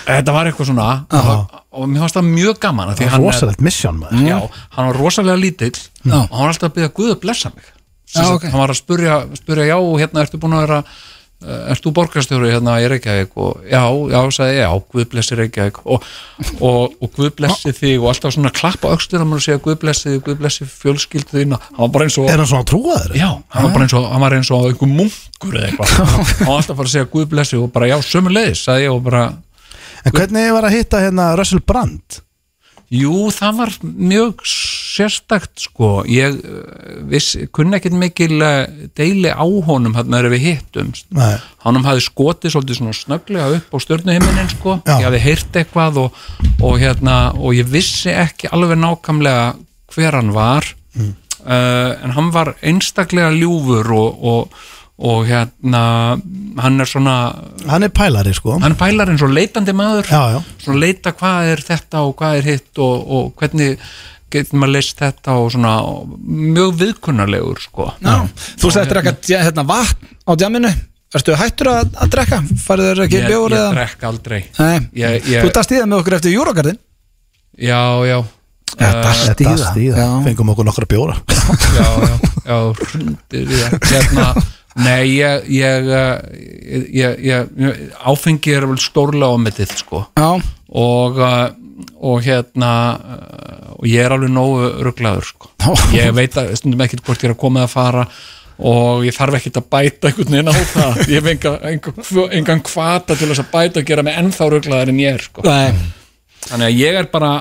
þetta var eitthvað svona og, og mér fannst það mjög gaman af því hann er- Mm. Rosalegt misjón maður já, hann var rosalega lítill og hann var alltaf að byrja Guð að blessa mig Sem Já, sagt, ok. hann var að spurja, spurja já og hérna ertu búin að vera eh, ert þú borgarstjóri hérna í Reykjavík og já, já, sagði ég, já, Guð blessi Reykjavík og, og, og Guð blessi þig og alltaf svona klappa öxtur og segja Guð blessi þig, Guð blessi fjölskyldu þína hann var bara eins og Er hann svona trúaður? Já, hann var bara eins og, hann var eins og einhver munkur eða eitthvað, hann var alltaf bara að segja Guð blessi og bara já, sömu leiðis, sagði ég og bara En hvernig var að hitta hérna Russell Brand? Jú, það var mjög sérstakt sko, ég eh, viss, kunna ekkert mikil eh, deili á honum hérna þegar við hittum Nei. honum hafði skotið svolítið svona snögglega upp á stjörnuhiminin sko, Já. ég hafði heyrt eitthvað og, og hérna og ég vissi ekki alveg nákvæmlega hver hann var mm. en hann var einstaklega ljúfur og, og, og hérna hann er svona, Hann er pælari sko hann pælar eins og leitandi maður Já, já svona leita hvað er þetta og hvað er hitt og, og hvernig getur maður leist þetta og svona og mjög viðkunnarlegur sko Já. Þú sagðist drekka dja- hérna, vatn á djaminu Ertu hættur að, að drekka? Farðu þér ekki ég, bjór ég eða? drekk aldrei Nei, Ég- ég- þú dast í það með okkur eftir júrogarðin já, já Eh, Þetta stíða Já. Fengum okkur nokkra bjóra já, já, já, hrundir í það hérna, nei, ég ég, eh, ég, ég, ég áfengi er vel stórlega ámetið sko Já, og eh, og hérna eh, og ég er alveg nógu rugglaður sko. ég veit að stundum ekkert hvort ég er að koma eða fara og ég þarf ekkert að bæta einhvern veginn á það ég hef enga, enga, engan kvata til þess að bæta og gera mig ennþá rugglaður en ég er sko. nei, þannig að ég er bara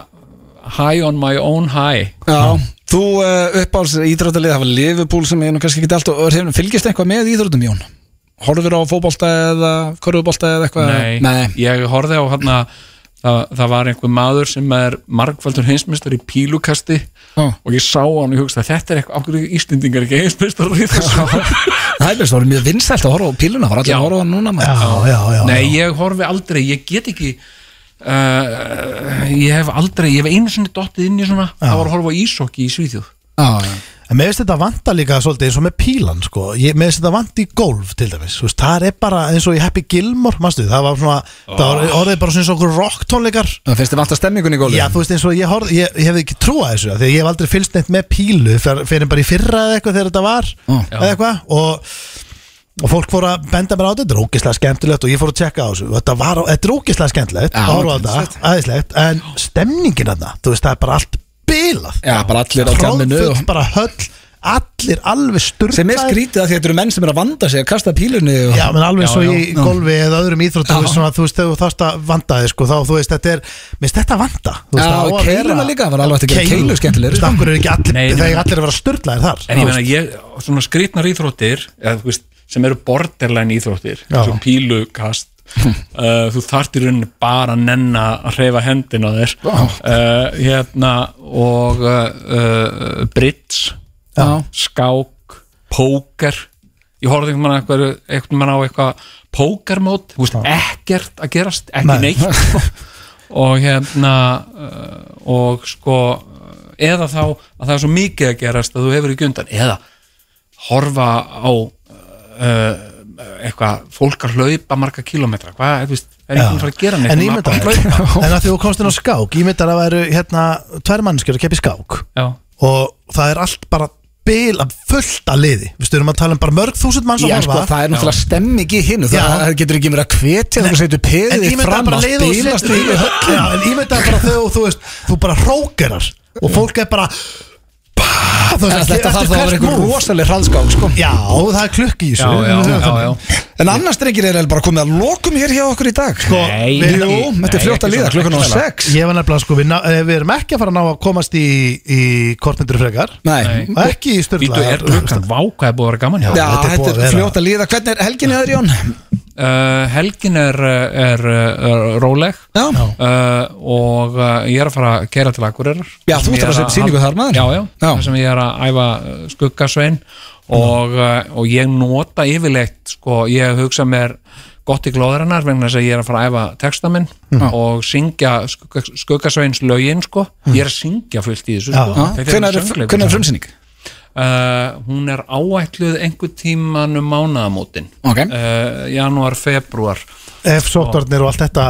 high on my own high já Þú uh, uppáls íþróttalið hafa Liverpool sem ég nú kannski ekki allt og er hefnum Fylgist eitthvað með íþróttum Jón? Horfir á fótbolta eða korfubolta eða eitthvað? Nei, ég horfði á hann að það, það var einhver maður sem er margfaldur heimsmeistar í pílukasti Já. og ég sá hann og ég hugsaði þetta er eitthvað, okkur íslendingar ekki heimsmeistar í þessu Það er veist, það voru mjög vinsælt að horfa á píluna Það var allir Já. að horfa á hann núna maður Já, já, já Nei, ég horfi aldrei, ég get ekki uh, ég hef aldrei ég hef einu sinni dottið inn í svona það var að horfa á ísokki í Svíþjóð Já, já. En mér finnst þetta vanta líka svolítið eins og með pílan sko. ég, Mér finnst þetta vanta í golf til dæmis Þú veist, Það er bara eins og í Happy Gilmore manstu, Það var svona, það var orðið bara svona eins og okkur rocktónleikar Það finnst þið vant að stemmingun í gólu Já þú veist eins og ég, horf, ég, ég hefði ekki trúað þessu af Því að ég hef aldrei fylst neitt með pílu fyr- Fyrir bara í fyrra eða eitthvað þegar þetta var Eða eitthvað og, og fólk fór að benda mér á þetta Þetta er ógislega skemmtilegt og ég fór að tjekka á þessu Og Þetta, var, þetta er ógislega skemmtilegt Já, að horfa á ógeðslegt. þetta, aðeinslegt En stemningin þarna, þú veist það er bara allt bilað Já, bara allir á djamminu og- Tróðfull bara höll Allir alveg sturglaðir sem er skrítið að því að þetta eru menn sem er að vanda sig að kasta pílunni og... Já, menn alveg Já, svo já, í já. golfi eða öðrum íþróttum Já. þú veist, svona, þú veist, þegar þú þarst að vanda þig sko, þá, þú veist, þetta er, minnst þetta vanda Já, þú það á að keiluna vera- líka, það var alveg hægt að gera Keilur. keilu skemmtilegri, Þú veist, sko. okkur er ekki allir, Nei, nei, þegar nei. allir að vera sturglaðir þar en ég meina, ég, svona skrýtnar íþróttir eða, þú veist, sem eru borderline íþróttir Já. eins og pílukast uh, þú þarft í rauninni bara að nenna að hreyfa hendina á þér uh, hérna og uh, uh, brits Já. skák, póker ég horfði einhvern veginn eitthvað, einhvern veginn á eitthvað pókermót, þú veist ekkert að gerast, ekki Nei. neitt og hérna uh, og sko eða þá að það er svo mikið að gerast að þú hefur ekki undan, eða horfa á uh, eitthvað, fólk að hlaupa marga kílómetra, hvað, þú veist það er Já. ekki að fara að gera neitt en nema ímyndar bara að en hlaupa. að því þú komst inn á skák ímyndar að væru, hérna, tvær mannskjör að keppi skák Já. og það er allt bara bila fullt að liði, við styrum að tala um bara mörg þúsund manns að Já, sko, horfa. það er náttúrulega stemming í hinnu Já. það það getur ekki verið að hvetja þú setur en peðið ég þitt mynda fram bara að leið og spilast í höllin Já, en ég mynda bara þegar þú veist þú bara hrókerar og fólk er bara Bah, þú veist, Þetta þarf eftir þá að hvert vera einhver move. rosaleg hraðskák sko. Já, það er klukki í þessu já, já, já, já. En annars drengir er eiginlega bara komið að lokum hér hjá okkur í dag sko. Nei, Jú, nei, þetta er fljótt að ekki líða svona, klukkan á ekki svona. sex Ég var nefnilega sko, við, ná, eh, við erum ekki að fara að ná að komast í, í kortmyndur frekar Nei, og ekki í Býtu, styrla er klukkan váka er búið að vera gaman hjá Já, þetta er búið þetta að er vera. fljótt að líða Hvernig er helginni aður Jón? uh, helgin er, uh, er, uh, er róleg Já. Uh, og uh, ég er að fara að kera til Akureyrar Já, þú Sem ég ert að er setja sýningu þar, maður. já, já, Já. þar sem ég er að æfa uh, skuggasvein og, uh, og ég nota yfirleitt sko, ég hugsa mér gott í glóðarinnar vegna þess að ég er að fara að æfa texta minn og syngja skugga, skuggasveins lögin sko. ég er að syngja fullt í þessu Já. sko. Þetta Hvernig er söngleikur. er frumsýning? Uh, hún er áætluð einhver tíman um mánaðamótin Eh, Ok. uh, janúar, februar Ef sóttvarnir og allt þetta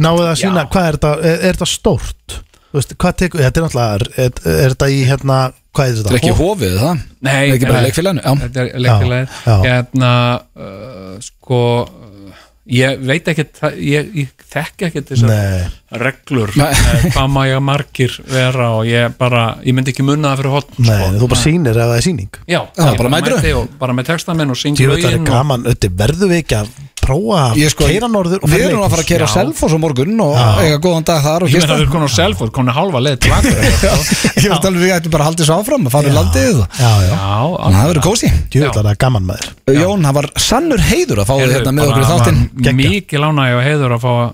náðu það að sína, Já. hvað er þetta, er, er þetta stórt? þú veist, hvað tekur, þetta er náttúrulega er, er þetta í hérna, hvað er Þetta er þetta? ekki hofið það Nei, Ekki bara nei. eh, leikfélaginu Já, þetta er Já, leikfélagið já. hérna uh, sko uh, ég veit ekkert það- ég, ég þekki ekkert þessar Nei. reglur Nei. eh, hvað má ég margir vera og ég bara, ég myndi ekki munna það fyrir hotn Nei, sko. þú bara sýnir ef það er sýning Já, Já, ég bara mætir mæti og, bara með texta minn og syngi Ég veit það er lögin og, gaman, þetta verðum við ekki að prófa að Ég sko- eh, keyra norður og Við fara í erum að fara að leikhús? keira á Já. Selfoss á morgun og Já. eiga góðan dag þar og ég meina gista þau konu á Selford, konu halva leið til akkur Ég veist alveg við ættum bara að halda þessu áfram að fara í landið og Já, já, Þannig að Já, það verður kósi ég veit að það er gaman maður Jón, það var sannur heiður að fá þið hérna með okkur í þáttinn Geggjað. mikið lánaði og heiður að fá að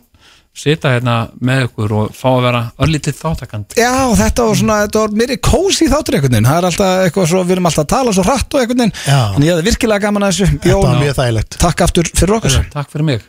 sita hérna með okkur og fá að vera örlítið þáttakand Já, þetta var svona, þetta var meiri kósi þáttur einhvern veginn, það er alltaf eitthvað svo, við erum alltaf að tala svo hrætt og einhvern veginn, Já. en ég hefði virkilega gaman að þessu, Þetta var Jón, mjög þægilegt takk aftur fyrir okkur. Takk fyrir mig